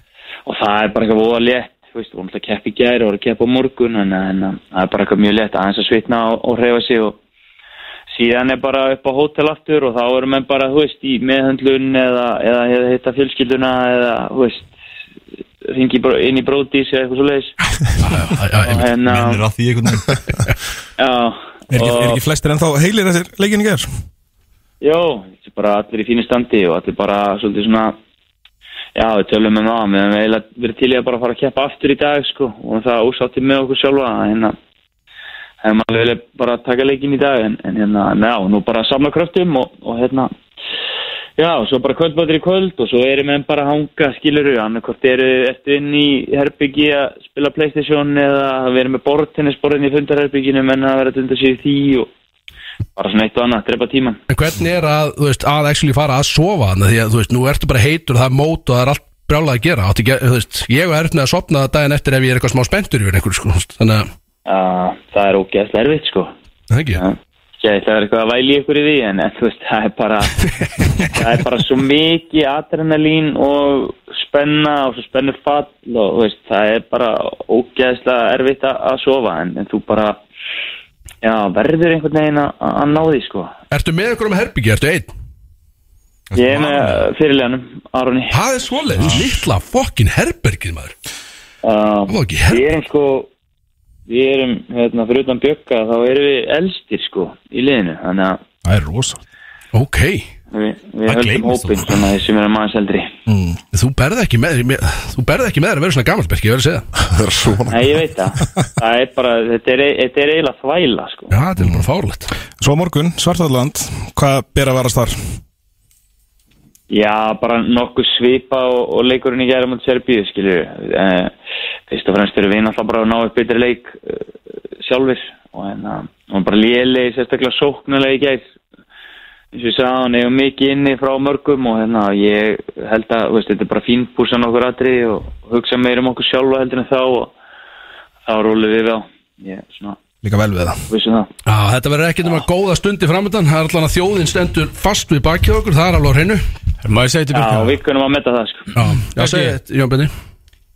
og það er bara eitthvað voða létt þú veist, vorum alltaf að keppa í gæri og voru að keppa á morgun en, en það er bara eitthvað mjög létt aðeins að svitna og, og reyfa sig og síðan er bara upp á hótel aftur og þá erum við bara, þú veist, í meðhöndlun eða, eða, eða hitta fjölskylduna eða, þú veist ringi bara inn í brótis eða eitthvað svo leiðis og hérna, Minnir á því einhvern veginn já Er ekki, er og- ekki flestir ennþá heilir þessir leikin í gerð? Jó, þetta er bara allir í fínu standi og allir bara svolítið svona Já, við tölum um það, við hefum eiginlega verið til í að bara fara að keppa aftur í dag sko og það úsátti með okkur sjálfa hérna hefum alveg vilja bara taka leikin í dag en, en hérna, en já, nú bara samla kröftum og, og hérna Já, og svo bara kvöldbátur í kvöld og svo erum við bara að hanga, skilur við annarkvort eru eftir inn í herbyggi að spila Playstation eða við erum með borðtennisborðin í fundarherbygginu menn að vera að tunda sér í því og bara svona eitt og annað, drepa tíman En hvernig er að, þú veist, að actually fara að sofa þannig því að, þú veist, nú ertu bara heitur það er mót og það er allt brjálað að gera Áttu ekki, að- þú veist, ég er erfnið að sopna daginn eftir ef ég er eitthvað smá spenntur yfir einhverju, sko, þú veist, þannig að, Já, það er ógeðslega erfitt sko það ekki, Já. Ég ætla að vera eitthvað að væli ykkur í því en en þú veist, það er bara það er bara svo mikið adrenalín og spenna og svo spennu fall og þú veist, það er bara ógeðslega erfitt að að sofa en, en þú bara já, verður einhvern veginn að- að að ná því sko ertu með einhverjum herbyggi, ertu einn? Ég er með fyrirleganum, Aroni Það er svoleið, litla fokkin herbergið maður um, Það var ekki Við herbergið erum sko við erum, hérna, fyrir utan bjögga þá erum við elstir sko í liðinu, þannig að Það er rosa Ok, við, við Það höldum gleymist hópin svona því sem erum aðeins eldri þú berð ekki með þér- með- þú berð ekki með þér að vera svona gamalt Berki, ég verð að segja það. Það er svona Nei, ég veit það Það er bara, þetta er, þetta er eiginlega þvæla sko. Já, þetta er bara fárlegt Svo á morgun, Svartalland, hvað ber að varast þar? Já, bara nokkuð svipa og, og leikurinn í gæra mot Serbíu, skilju eh, Fyrst og fremst eru við náttúrulega bara að ná upp betri leik eh, sjálfur og en að, og bara lélegi, sérstaklega sóknulega í gæð eins og ég sagði, hann hefur mikið inni frá mörgum og hérna, ég held að, þú veist, þetta er bara fínpúsan okkur atrið og hugsa meira um okkur sjálfa heldur en þá og þá rúlu við á ég, svona, Líka vel við það vissum það Já, þetta verður ekki nema góða stundi framöndan Það er allan að þjóðin stendur fast við bakið okkur Það er alveg á hreinu Má ég segja til Já, Bjarki? við kunum að metta það, sko Já, já segja þetta, Jón Benni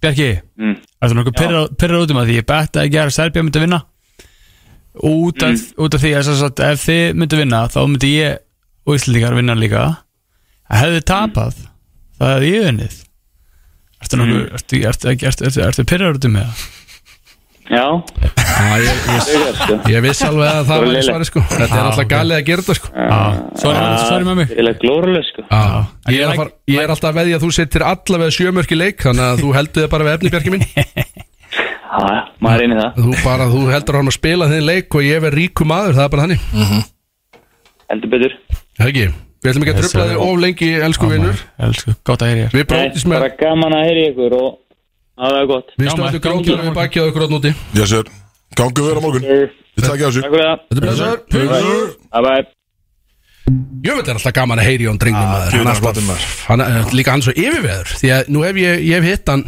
Bjarki, mm. það er nokkuð pyrrar út um að því ég betta ekki að Serbia myndi vinna út af, út af því að sem sagt, ef þið myndi vinna þá myndi ég og Íslandingar vinna líka að hefði tapað það hefði ég vinnið Ertu nokkuð, ertu, ertu, ertu, ertu, ertu, ertu pyrrar út um það? Já, Já, ég, ég, það er sko ég viss alveg að það Svo var í lélegt. svari sko Þetta er Já, alltaf ok. galið að gera þetta sko Svari svari með mig Það er eiginlega glórulega sko Já, Ah. ég En er, Ah. ég að like- fara, ég er alltaf að veðja að þú settir allavega sjömörk í leik Þannig að þú heldur þið bara við efni Bjarki mín Já, já, maður er inn í það Þú bara, þú heldur hann að spila þinn leik Og ég verð ríkum aður, það er bara þannig Heldur betur Það er ekki, við ætlum ekki að tröfla þig of lengi, elsku vinnur Elsku, gott að heyri ég Við Nei, bróðis með Bara gaman að heyri ykkur og það er gott Við stöndum grókjum við bakið á ykkur átt núti Yes sir, gangu vera morgun Við takja þessu Takk fyrir það Þetta er blessaður Bye bye Jöfnveld er alltaf gaman að heyri Jón Ah. Drengnum maður Hann er alltaf, hann er líka hann svo yfirveður Því að nú hef ég, ég hef hitt hann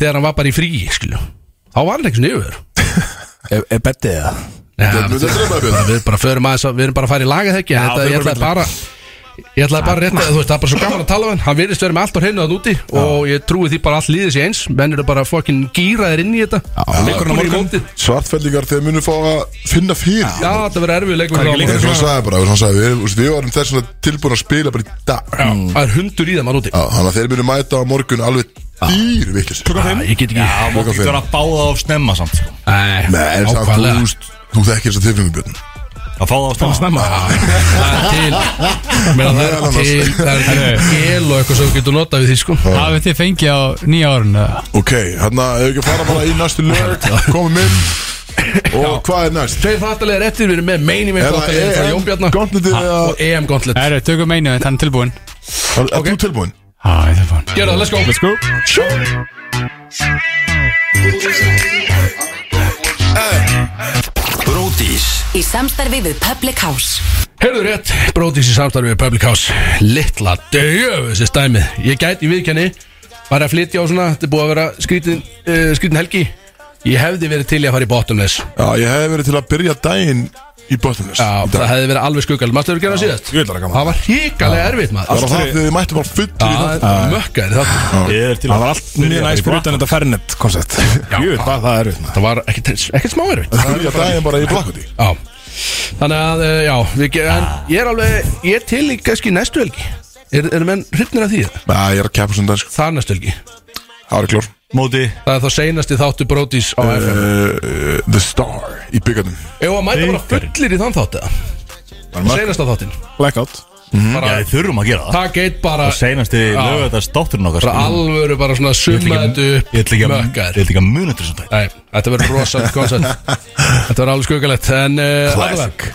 Þegar hann var bara í frí, skilju Þá var hann ekki svona yfirveður Er, er bettið það? Já, Þetta er við- þetta er bara bara- björn. Við bara förum aðeins að, við erum bara að fara í laga þekki Þetta, ég ætlaði bara Ég ætlaði bara rétt að, þú veist, það er bara svo gaman að tala við hann Hann virðist verið með allt á hreinu að úti Og ég trúi því bara að allt líðis í eins Menn eru bara fokkin gýraðir inn í þetta Leikurinn á morgun Svartfellingar þegar munum fá að finna fyrir Já, Já, þetta verður erfið leikur á Það er morgun svona sagði bara, svona sagði, við, við, við varum þess að tilbúin að spila bara í dag Já, Það er hundur í það maður úti Þannig að þeir munu mæta á morgun alveg dýr vittlis Æ, Ég get ekki Það má Loka ekki fyrir. vera að báða á snemma samt sko. Nei, Nei, en samt þú, nákvæmlega. veist, þú þekkir þess að tilfengu björn Að fá það á snemma Snemma Það er til meðan Það Meðal er annars. til Það er til gel og eitthvað sem við getum notað við því sko Hafið þið fengið á nýja árun Ok, hérna, ef við ekki að fara bara í næstu lög Komum inn Og hvað er næst? Tveir þáttalegir eftir, við erum með meini með Er það E þáttalegir frá EM Jón Bjarnar gauntletið Ha, eða- Og EM Gauntlet Það eru, tökum einu, þannig tilbúin Er er þú tilbúin? Já, Ah, ég er tilbúin Gjörðu það, let's go Let's go Í samstarfi við Public House Heyrðu rétt, brótis í samstarfi við Public House Littla döfu þessi stæmið Ég gæti í viðkenni Var að flytja á svona, þetta er búið að vera skrítin, uh, skrítin helgi Ég hefði verið til í að fara í bottomless Já, ég hef verið til að byrja daginn í Bostonless Já, það hefði verið alveg skuggal Mastu hefur gerað síðast Ég vil vera gaman. Það var hrikalega erfitt Það maður var það þegar þið mættum bara fullir í Það það er mökkaðir þáttur. Ég er til Það var allt mjög næst fyrir utan þetta fernet koncept Jú, hvað það er hérna? Það var ekkert ekkert smá erfitt Það byrja daginn bara í blakkvöldi Já Þannig að, eh, já, við gerum En ég er alveg, ég er til í kannski næstu helgi Er, er menn hrifnir af því? Já, ég er að keppa svona dag, sko Það er næstu helgi Það er klór móti Það er þá seinasti þáttu brótis á FM Uh, The Star í byggarnum Ef að mæta bara fullir í þann þátt eða Seinasta þáttin Blackout Já, Bara við þurfum að gera það takk eitt bara Það seinasti Já. lögðast dótturinn okkar Bara sko. alvöru bara svona Ég ætla summa ekki þetta að- upp Ég ætla ekki að- mökkar. ég ætla ekki að muna þetta svona dag Nei, þetta verður rosalega koncept Þetta verður alveg skuggalegt En uh, allaveg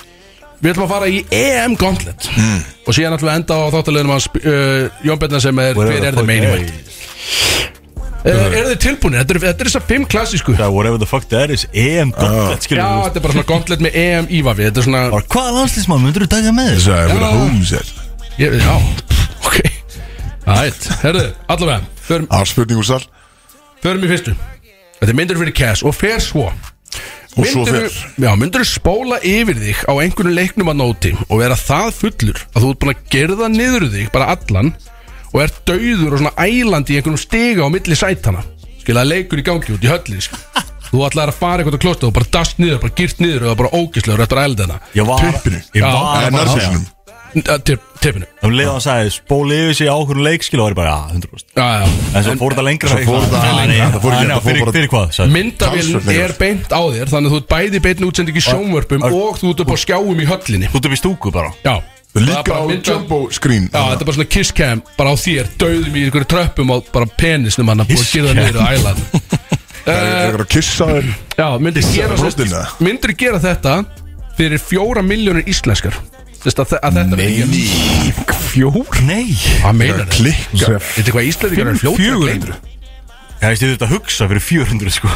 Við ætlum að fara í EM Gauntlet Og síðan ætlum við að enda á þáttalegum hans uh, Jón Bjarnar sem er Hver Whatever er the þið fuck meini there veit Er þið tilbúinir? Þetta Eh, eru- þetta er þessar fimm klassísku Já, Það whatever the fuck there is EM gauntlet skilur við þetta er bara svona Gauntlet með EM ívafi Þetta er svona Bara hvaða landslismann myndur þú taka með þér? Það er verið home set ég, Já, ok Ætt, herðu, allavega Förum Það er spurning úr sal Förum í fyrstu Þetta er myndur fyrir cash og fer svo Og svo Myndirðu- fer. Já, myndur þú spóla yfir þig á einhvern leiknum að nóti og vera það fullur að þú ert búin að gerða niður þig bara allan og er dauður og svona ælandi í einhvernum stiga á milli sætana skilja leikur í gangi út í höllinni sko. þú ætlaðir að fara eitthvað á klostið og bara dast niður, bara gyrt niður og bara ógislegur eftir að ælda hana Ég var Pippinu. Ég Já. var Það er bara að segja nærfísunum Tippinu Það var leið að hann sagði spóli yfir sig á okkur leik skilur var ég bara að 100% Já, já En svo fór það lengra Svo fór þetta lengra. lengra. Nei, Það fór ekki, nei, þetta fór fyrir- bara- Fyrir hvað? sagði- Myndavéln Talsvert er beint á þér þannig að þú ert bæði beinni útsending í sjónvörpum Ar- og þú ert upp á skjáum í höllinni Þú ert upp í stúku bara Já Það er Líka bara á mynd- jumbo screen Já, þetta er bara svona kiss cam bara á þér, dauðum í einhverju tröppum og bara penisnum hann að búið að Kiss gera cam. niður á ælan Það Eh, er eitthvað að kissa þér Já, myndir Kissa gera, sem- brjóstin, eða? myndir gera þetta fyrir fjóra miljónir íslenskar Þess að, þe- að þetta er ekki Fjór Nei Hvað meinar þetta? Klikka Sér Þetta er hvað íslendingar eru fljótur að gleyma. Það er stið þetta að hugsa fyrir 400 sko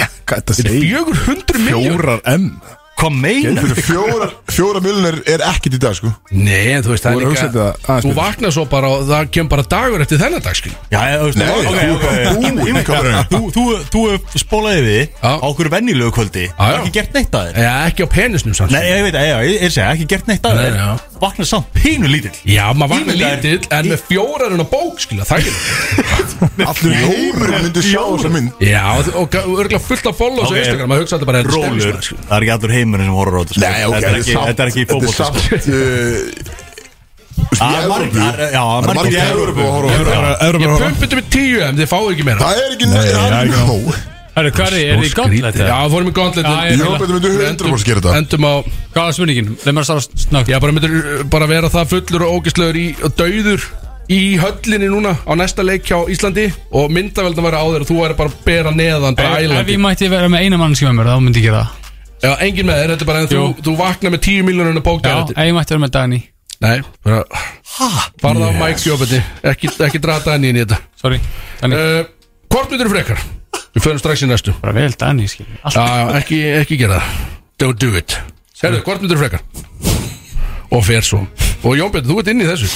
Já, hvað Þetta þetta er segir 400 miljónir Fjórar M Hvað meina? Fyrir fjóra, fjóra miljonir er ekkit í dag sko Nei, en þú veist, það Þú er voru að líka hugsa þetta aðeins Þú betur. vaknar svo bara og það kemur bara dagur eftir þennan dag, skil Já, ég, þú veist Nei, þú- ok, ok, þú- ok. þú- Ég meina, þú- Þú, þú, þú hefur spólaði við Já. á okkur venjulegu kvöldi já. Ekki gert neitt að þér Já, ekki á penisnum samt Nei, ég veit, já, ég er að segja, ekki gert neitt að Nei, þér já. Vaknar samt pínu lítill Já, maður vaknar Ímyndaður- lítill en með fjórarinn á bók, skil Það er ekki Allir í heimurum myndi sjá þessa mynd Já, og- og örgulega fullt af follows Ok. á Instagram maður hugsa þetta bara er þetta Rólur, stemningsmaður, sko. það er ekki allur heimurinn sem horfður á þetta sko. Nei, ok, Þetta er ekki- Þetta er ekki í fótbolta sko. Þetta eh, er Það er samt margir- Það Já, er margir margir í í Evrópu. Európu að horfa á þetta. Ég Evrum pumpið með 10 en þið fáið ekki meira Það er ekki næri Það er ekki nóg Hörru, hvað er þið? Er þið í gauntlet? Já, við fórum í Já, ég- gondletin Ég hópa þetta myndi 100% gera þetta Endum á Hvað er spurningin? Leð maður að svara snögt Já, bara myndir uh, bara vera það fullur og ógæslegur í og dauður í höllinni núna á næsta leik hjá Íslandi og myndaveldin væri á þér og þú væri bara að bera neðan bara Ef ælandi ég mætti vera með eina mannski með mér, þá myndi ég gera það Já, engin með þér, þetta er bara en þú, Jú. þú vaknar með 10 miljonuna Já, bókdæðið ef ég mætti vera með Dani Nei, bara Hæ? Farða á Mike Jóbetti, ekki, ekki drata henni inn í þetta Sorry, Dani uh, Hvort myndir frekar? Við förum strax í næstu Bara vel Dani, skilur Allt Já, ekki, ekki gera það Don't do it Herðu, hvort myndir frekar? Og fer svo Og Jónbjörn, þú ert inn í þessu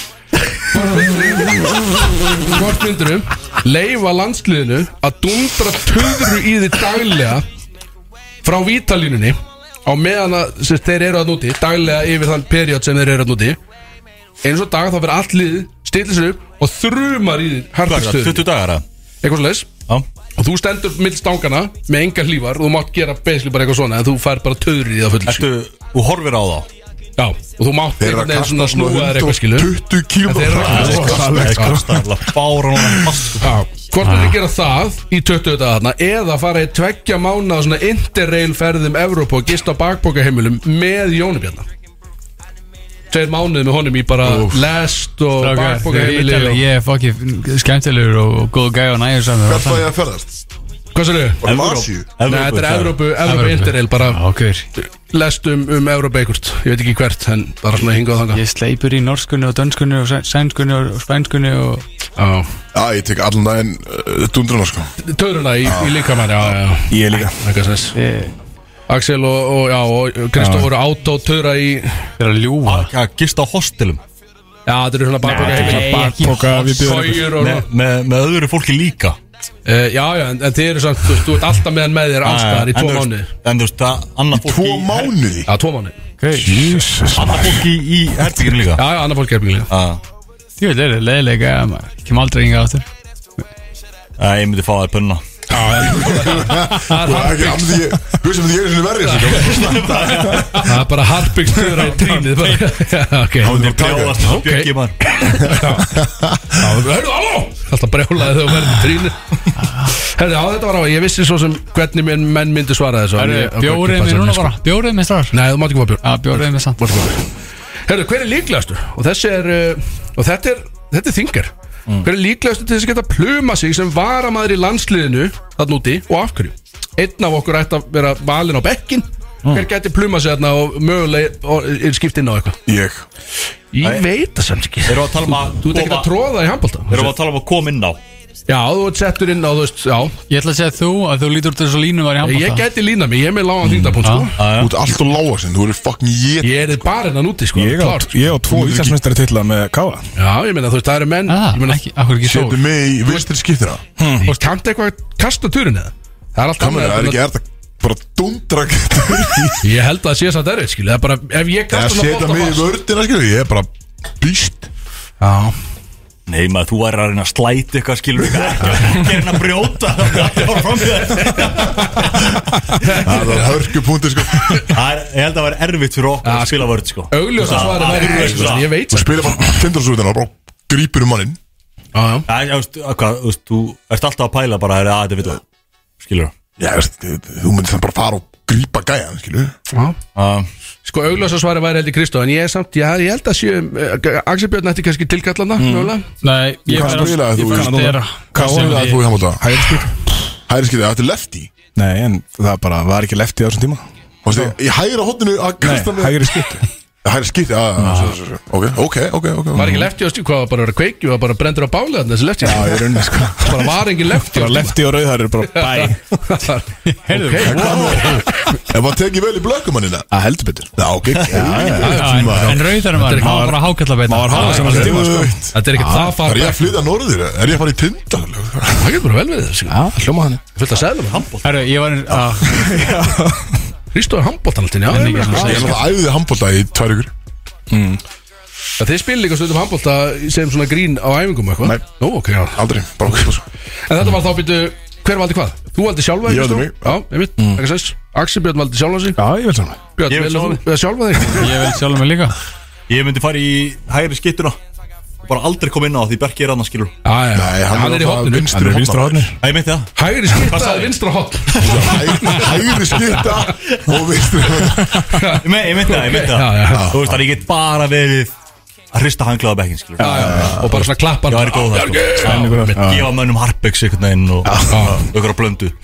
Hvort myndir Leifa landsliðinu Að dundra töðru í því daglega Frá vítalínunni Á meðan að sem sagt, þeir eru að núti Daglega yfir þann period sem þeir eru að núti Eins og dag þá fyrir allt liðið Stillir sér upp og þrumar í því Hvað er það, Hardagstöðinu 20 dagar að? Eitthvað slags Já og þú stendur mill stangana með enga hlífar og þú mátt gera basically bara eitthvað svona en þú fær bara töður í það full Ertu, þú horfir á þá já, og þú mátt Þeir eru einhvern að veginn svona kasta svona snúa þér eitthvað skilu 120 kílum En þeir eru að Það er kasta- rosalegt, Það er sko. kostar alltaf bára núna fast sko. já, hvort er að gera það í 20 dagarna eða fara í tveggja mánu á svona interrail ferðum Evrópa og gista á bakbókaheimilum með Jónubjarnar tveir mánuði með honum í bara lest og hérna Strákar, þegar ég bakbókaheimili tala, og... Ég er fokki skemmtilegur og, og góð gæði og nægjur saman Hvert var ég að ferðast? hvað sér þau? Var það Evrópu. Asíu? Nei, þetta er Evrópu, Evrópu, Evrópu interrail bara Okkur lest um, um Evrópa einhvert ég veit ekki hvert, en bara svona hingað þanga Ég sleipur í norskunni og dönskunni og sæ- sænskunni og spænskunni og já Já, ég tek allan daginn uh, dundruna sko Töruna í, í líkamann, já, já, já Ég líka Eitthvað sens Ég Axel og, og, já, og Kristof voru átt og töra í er að ljúa Evrópu. Að gista á hostelum Já, þetta eru svona bakboka heimil ekki Bakpoka við bjóðum Sójur og með, með, með öðru fólki líka uh, Já, já, en, en þið eru samt Þú veist, þú ert alltaf meðan með þér alls staðar í tvo En þú veist- mánuði En þú veist, það annað fólki Tvo mánuði Já, tvo mánuði Jesus Annað fólki í herbygginu líka Já, já, annar fólk er bygglega Já. Jú, þetta er leiðilega maður Ég kem aldrei inga áttur Æ, Ég myndi fá það í pönna Það er ekki annað því ég Hugsa með því ég er svona verri sko. Það er bara harpings töra í trínið bara. Já, ok Það myndi brjóðast Ok. Bjöggi maður Hörðu, halló Alltaf brjólaði þegar þú verður í trínið Herðu, já, þetta var á Ég vissi svo sem hvernig minn menn myndi svara þessu en ég- Bjórið mér núna bara Bjórið mér strax Nei, þú mátt ekki fá bjór Já, bjórið mér samt Herru, hver er líklegastur? Og þessi er uh, Og þetta er, þetta er þingar Hver er líklegastur til þess að geta pluma sig sem varamaður í landsliðinu Þann úti og af hverju? Einn af okkur ætti að vera valinn á bekkin Hver geti pluma sig þarna og mögulega og, er skipt inn á eitthvað? Ég Ég veit það samt ekki Erum við að tala um að Þú ert ekki koma- að tróða í handbólta Erum við að tala um að koma inn á Já, þú ert settur inn á, þú veist, já Ég ætla að segja þú að þú lítur út þessu línu var í Eh, Ég handbólta geti lína mig, ég er með lágan þingdapunkt, sko Þú ert allt og lága sinn Þú eru fucking ég Ég er bara hennan úti, sko Ég á, klárt, sko. ég á tvo Íslandsmeistari titla með Káa Já, ég meina, þú veist, það eru menn Ah, Ég meina, ekki, akkur ekki svo Setur mig í vinstri skiptina Þú kannt eitthvað að kasta turin eða? Það er allt Kamerun, annað Sko, það er ekki en erða Bara dundra Ég Ég held að það sé samt erfið, skilju Það er bara, ef ég kasta setja bolta mig í fast- vördina skilur Ég er bara býst Nei maður, þú væri að reyna að slæti eitthvað skilur við ekki Ekki að reyna að brjóta Það var fram í þér. Það er hörkupunkti sko Það er, ég held að það var erfitt fyrir okkur að spila vörð sko Augljósa Það- svari það væri er nei, eitthvað. sko, Ég veit Þú það spila bara tindurasúðina og bara grýpur um mannin Já, já. Það er, þú veist, hvað, þú veist, þú ert alltaf að pæla bara að þetta vilja Skilur Já, veist, þú myndir það bara fara og grýpa gæjan, skilju það Sko, augljósa svari væri heldur Kristó En ég er samt, já, ég held að sé uh, Axel Björn ætti kannski tilkallana mm. Nei, ég Hvað spilaði þú? ég færa Hvað stera Hvað var það að þú í hamóta? Hægri skil Hæri skilja, þetta er lefty Nei, en það bara var ekki lefti á þessum tíma Varstu, Í hæra hóttinu að kasta Nei, með hægri skil Hæri skilja, já, ok, ok, ok, ok Var ekki lefti á stíu, hvað var bara að vera kveiki Var bara brendur á báli þarna, þessi lefti Já, ég raunin sko Bara var engin lefti á Bara lefti og rauðar eru bara bæ stíu Heyrðu, Ef maður tekið vel í blökumannina Það heldur betur Já, ok, En rauðarum var, hann var bara hákallabeita Hann var sem að ok stíma sko Þetta er ekkert það Er fara ég að flytja norður? Er ég að fara í tindar? Það getur bara vel við þessu Já, hljóma hann Fullt að segja það Herru, ég var að Kristó er handbóltanaltin, já En ég ekki meina, svona Ég er náttúrulega æðið handbólta í tvær ykkur að Þið spilir líka stundum handbólta sem svona grín á æfingum eitthvað Nei. Nú, ok, já Aldrei, bara okkur sko En þetta var þá býtu, hver valdi hvað? Þú valdi sjálfa þig, Ég valdi mig. Kristó? Já, einmitt, ekki sens Axel Björn valdi sjálfa sig Já, ég vil saman Björn, Ég ég vil sjálfa mig. valdi sjálfa þig Ég vel sjálf mig líka Ég myndi fara í hægri skyttuna og bara aldrei koma inn á því Bjarki er annars skilur Já, já, Nei, hann hann er er í alltaf hopninu vinstri Hann er Vinstra hodni Æ, ég myndi það Hægri Hvað skipta sagði er ég? vinstra hopn Hæri skilja og vinstri Ég me- ég myndi það, ég myndi Já, já, já. það Þú veist að ég get bara verið að hrista hanglaða bekkin skilur Og bara svona klappan Já, það er góð það sko Einhver- Já. Gefa mönnum harpegs einhvern veginn og auðvitað blöndu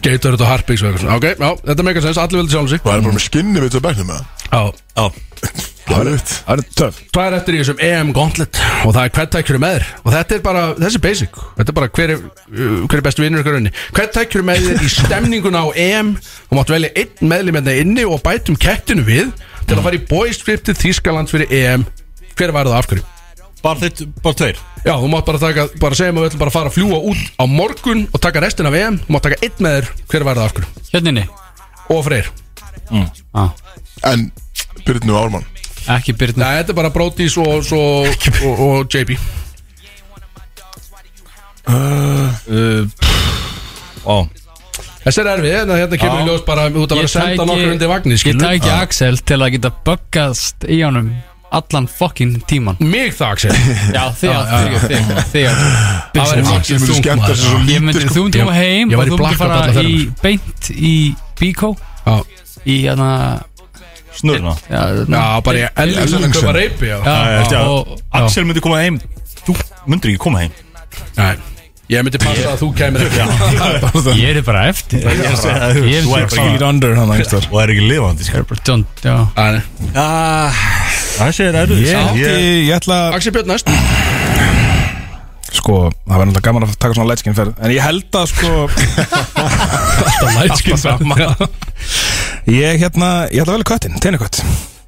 Geitur þetta harpíks og eitthvað svona Ok, já, þetta meikar sens, allir veldi sjálfa sig Það er bara með skinni við þetta bæknum með Já, Já Hörðut Það er töf Hvað er eftir í þessum EM Gauntlet og það er hvert tækjur er með þér og þetta er bara, þessi er basic þetta er bara hver er, uh, hver er bestu vinnur ykkur önni hvert tækjur er með þér í stemninguna á E EM og máttu velja einn meðlum hérna inni og bætum kettinu við til að fara í boystriptið Þískaland fyrir EM hver var það af hverju? Bara þitt, bara tveir Já, þú mátt bara taka, bara segja mig við ætlum bara að fara að fljúa út á morgun og taka restina af EM þú mátt taka einn með þér, hver var það af hverju? Hérninni Og Freyr ah. En Byrnu Ármann Ekki Byrna Nei, þetta er bara Brodís og, svo, og, og JB Ó, Þessi er erfið, en hérna kemur í ljós bara út að vera að senda nokkur undir vagnir, Ég skilur tæki Axel til að geta böggast í honum Allan fokkin tíman Mig það, Axel Já, þegar, þegar, þegar, þegar Það væri Axel myndi fucking þungt, skemmta maður. sér svo Ég myndi, lítið þú sko. myndi koma Ég heim og væri þú myndi blackout alla fara í ferðina. beint í Bíkó Já, Í hérna snurna já, Já, hérna, bara ég elvis að köpa reypi já. já, Eftir að og- já. Axel myndi koma heim Þú myndir ekki koma heim Nei, ég myndi passa að þú kemur ekki Ég er bara eftir Ég er að segja það, Ég er Þú er bara- bara Eat under hann einhver Og er ekki lifandi sko. John, já Nei. Það sé þér erfið Ég Ég- átti- ég ætla að Axel Björn næst Sko, það var náttúrulega gaman að taka svona lætskinn ferð En ég held að sko Alltaf lætskinn saman Ég hérna, ég ætla að velja köttin, tennikött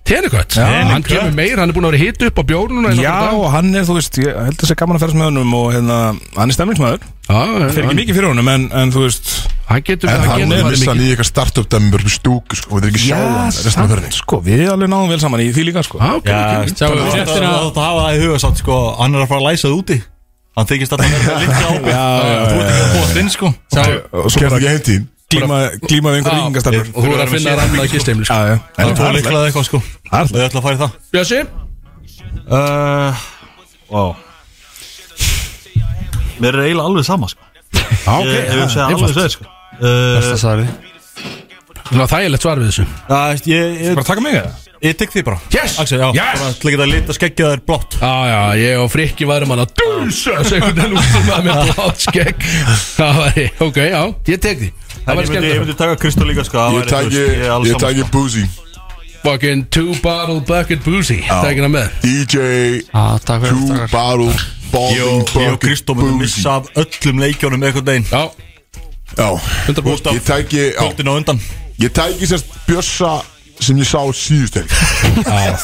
Tenekött, Já, hann kemur meir, hann er búin að vera hitt upp á bjórnuna Já, og hann er, þú veist, ég held að sé gaman að ferðast með honum Og hérna, hann er stemningsmaður Fyrir hann, ekki mikið fyrir honum, en, en þú veist hann getur En hann er getur vissan mikið í eitthvað startup dæmur stúku sko Við erum ekki sjá hann restan af ferðinni sko, við alveg náðum vel saman í því líka, sko Já, ok, Já, ok. sjáum við Þetta er að þetta hafa það í huga samt sko Hann er að fara að læsa það úti Hann þykist að hann er að litla ábyrg Ah, Þú ert ekki að búa þinn sko Og svo Gerðu bara ekki heim tím glíma, glíma við einhver yngastarfur Og þú er að finna rann að gistimli sko. Já, já, Það er en það tvo er liklað eitthvað sko alltaf Og ég ætla að fara í það Bjössi, Uh, wow. Mér er eiginlega alveg sama sko. ok, Ég hefur segja alveg segja sko. Það uh, sagði það var þægilegt svar við þessu að, ég, ég, Bara taka mig það ég tek því bara Yes! Axel, já, Yes! bara til að geta lita skeggja þær blátt Já, já, ég og Frikki værum hann að dulsa einhvern veginn út um það með blátt skegg Það væri, ok, já, ég tek því Það En væri Ég myndi, ég skemmt myndi taka Kristó líka sko. Ég það væri, þú tæki, veist, er alveg ég sama, sko. tæki Boozy Fucking two bottle bucket boozy Tekin hann með DJ Já, Ah, takk fyrir Two strákar Bottle Balling Ég og- ég og Bucket Kristó myndum Boozy missa af öllum leikjónum einhvern veginn Já, Já 100% Ég tæki já, Kvöldin á undan Ég tæki sérst Bjössa sem ég sá síðust helg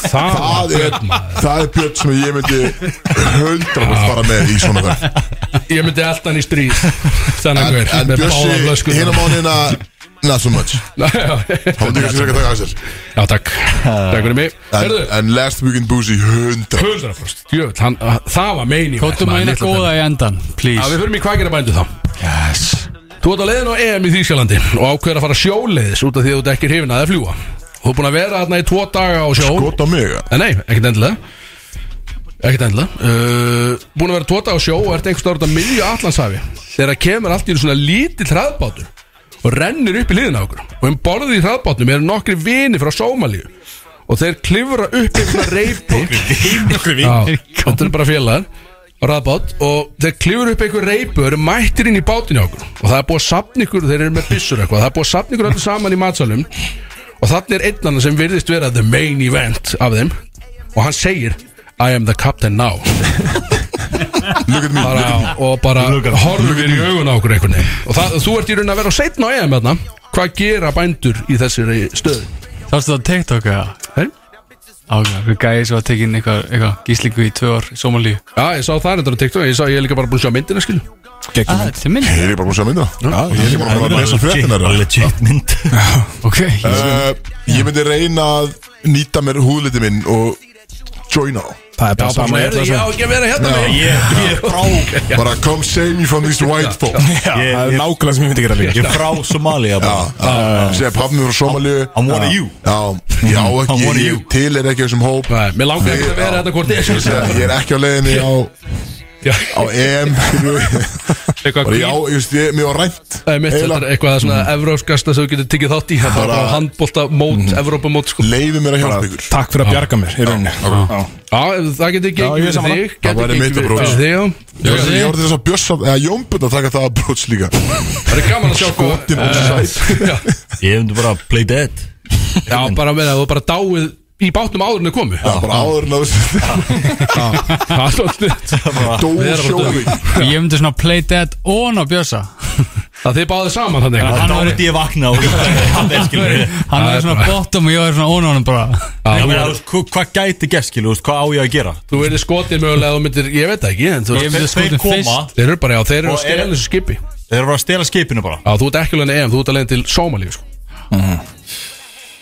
Það er Það er Björn sem ég myndi 100% fara með í svona verð Ég myndi alltaf hann í stríð Þannig En, hver, en með báða Bjössi flöskuna hinum mánina Not so much Já, Þá myndi ég kannski ekki að taka að sér Já, takk Takk fyrir mig En, Hörðu, en last weekend Boozy 100 100% Jöfull, hann- uh, það var meini Kóttum að eina góða í endan, Já, við please förum í kvækjara bændu þá Yes Þú ert á leiðin á EM í Þýskalandi og ákveður að fara sjóleiðis út af því að þú ert ekki hrifin að það fljúa Þú ert búin að vera þarna í tvo daga á sjó Skot á mig Eh, Nei, nei, ekkert endilega Ekkert endilega uh, Búin að vera tóta á sjó og ert einhvers staður út á miðju Atlantshafi Þegar kemur allt í einu svona lítill hraðbátur Og rennir upp í liðina á okkur Og um borðið í hraðbátnum eru nokkri vini frá Sómalíu Og þeir klifra upp einhverja reypi Nokkri Já, Þetta er bara félagar á raðbát og þeir klifur upp einhver reypu og eru mættir inn í bátinu okkur og það er búið að sapna ykkur, þeir eru með byssur eitthvað það er búið að sapna ykkur öllu saman í matsalum og þannig er einn annan sem virðist vera the main event af þeim og hann segir I am the captain now Look at me bara, og bara horfir í augun á okkur einhvern veginn og það, þú ert í raun að vera á seitna á EM þarna hvað gera bændur í þessari stöðu Það varstu það á TikTok eða? Hei? Ok, við gæði svo að tekinn eitthvað, eitthvað gíslingu í tvö ár í Somalíu Já, ég sá það reyndar á TikTok, ég sá ég er líka bara búin að sjá myndina skilu Það er til minn Ég er bara búin að sjá mynda það Ég er bara búin að lesa fréttina þeirra. Legit mynd Ok, Uh, Ég myndi reyna að nýta mér húðliti minn og joina á Það er bara Sama saman er það, ég á ekki að vera hérna með Ég ég er frá Bara come save me from these white folks Ég- Það er ég- nákvæmlega sem ég myndi gera Ég líka er frá Somalia bara Ah, Segja pappnum frá Somalíu Ah, I'm one of you Já, ég á I'm one ekki, of you. ég til er ekki á þessum hóp Nei, mér langar ekki að vera þetta hvort ég Ég segi, Ég er ekki á leiðinni á, Já. á EM skilju. Eitthvað Bara hvít ég á, ég veist, ég, mér var rænt Það er mitt, þetta er eitthvað svona evróskasta sem þú getur tekið þátt í Það er bara, Bara- bara handbólta mót, mm. evrópamót sko. Leiði mér að hjálpa ykkur Takk fyrir að bjarga mér, í rauninni Já. Já, ef það getur Já, ég gengið er fyrir sammála. þig Það Getur væri mitt gengið approach. fyrir þig já. Ég var- ég var til þess að bjössa, eða jómbund að taka það að brúts líka Það er gaman að sjá Skotin og sæt. Já, Ég hefndi bara play dead já bara með það, þú bara dáið í bátnum áður en þau komu Það er bara áður en að Það er svolítið dó Við erum að sjóði Ég myndi svona play dead on á Bjösa Það þið báðu saman þannig Já. Þá Hann var- myndi ég vakna og hann er skilur við. Hann Það var er svona bara- bottom og ég var svona on honum bara þú Ég meina, þú verður- veist, hva- Hvað gæti gert skilur, þú veist, hvað á ég að gera Þú verður skotið mögulega þú myndir, ég veit það ekki en, þú Ég veist, myndi Þeir skotum koma. fyrst Þeir eru bara, já, þeir eru að Og stela er- þessu skipi Þeir eru að stela skipinu bara Já, þú ert ekki alveg en EM, þú ert alveg til Sómalíu sko. Mhm.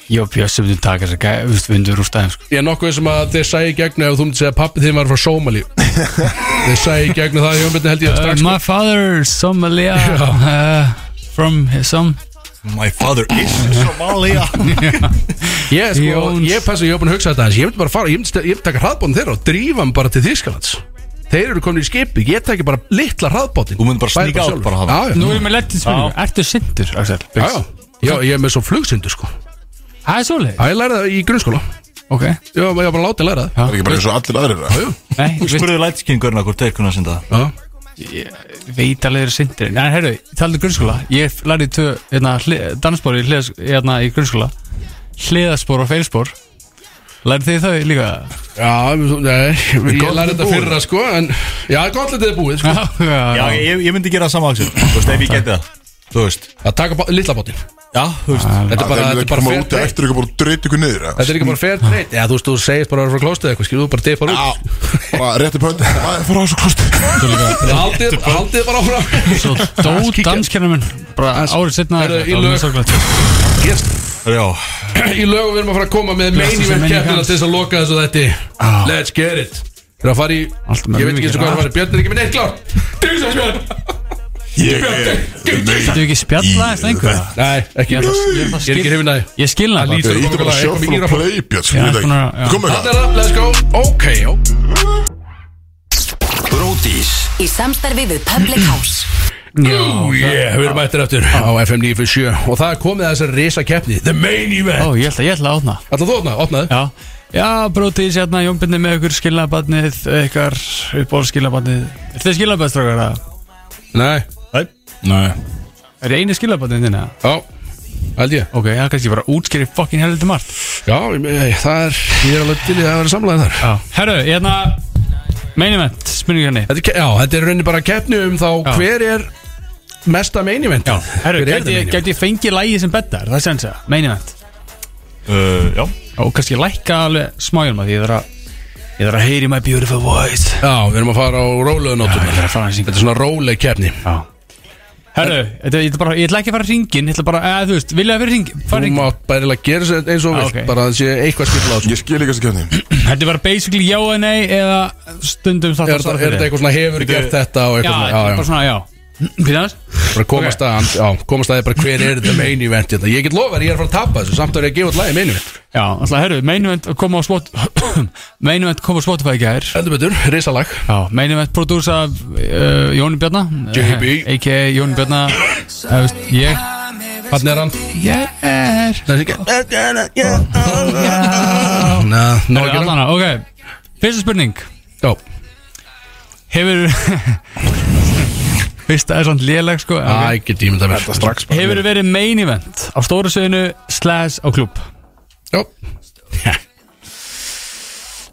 Ég og Bjösa myndum taka þess að við myndum rústa þeim sko. Ég er nokkuð sem að þeir sæi í gegnu ef þú myndir segja að pappi þinn var frá Sómalíu Þeir sæi í gegnu það, ég myndi held ég uh, strax sko. My father is Somalia uh, From um, some My father is Somalia Ég, sko, Jóns. ég passa, ég hef búin að hugsa þetta aðeins Ég myndi bara fara, ég myndi, sta- ég myndi taka hraðbótin þeirra og drífa hann bara til Þýskalands Þeir eru komin í skipi, ég tekja bara litla hraðbótin Þú myndir bara sníka át bara þaðan. Já, já. Nú erum við lettið spilur, ertu sindur Axel? já, já Já, ég er með svo flugsindu sko Já, Það er svolítið ég læri það í grunnskóla Ok Ég var ég var bara látið að læra það Það er ekki bara eins og allir aðrir það Nei, Þú veist, spurði lætiskingurna hvort þeir kunna að synda það Já, veit alveg eru sindur Nei, herru, talaðu grunnskóla Ég lærði tvö, hérna, dansbóri í, hliðas- hérna, í grunnskóla Hliðaspor og feilspor Lærði þið þau líka? já þú- nei, ég gott læri er þetta búið. fyrra sko En, já, gott letið er búið sko Já, Já, já, ég, ég myndi gera það sama Axel Þú veist, ef ég geti það Þú veist Að taka bá- litla bótin Já, þú veist Þetta er Það bara, er þetta ekki er bara koma fair út trade eftir ykkur bara dreit ykkur niður eða? Þetta er ekki bara fair trade Já, þú veist, þú segist bara að vera frá klóstið eitthvað Skilur þú bara dipar út Já, bara rétti pönd Það er fyrir á þessu klosti Haldið, haldið bara áfram Svo dó danskernar minn Bara árið setna Herru, í lög- yes. Já, Í lögum við erum að fara að koma með main Blessuð sé event minning keppina hans. til þess að loka þessu þætti Let's get it Það er að fara í, Allt með ég veit ekki eins og mjög hvað er að fara í. mikið Björn er ekki með neitt klárt Dísas Björn Ég er Þú ekki spjalla eftir einhver Nei, ekki, ætla- ég ég ætla að er ekki skil- hrifin að því Ég skilna Það það bara. lítur- Ég ítti bara sjöfn og playbjörn Já, Ég veit svona, já. ekki Kom Þetta eitthvað er það, let's go Ok, já Bródís Í samstarfi við Public House Ú, yeah, við erum mættir eftir á FM 957 Og það er komið að þessar risa keppni The main event Ó, ég ætla, ég ætla að opna Ætla þú opna, opnaðu Já, já hérna, brótið sérna Jónbyrni með ykkur skilnabarnið Ykkar uppbólskilnabarnið Er þið skilnabarnstrákar að? Nei, Nei Er þið eini skilnabarnið þína? já, held ég Ok, það er kannski bara útskýri fokkin helviti margt Já, ég- það er, ég er alveg til í að vera samlæðin þar Já Herru, hérna Main event, hérna. spurningu henni þetta er, ke- Já, þetta er rauninni bara keppni um þá Já. hver er mesta main event Já, Herru, hver er gæti, þetta main event? gæti ég fengið lægi sem bettar, það sens að Main event uh, já Og kannski lækka alveg smájum að því ég þarf að Ég þarf að heyri my beautiful voice Já, við erum að fara á rólegu Já, nótum ég þarf að fara að syngja Þetta er svona róleg keppni Já Herru, þetta, ég, ætla bara, ég ætla ekki að fara hringin Ég ætla bara, eða þú veist, vilja að vera hringin Þú Fara hringin mátt bærilega gera sér eins og Já, vilt ok. Bara að það sé eitthvað skil á þessu Ég skil ekki þessu kefni Þetta er bara basically já eða nei eða stundum Er þarf að þetta er svara þetta fyrir. eitthvað svona hefur gert þetta og Já, eitthvað þetta svona Já, er bara já, svona já. Fyrir þess? bara komast að Já, komast að því bara hver er þetta main event hérna. Ég get lofa þér, ég er að fara að tapa þessu Samt að ég að gefa út lagi main event Já, alltaf, herru, main event kom á spot main event kom á Spotify í gær Heldur betur, risalag Já, main event prodúsa af uh, Jóni Bjarna JB. eh, a.k.a. Jóni Bjarna eh, veist, Ég Þannig er hann Ég er Það er ekki Ná, ná Herru, ekki ná. allana, ok Fyrsta spurning Já, Hefur Fyrsta er samt léleg sko Æ, okay. ekki tíminn það mér Strax bara Hefur verið main event á stóra sögunu slash á klub Já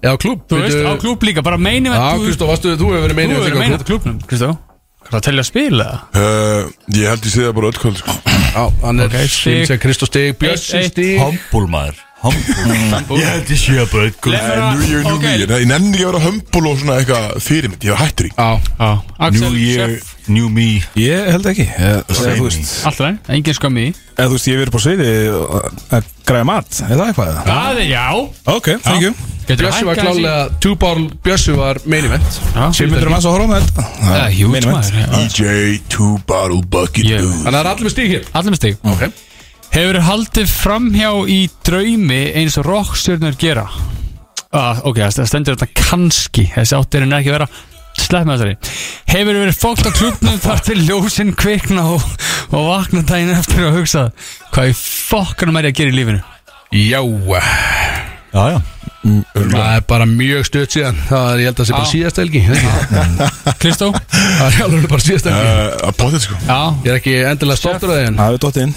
Já, klúb Þú veist, á klub líka, bara main event Já, þú veist, Kristó, varstu, þú hefur verið Þú meinið verður meina þetta klubnum, Kristó Hvað er að telja að spila? Uh, Ég held ég sé það bara öll kvöld sko. Já, hann er Ok, okay, stig. stig Kristó stig, Bjössi Eitt, eitt. stig Humble maður Humble Ég held ég sé að bara Leifur. eitthvað New Year, New Ok. Year Nei, Ég nenni ekki að vera hömbul og svona eitthvað fyrirmynd Ég var hættur í Já, Já, Axel, New Year, chef, new me Ég held ekki Eða eða þú Same. veist allt ræn, engin skam í Eða þú veist, ég hef verið på sviði að- að græða mat Er það eitthvað? eða? Það er já Ok, thank you Getur Bjössi var klálega Two ball Bjössi var meinið Ég myndur um að horfa með þetta Það Það er er hjúts main event. maður já. EJ, two bottle bucket Ég- dude. Þannig að það er allir með stig hér Allir með stig Ok Hefur haldið framhjá í draumi eins og rockstjörnur gera ah, Ok, það stendur þetta kannski Þessi áttir en ekki að vera Slepp með þessari Hefur verið fókt á klubnum þar til ljósinn kvikna og, og vakna daginn eftir og hugsa Hvað í fokkanum er ég að gera í lífinu? Já, Já, já það er bara mjög stutt síðan Það er, ég held að það sé bara Já. síðast helgi er það ekki? Kristó? Það er alveg bara síðast helgi Uh, Að potið sko Já, Ég er ekki endilega stoltur af því en Það hefur dótt inn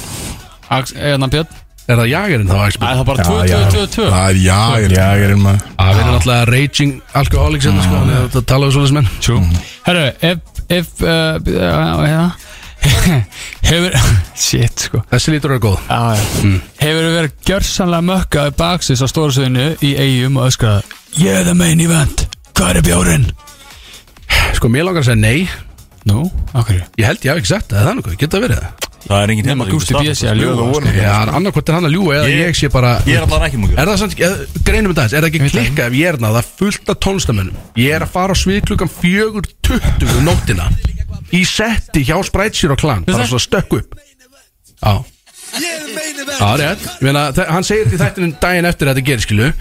Eðan eh, hérna Björn Er það jagerinn þá? Axel? Æ, það er bara 2, Já, 2, já. 2, 2 Það er já, Já, ég er um að Það verður náttúrulega raging alkoholics hérna sko Þannig að það tala við svolítið menn True Mhm. Herru, ef, ef uh, já, já. Hefur Shit, sko Þessi lítur er góð já, já. Hefur verið gjörsamlega mökkaði baksis á stórsöðinu í eigum og öskraði Ég er það main event, hvað er bjórinn? Sko mér langar að segja nei Nú, okkur Ég held ég hafi ekki sagt það, er það nokkuð, geta verið það Það er engin hérna, Nefna Gústi B. sé að ljúga sko. Já, annarkvæmt er hann að ljúa eða Ég- ég sé bara Ég er alltaf ekki múkjur Er það samt, eh, greinum þetta aðeins, er það ekki klikka ef ég er náða fullt af tónlistamönnum Ég er að fara á svið klukkan 4.20 um nóttina Í setti hjá Spritesyr og Klan Bara svo stökk upp Já, já rétt Ég meina, þe- Hann segir þetta í þættinu daginn eftir að þetta gerist skilu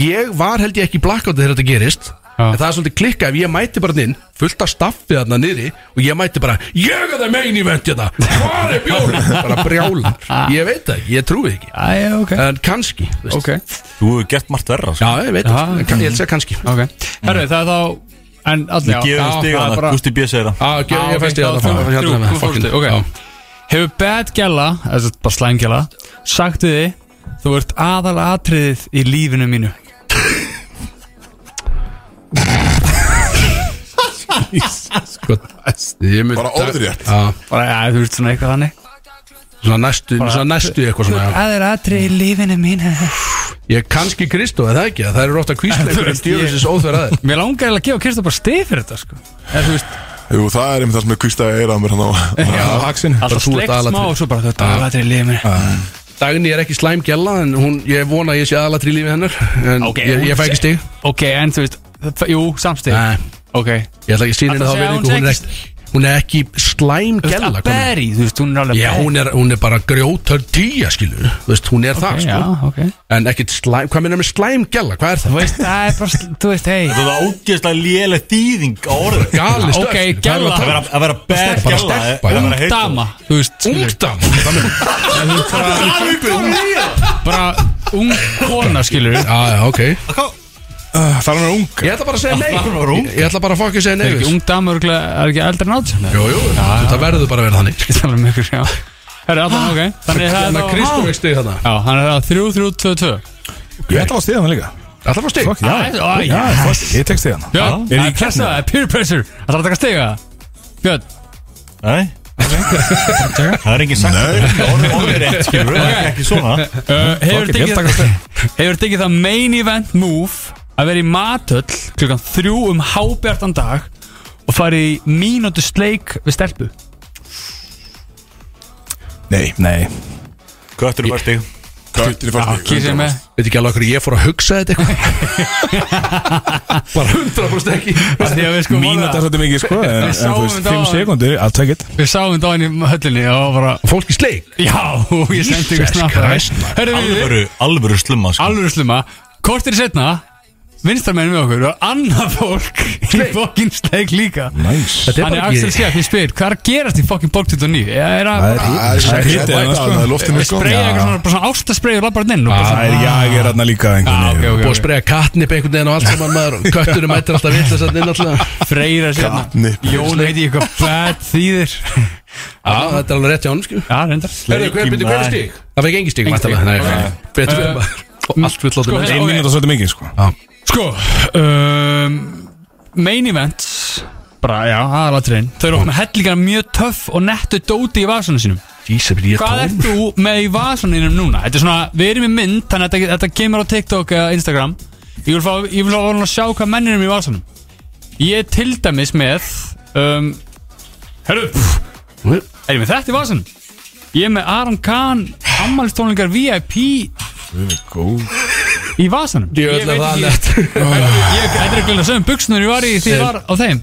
Ég var held ég ekki í blackouti þegar þetta gerist En það er svolítið klikka ef ég mæti bara inn Fullt af staffið þarna niðri Og ég mæti bara, ég er það megin í venti þetta Hvað er bjórin? Bara brjálar Ég veit það, ekki, ég trúi því ekki Æja, ok En kannski, þú veist Ok, Þú hefur gert margt verra sko. Já, ég veit það, en kann- ég held að segja kannski ok Herru, það er þá En allir Ég gefur já, stiga það er hana, bara- Gústi B. segir það Já, ok, Já, ég ok, fæst þá ég að þrjú, það þrjú, þú fórstu, ok. Hefur bad gæla, eða bara slæm gæla Sagt við þið Þú ert aðal atriðið í lífinu mínu Sko, ég mynd bara óðrétt Já, Bara, ja, þú ert svona eitthvað þannig svona næstu, svona næstu eitthvað svona já. Aðal atriðið í lífinu mínu Ég er kannski Kristó, eða ekki, það eru ofta kvísleikur en djöfisins óþverð aðeins Mér langar eiginlega að gefa Kristó bara stið fyrir þetta sko. Eða, þú veist, Jú, það er einmitt það sem er kvistaði eirað mér hann á Já, Haxin þú Alltaf ert sleikt aðalatriðið. smá og svo bara þú ert aðal atriðið í lífinu mínu Dagni er ekki slæm gælla en hún, ég vona að ég sé aðalatri í lífi hennar en Ok, ég, ég fæ ekki stig Ok, en þú veist, það- jú, samstið Nei, Ok, ég ætla ekki að sína henni Ætla að þá segja verið hún, hún er sé ekki- hún er ekki slæm þú veist, að gælla Berry, þú veist, hún er alveg Já, hún er, hún er bara grjótör tíja, skilur Þú veist, hún er það, Já, sko ok En ekkit slæm, hvað minna með slæm gælla, hvað er Þú það? veist, það er bara, sl- þú veist, hei Það er ógeðslega léleg þýðing á orðið Gali stöð Ok, gælla. Að vera- Að vera bad Bara gæla stelpa, að já. vera heill- Dama, þú veist, skilur Ungdam Það með Bara ung kona, skilur Já, já, ok Ah, Það er hann ung Ég ætla bara að segja nei Það var ung. Ég- Ég ætla bara að fokka að segja nei Er ekki ung dama, örugglega- er ekki eldri nátt? Jú, jú, það verður bara að vera þannig Ég tala um ykkur, já Herra, allan, ok Þannig það er Þannig að þá Kristó veist þig þarna Já, hann er það 3, 3, 2, 2 Ég ætla að stiða hann líka Ætla að fá stig Já, Æ, æ, já, fuck, ég tek stiða hann Björn, Er það ég er pressa, það er peer pressure Það þarf að taka stiga Björn, Nei Það er engin sagt Orðið orðið rétt skilur Það er ekki svona uh, hefur Fuck it, ég tekið taka stiga Hefur tekið það main event move Að vera í matöll klukkan 3 um hábjartan dag Og farið í mínútu sleik við stelpu Nei, nei Köttur er bara stig Köttir í fast Kísið með Veit ekki alveg okkur ég fór að hugsa þetta eitthvað Bara 100% ekki Af Því að við sko Mínúta er vorum að- svolítið mikið sko En en þú sáum veist, þetta 5 á- sekundir, I'll take it Við sáum þetta á henni í höllinni og bara Fólk í sleik Já, ég sendi Jesus ykkur Christ, snabbt maður. Herðu við Alvöru, alvöru slumma sko. alveg slumma Kortir setna Vinstramenn með okkur og annað fólk Í fokkin sleik líka Þetta Nice er Þannig bara Axel ekki Skepp, ég spyr, hvað er að gerast í fokkin Borg 29? Er að Það er hýtt Það er hýtt eða Það er sko loftinu sko spreyja eitthvað svona, bara svona ástaspreyja og labbarinn inn og bara Það er svona Ah, já, ég er hann líka Ah, einhvern ok, ok, Búið að ok spreja katnip einhvern veginn og allt saman maður og Kötturum mættir alltaf vill þess að inn alltaf Freyra sérna Katnip. Jón heiti ég eitthvað bad þýðir Já, þetta er alveg rétt hjá hann sko Já, reyndar Herðu, hver byrju, hver er maður. stig? Það fekk engi stig, Engi stig. mættalega Nei, nei. Sko, betur fyrir bara Allt vill Eh, láta með Ein mínúta er svolítið mikið sko Sko, um, main event Bara, já, aðalatriðin Þau eru okkur með hellingar af mjög töff og nettu dóti í vasunum sínum Ísabir, ég Hvað ert þú með í vasaninum núna? Þetta er svona, við erum í mynd Þannig að þetta, þetta kemur á TikTok eða Instagram Ég vil fá, ég vil fá að sjá hvað menninum í vasanum Ég er til dæmis með um, Herru pff, Er ég með þetta í vasanum? Ég er með Aron Kahn Ammálstónlingar VIP Í vasanum Ég veit ætla ekki- það nett Ég þetta er ekki að segja um buksnur ég var í því ég var á þeim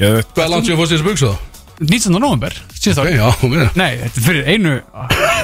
Hvað langt séu að fórst þessu buksu þá? 19. november síðast Ok, ári Já, hún er Nei, þetta er fyrir einu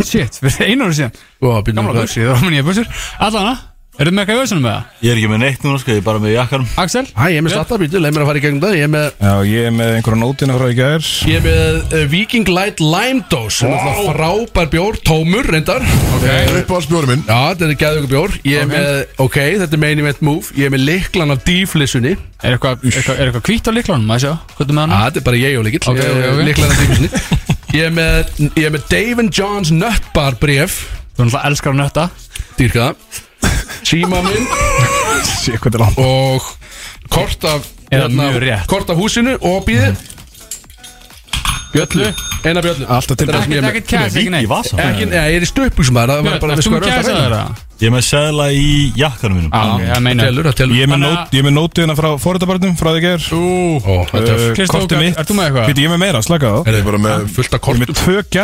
Shit, fyrir einu ári síðan Gamla Gamla buksur, ég þarf að minna ég buksur Allana, eru með eitthvað í vöðsunum með það? Ég er ekki með neitt núna sko Ég er bara með jakkanum Axel? Hæ, ég er með slattabrýtu, leið mér að fara í gegnum það Ég er með, Já, ég er með einhverja nótina frá í gær ég er með uh, Viking Light Lime Dose sem er náttúrulega frábær bjór, tómur reyndar okay. Uppáhaldsbjóri minn Já, þetta er gæðugur bjór Ég er með, ok, þetta er main event move Ég er með liklan af díflissunni Já, Er eitthvað, eitthvað, er eitthvað hvít á liklunum, maður sjá? Hvað er með hann? þetta er bara ég og likill Ok, ok, ok. Liklan af díflissunni Ég er með, ég er með Dave and John's Nut Bar bref Þú náttúrulega elskar að nötta dýrka það síma minn Sér hvað þetta er langt og kort af hérna, Eða mjög rétt. kort af húsinu og býði bjöllu, eina bjöllu Alltaf til- Þetta er það sem ég er Ekkert, með. ekkert kæs, ekki Vík í neitt vasa ekki, nei, ég er í stöpum sem það það var bara Björn, við varst þú skoðum öll að með kæs að fara inn. þeirra? Ég er með seðla í jakkanum mínum Já, ég meina það telur, það Ég er telur með Þannig að- nót- ég er með nótiðina frá fóröldabarnum frá því ger Ó, þetta er Kristó, Kortið Gat- mitt ert þú með eitthvað? Viti, ég er með meira, slaka á Er þið bara með fullt af Ég er með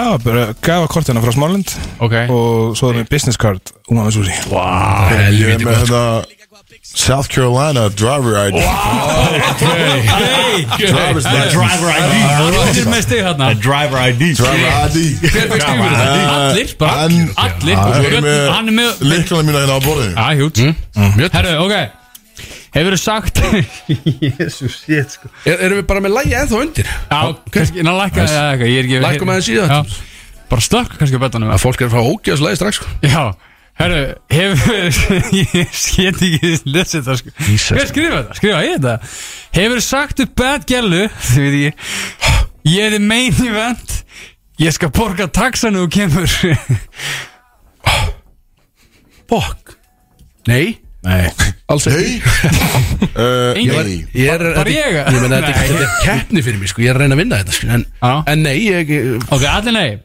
kortum tvö gafakortina frá Smáralind Ok og svo er með business card Úmaða Súsi Ég er með þetta South Carolina driver ID Driver's license Driver ID Allir með stig hérna Driver ID Driver ID hver fyrst yfir Eh, þetta? Allir, bara en- allir. Ah, Og ég er Björn, með- Hann er með Liklana mína hérna á borðinu Já, hjút Mm, Mjög töff. Ah, Herru, ok Hefur þú sagt Jésús, ég sko Er- erum við bara með lægi eða undir Já, kannski, ná lækka það eitthvað Ég er ekki Lækkum aðeins í það. Já, bara slökk kannski á betanum að fólk er að fá ógjöðslega strax sko. Já, herru, hefur Ég skét ekki lesið þetta sko Hver skrifa þetta? Skrifa ég þetta? Hefur sagt upp bad gellu Þið veit ekki Ég er þið main event Ég skal borga taxan og kemur fokk nei Nei Alls ekki Nei Eh, Engin. Nei Ég er, Bara ég? ég, ég meina, þetta, Nei. er- þetta er keppni fyrir mig sko. Ég er að reyna að vinna þetta sko. en, Já. en nei, ég Ok, allir nei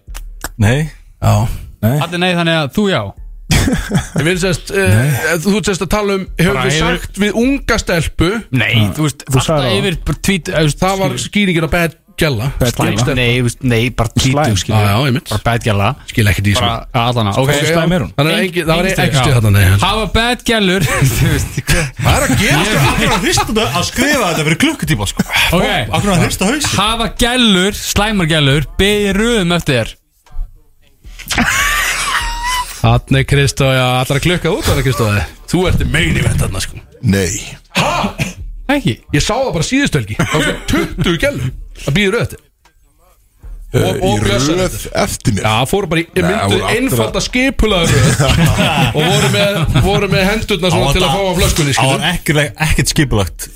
Nei Já Allir nei þannig að þú já Ég vil sérst, uh, þú ert sérst að tala um Hefur Bara við hefur- sagt við unga stelpu Nei, Ah. þú veist, sagðir alltaf það. yfir bara tvít eh, þú veist, Það var skilur. skýringin á bad gælla Bad Slæm, Gella. Nei, þú veist, nei, bara Slæm. tvítug Já, já, skilur einmitt Bara bad gæla Skil ekki því sko. Bara allana, ok Hversu slæm er hún? Þannig að engin- það var ekki stuð þarna nei. Hafa bad gælur Þú veist, hvað Það er að gera Akkur að hrista þetta að skrifa þetta fyrir klukkutíma sko Ok. Akkur að hrista hausin hafa gælur, slæmar gælur beðið röðum eftir þér Þannig Kristó, já, allra klukkað út Þannig Kristó, þú ert meini vett þarna sko Nei ekki, Ég sá það bara síðustölgi Það var 20 gællum að býða röð eftir. Eh, Og- og Í blessaður. röð eftir mér Já, fóru bara í myndu voru allra- einfalda skipulaður og voru með, voru með hendurna svona til að fá á flöskunni Það var skilur. ekkert- ekkert skipulagt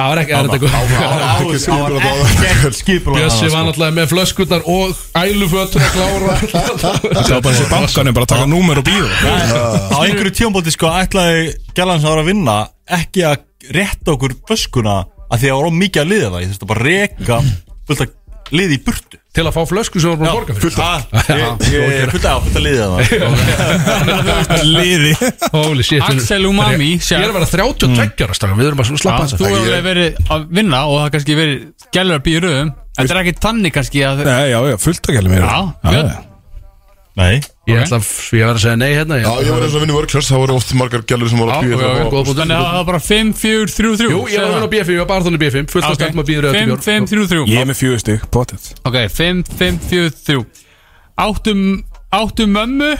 Það var ekki Það erðið eitthvað var ekkert alls- það var skipulagt á ekkert skipulagt Bjössi var náttúrulega með flöskunnar og ælufötur að klára Það var bara þessi bankanum bara að taka númer og bíða Á einhverju tíumbóti sko ætlaði Gjallan sem var að vinna ekki að rétta okkur flöskuna að því að það var of mikið að liða það Ég þurfti að bara reka fullt að liði í burtu Til að fá flösku sem voru búin að borga fyrir Fullt að Fullt að fullt að liða það Liði Holy shit Axel Umami Ég er að vera 32 ára strákar, Við erum bara svona að slappa hans þú að hefur verið að vinna og það kannski verið gælur að beðið röðum þetta er ekki tanni kannski að Nei, já, já, fullt að gæla mér Já, já, Björn. já. Nei Ég ætla að Ég var að segja nei hérna Já, ég- ég var eins og að vinna í workshops Það voru oft margar gælur sem voru að Já, býja já, já, það góð búin þannig að það er bara 5, 4, 3, 3 Jú, ég var að vinna á B5 Ég var bara þannig B5 Fullt að stefna að býða 5, 5, 3, 3 Ég er með fjögur stig, potið ok, 5, 5, 4, 3 áttum, áttum mömmu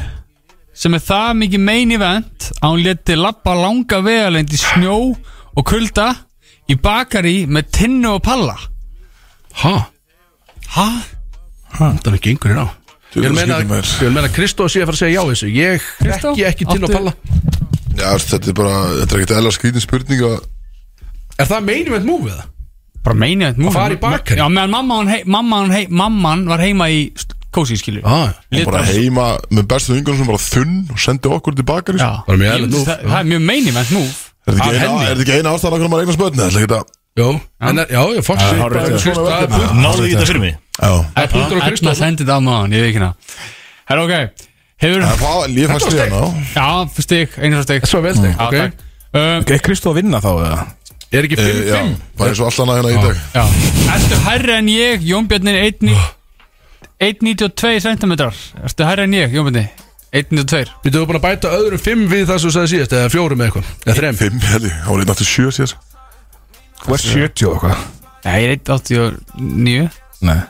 sem er það mikið main event að hún leti lappa langa vegalend í snjó og kulda í bakari með tinnu og palla Hæ? hæ? Það er ekki einhverjir á Ég vil meina, ég vil meina að Kristó sé að fara að segja já þessu Ég Kristó, ekki ekki tinn og áttu- palla Já, þetta er bara Þetta er ekkert eðla skrítin spurning að Er það meinum eitt múfið það? bara meina þetta múfið. fara í bakarí? já, meðan mamma hann, hei, mamma hann, hei, mamma hann var heima í kósi skilju Já, Og bara heima með bestu vingunum sem var að þunn og sendi okkur tilbaka Er Bara mjög eðlilegt múf, það, það er mjög meini menn múf þetta Af ekki eina- henni. er þetta ekki eina ástæðan okkur maður eignast börn? Það er ekki þetta já, en er, já, ég fórst Já, hárrétt. Það er Ah, punkt- Náðu því þetta fyrir mig Já það er punktur á Kristó Edna sendi þetta á maður, ég veit ekki hana herra ok, hefur Það var líf að stíða ná já, stík, einu stík Svo vel þig, ok um, Er Kristó að vinna þá eða? Er ekki Eh, Já, 5-5? bara eins og allan að hérna í dag Já, ertu hærri en ég, Jón Björn er 1,92 cm Ertu hærri en ég, Jón Björn 1,92 Við höfum búin að bæta öðrum 5 við það sem þú sagði síðast Eða fjórum eða eitthvað Eða þrem Fimm, helgi, það var einn aftur sjö sér Þú er 70 og eitthvað Já, ég er 1,89 Nei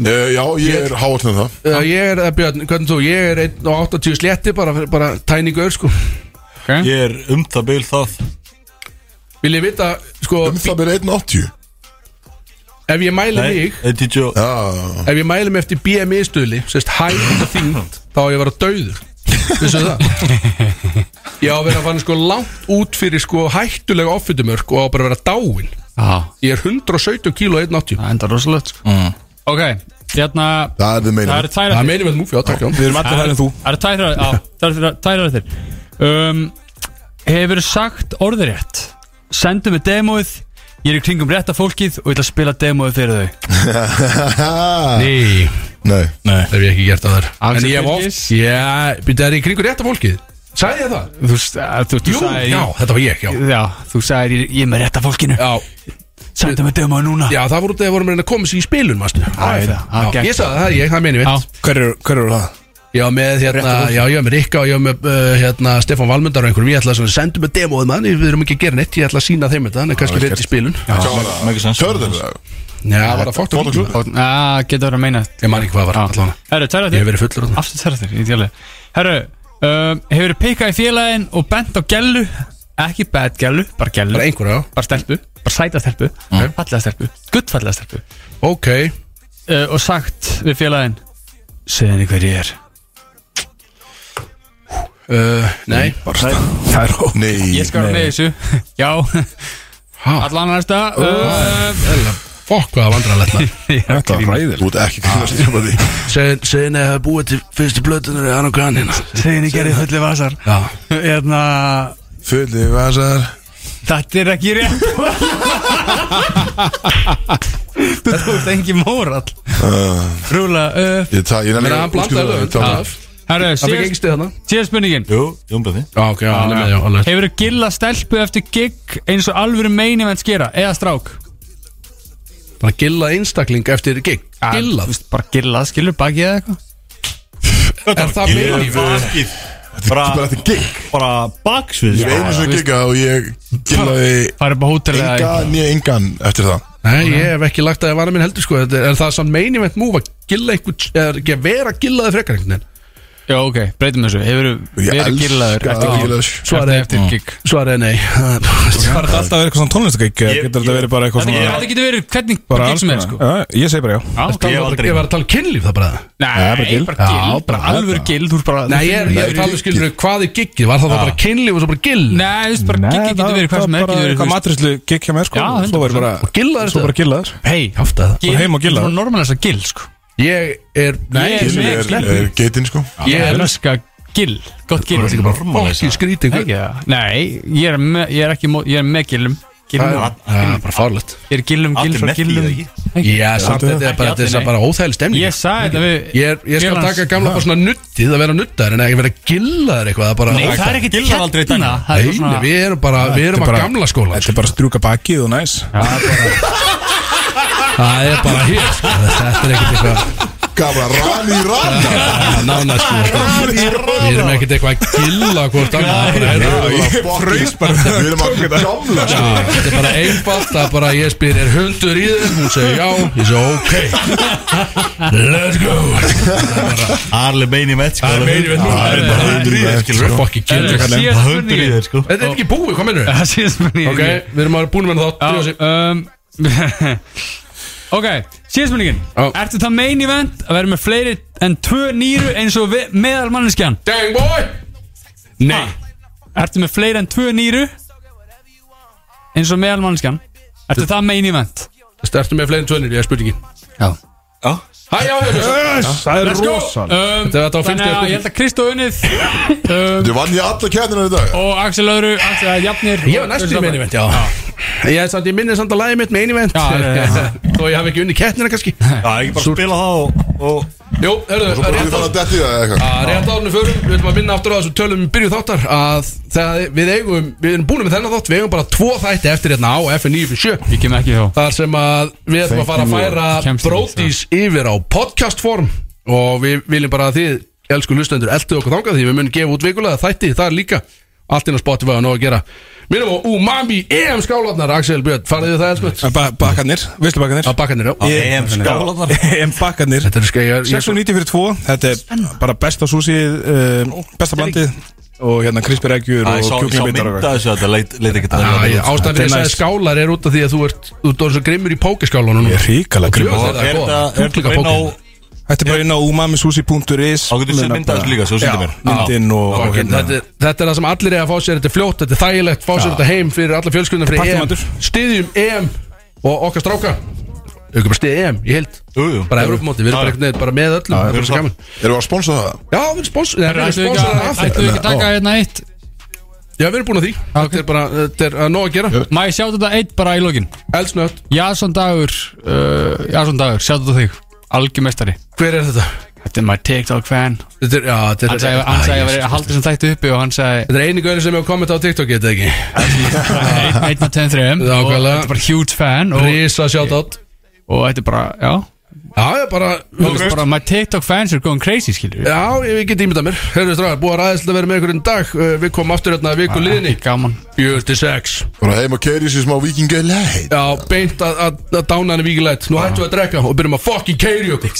Eh, Já, ég er háatnið það Eh, Ég er, eh, Björn, hvernig þú, ég er 1 og 80 slétti Bara, bara tæningu öður sko okay. Ég er um það byl það Vil ég vita, sko, Um það er 1.80 ef ég mæli Nei, mig þetta er tjó Já, Ef ég mæli mig eftir BMI stöðli Sérst hægt og þyngd Þá á ég að vera döður Vissu það? Ég á að vera að fann sko langt út fyrir sko hættulega offitumörk Og á bara að vera dáin Já, Ég er 117 kíl og 180 það enda rosalegt sko. Ok, Þarna Það er þið meina Það eru tvær Það meina við múfi, já, takk já Við erum allir hægðin þú Það eru tvær á, Það eru tvær að þér um, Hefur sagt orðrétt Sendu mig demóið Ég er í kringum rétta fólkið Og ég ætla að spila demóið fyrir þau Nei, Nei það hef ég ekki gert á þær En Axel ég hef oft, Birgis? já, byrja það er í kringur rétta fólkið Sæði ég það? Þú, veist, að þú, þú Jú, sagðir- já, þetta var ég, já Já, þú sagðir ég, ég er með rétta fólkinu Já, Sendu mig demóið núna já það voru út að vorum að koma sér í spilun, mástu ég veit það. Já, gegn. Ég sagði það, það er ég, það meina við Já. Hver eru hver eru það? Já, með hérna, já, ég hef með Rikka og ég hef með uh, hérna, Stefán Valmundar og einhverjum Ég ætla að senda með demóð mann, við erum ekki að gera neitt Ég ætla að sína þeim þetta, hann er kannski rétt í spilun Já, Mækir sens Törður það var það fótt og klúð Já, getur verið að meina þetta. Ég man ekki hvað var allan Herru, tæra Ég þér hef verið fullur þarna. Aftur tæra þér, í djálega Herru, um, hefur pikað í félagin og bent á gellu Ekki bad gellu, bara gellu Bara Mm. einhverja, já bara stelpu, bara sæta stelpu fallega stelpu, guttfallega stelpu Ok, uh, og sagt við félagin segðu henni hver ég er uh, nei Það er ó Nei ég skal vera með í þessu já, Ha, allan næsta uh, Ella, fokk hvað það vandrarlegt maður. Þetta er ræðil Þú ert ekki kannast tíma því Segin segin að það er búið til fyrstu blötunar í annan grann hérna segðu henni gerði fulli vasar Já Eðna, Fulli vasar þetta er ekki rétt þú tókst engin mórall Uh, rúla upp Ég ta- ég nenni Menna hann útskýra blandar það, lögum ég tala- herru, Það fikk ekki síðast stið þarna síðast spurningin Jú, júmblaði Já, ok, já, hann er með, já, alveg hefur þú gilla stelpu eftir gig eins og alvöru meini menn skera eða strák Bara gilla einstakling eftir gig Gilla Þú veist, bara gilla, skilur bakið eða eitthvað Er það meina? Bakið Þetta er Bara, bara þetta gig bara baksvið Ég er einu sem giga og ég gilaði fara upp á hótel eða Enga, eitthvað nýja engan eftir það Nei, ég hef ekki lagt að ég vana minn heldur sko Þetta Er er það samt meini vent múf að gilla einhvern Er ekki að vera gillaði frekar einhvern veginn já ok, breytum þessu, hefur verið gillaður eftir eftir gig gilaður sko. svarið eftir gig Svarið er nei Var þetta alltaf verið eitthvað svona tónlistakík? Ég- Getur þetta ég- verið bara eitthvað svona þetta getur verið hvernig bara gig sem er alls sko konar? Já, Ég segi bara já Já, Ég hef Ég aldrei var að tala um kynlíf það bara nei, bara gill, bara bara alvöru þetta. gill þú er bara Nei, ég er, ég er að tala um skilur Hvað er giggið? Var það bara kynlíf og svo bara gill? nei, þú veist, bara gig getur verið hvað sem er getur verið Hvað þú veist. matrislu gig hjá mér sko Já, Svo verið bara Og gillaður Svo bara gillaður Hei, haft að það Gill- heim og gillaður. svona normalasta gill sko Ég er Ég er- Gilur er, er geitin sko ég elska gill, gott gill Ég er bara fokkin skrítið Ekki það? nei, ég er með- ég er ekki mó- ég er með gillum Það gillum, er- það er bara farlegt ég er gillum, gill Allir frá með því gillum eða ekki Já, samt þetta er bara, Ekki þetta allir, er bara óþægileg stemning ég sagði þetta við Ég, er, ég skal Félans- taka gamla bara svona nuttið að vera nuttaður en ekki vera gillaður eitthvað það er bara Nei, það er ekkert Gillar aldrei hérna, dæmi. það er Nei, eitthvað svona- við erum bara, við erum Þetta er að bara- gamla skóla Þetta er bara að strjúka bakið og næs Það er bara hér, sko, þetta er ekkert eitthvað Gamla rani í rani Nána, sko, sko Við erum ekkert eitthvað að gilla hvort annað Það er bara- Ég fröys bara Við erum að gamla sko Já, Þetta er bara einfalt Það er bara, ég spyr, er hundur í þeim? Hún segir já, ég segi ok Let's go Arli meini með sko Það er meiri veit núna Það er bara hundur í þér, skilur. Fokki Herru, gilla síðasta Hundur í spurningin þér sko Þetta er ekki búið, hvað mennur Það síðast spurningin Ok, við erum að vera búin með það Drífa sig. Já, um, Ok, síðast spurningin Já. Ertu það main event að vera með fleiri en tvö nýru eins og ve- meðal manneskjan? Dang boy Nei Ertu með fleiri en tvö nýru eins og meðal manneskjan? Ertu það main event? Startu með fleiri en tvönir, ég er spurningin Já. Hæ, já, já, já Það er rosalega Um, Þetta var þannig að 50 ég held að Kristó unnið um, Þú vann ég alla kæðina í dag og Axel Öðru, Axel að Jafnir Ég var næstu í meinivent, já Ég, er samt, ég minni samt að lagi mitt meinivent Já, já, já. Þó ég hafi ekki unni kettnina kannski Já, ekki bara spila það og- og Jú, hörðu, Þú bara rétt við á fara að detti það eða eitthvað Að rétt áðunni förum, við ætlum að minna aftur á þessu tölum í byrju þáttar að það, við eigum, við erum búin með þennan þátt, við eigum bara tvo þætti eftir hérna á FN957 Ég kem ekki þá þar sem að við ætlum að fara að færa Kemst ekki, brótis yfir á podcastform og við viljum bara að þið elsku hlustendur eldu okkur þangað því við munum gefa út vikulega þætti þar líka allt inn á Spotify og nóg að gera Minnum á Umami EM skálarnar Axel Björn, farið þið það elsku? Eh, Bakkarnir, visslu bakkarnir Að bakkanir, já EM skálanar En bakkarnir Þetta er skæjar 690 fyrir 2 Þetta er bara besta súsið um, Besta blandið Og hérna krispir eggjur Æ, og sá, sá kjúklingbindar og mynda eitthvað. þessu þetta leit, leit ekki það Ástæðan fyrir að Þetta er segja næs. skálar er út af því að þú ert Þú ert orðinn svo grimmur í pókerskálunum Ég er ríkalega grimmur Það er Er þetta grimmur. góð, er þetta kjúklinga bara inn á pókerinn Þetta er bara inn á umamisushi.is Þá getur séð mynda þessu líka Svo sýndi mér Myndin og, og Okay, hérna þetta, er- þetta er það sem allir er að fá sér Þetta er fljótt, þetta er þægilegt Fá sér þetta heim fyrir alla fjölskyldunum fyrir EM Partymatur. Styðjum EM og okkar stráka Við erum bara stið EM í heild jú, jú. Bara Evropamóti, við erum bara, einhvern veginn bara með öllum Það er bara svo gaman Erum við að sponsa það? Já, við erum sponsor Nei, við erum Ættu ekki sponsorar að- af ættu þeim. ekki að taka Ah, hérna eitt Já, við erum búin að því Þetta er bara, þetta er að nóg að gera Má ég sjá þetta eitt bara í lokin Eldsnött Jason Dagur uh, Jason Dagur, sjá þetta á þig Algjumestari Hver er þetta? Þetta er my TikTok fan Þetta er, já, þetta er Hann sagði Æ, hann sagði að ég- vera að halda sem þætti uppi og hann sagði Þetta er eini gaurin sem hefur komið á TikTok, getið ekki einn einn af tveim þreim og Nákvæmlega. þetta er bara huge fan og, Rísa sjátt átt og þetta er bara, já Já, ég bara Þú veist bara, my TikTok fans are going crazy, skilur við Já, ég get ímyndað mér Herðu stráðar, búið að ræðislega vera með ykkur en dag Uh, Við komum aftur hérna að viku liðinni Gaman 46 Bara heim og keiri sér smá vikingi leið Já, beint að- að að dána henni vikilætt Nú hættum við að drekka og byrjum að fucking keiri okkur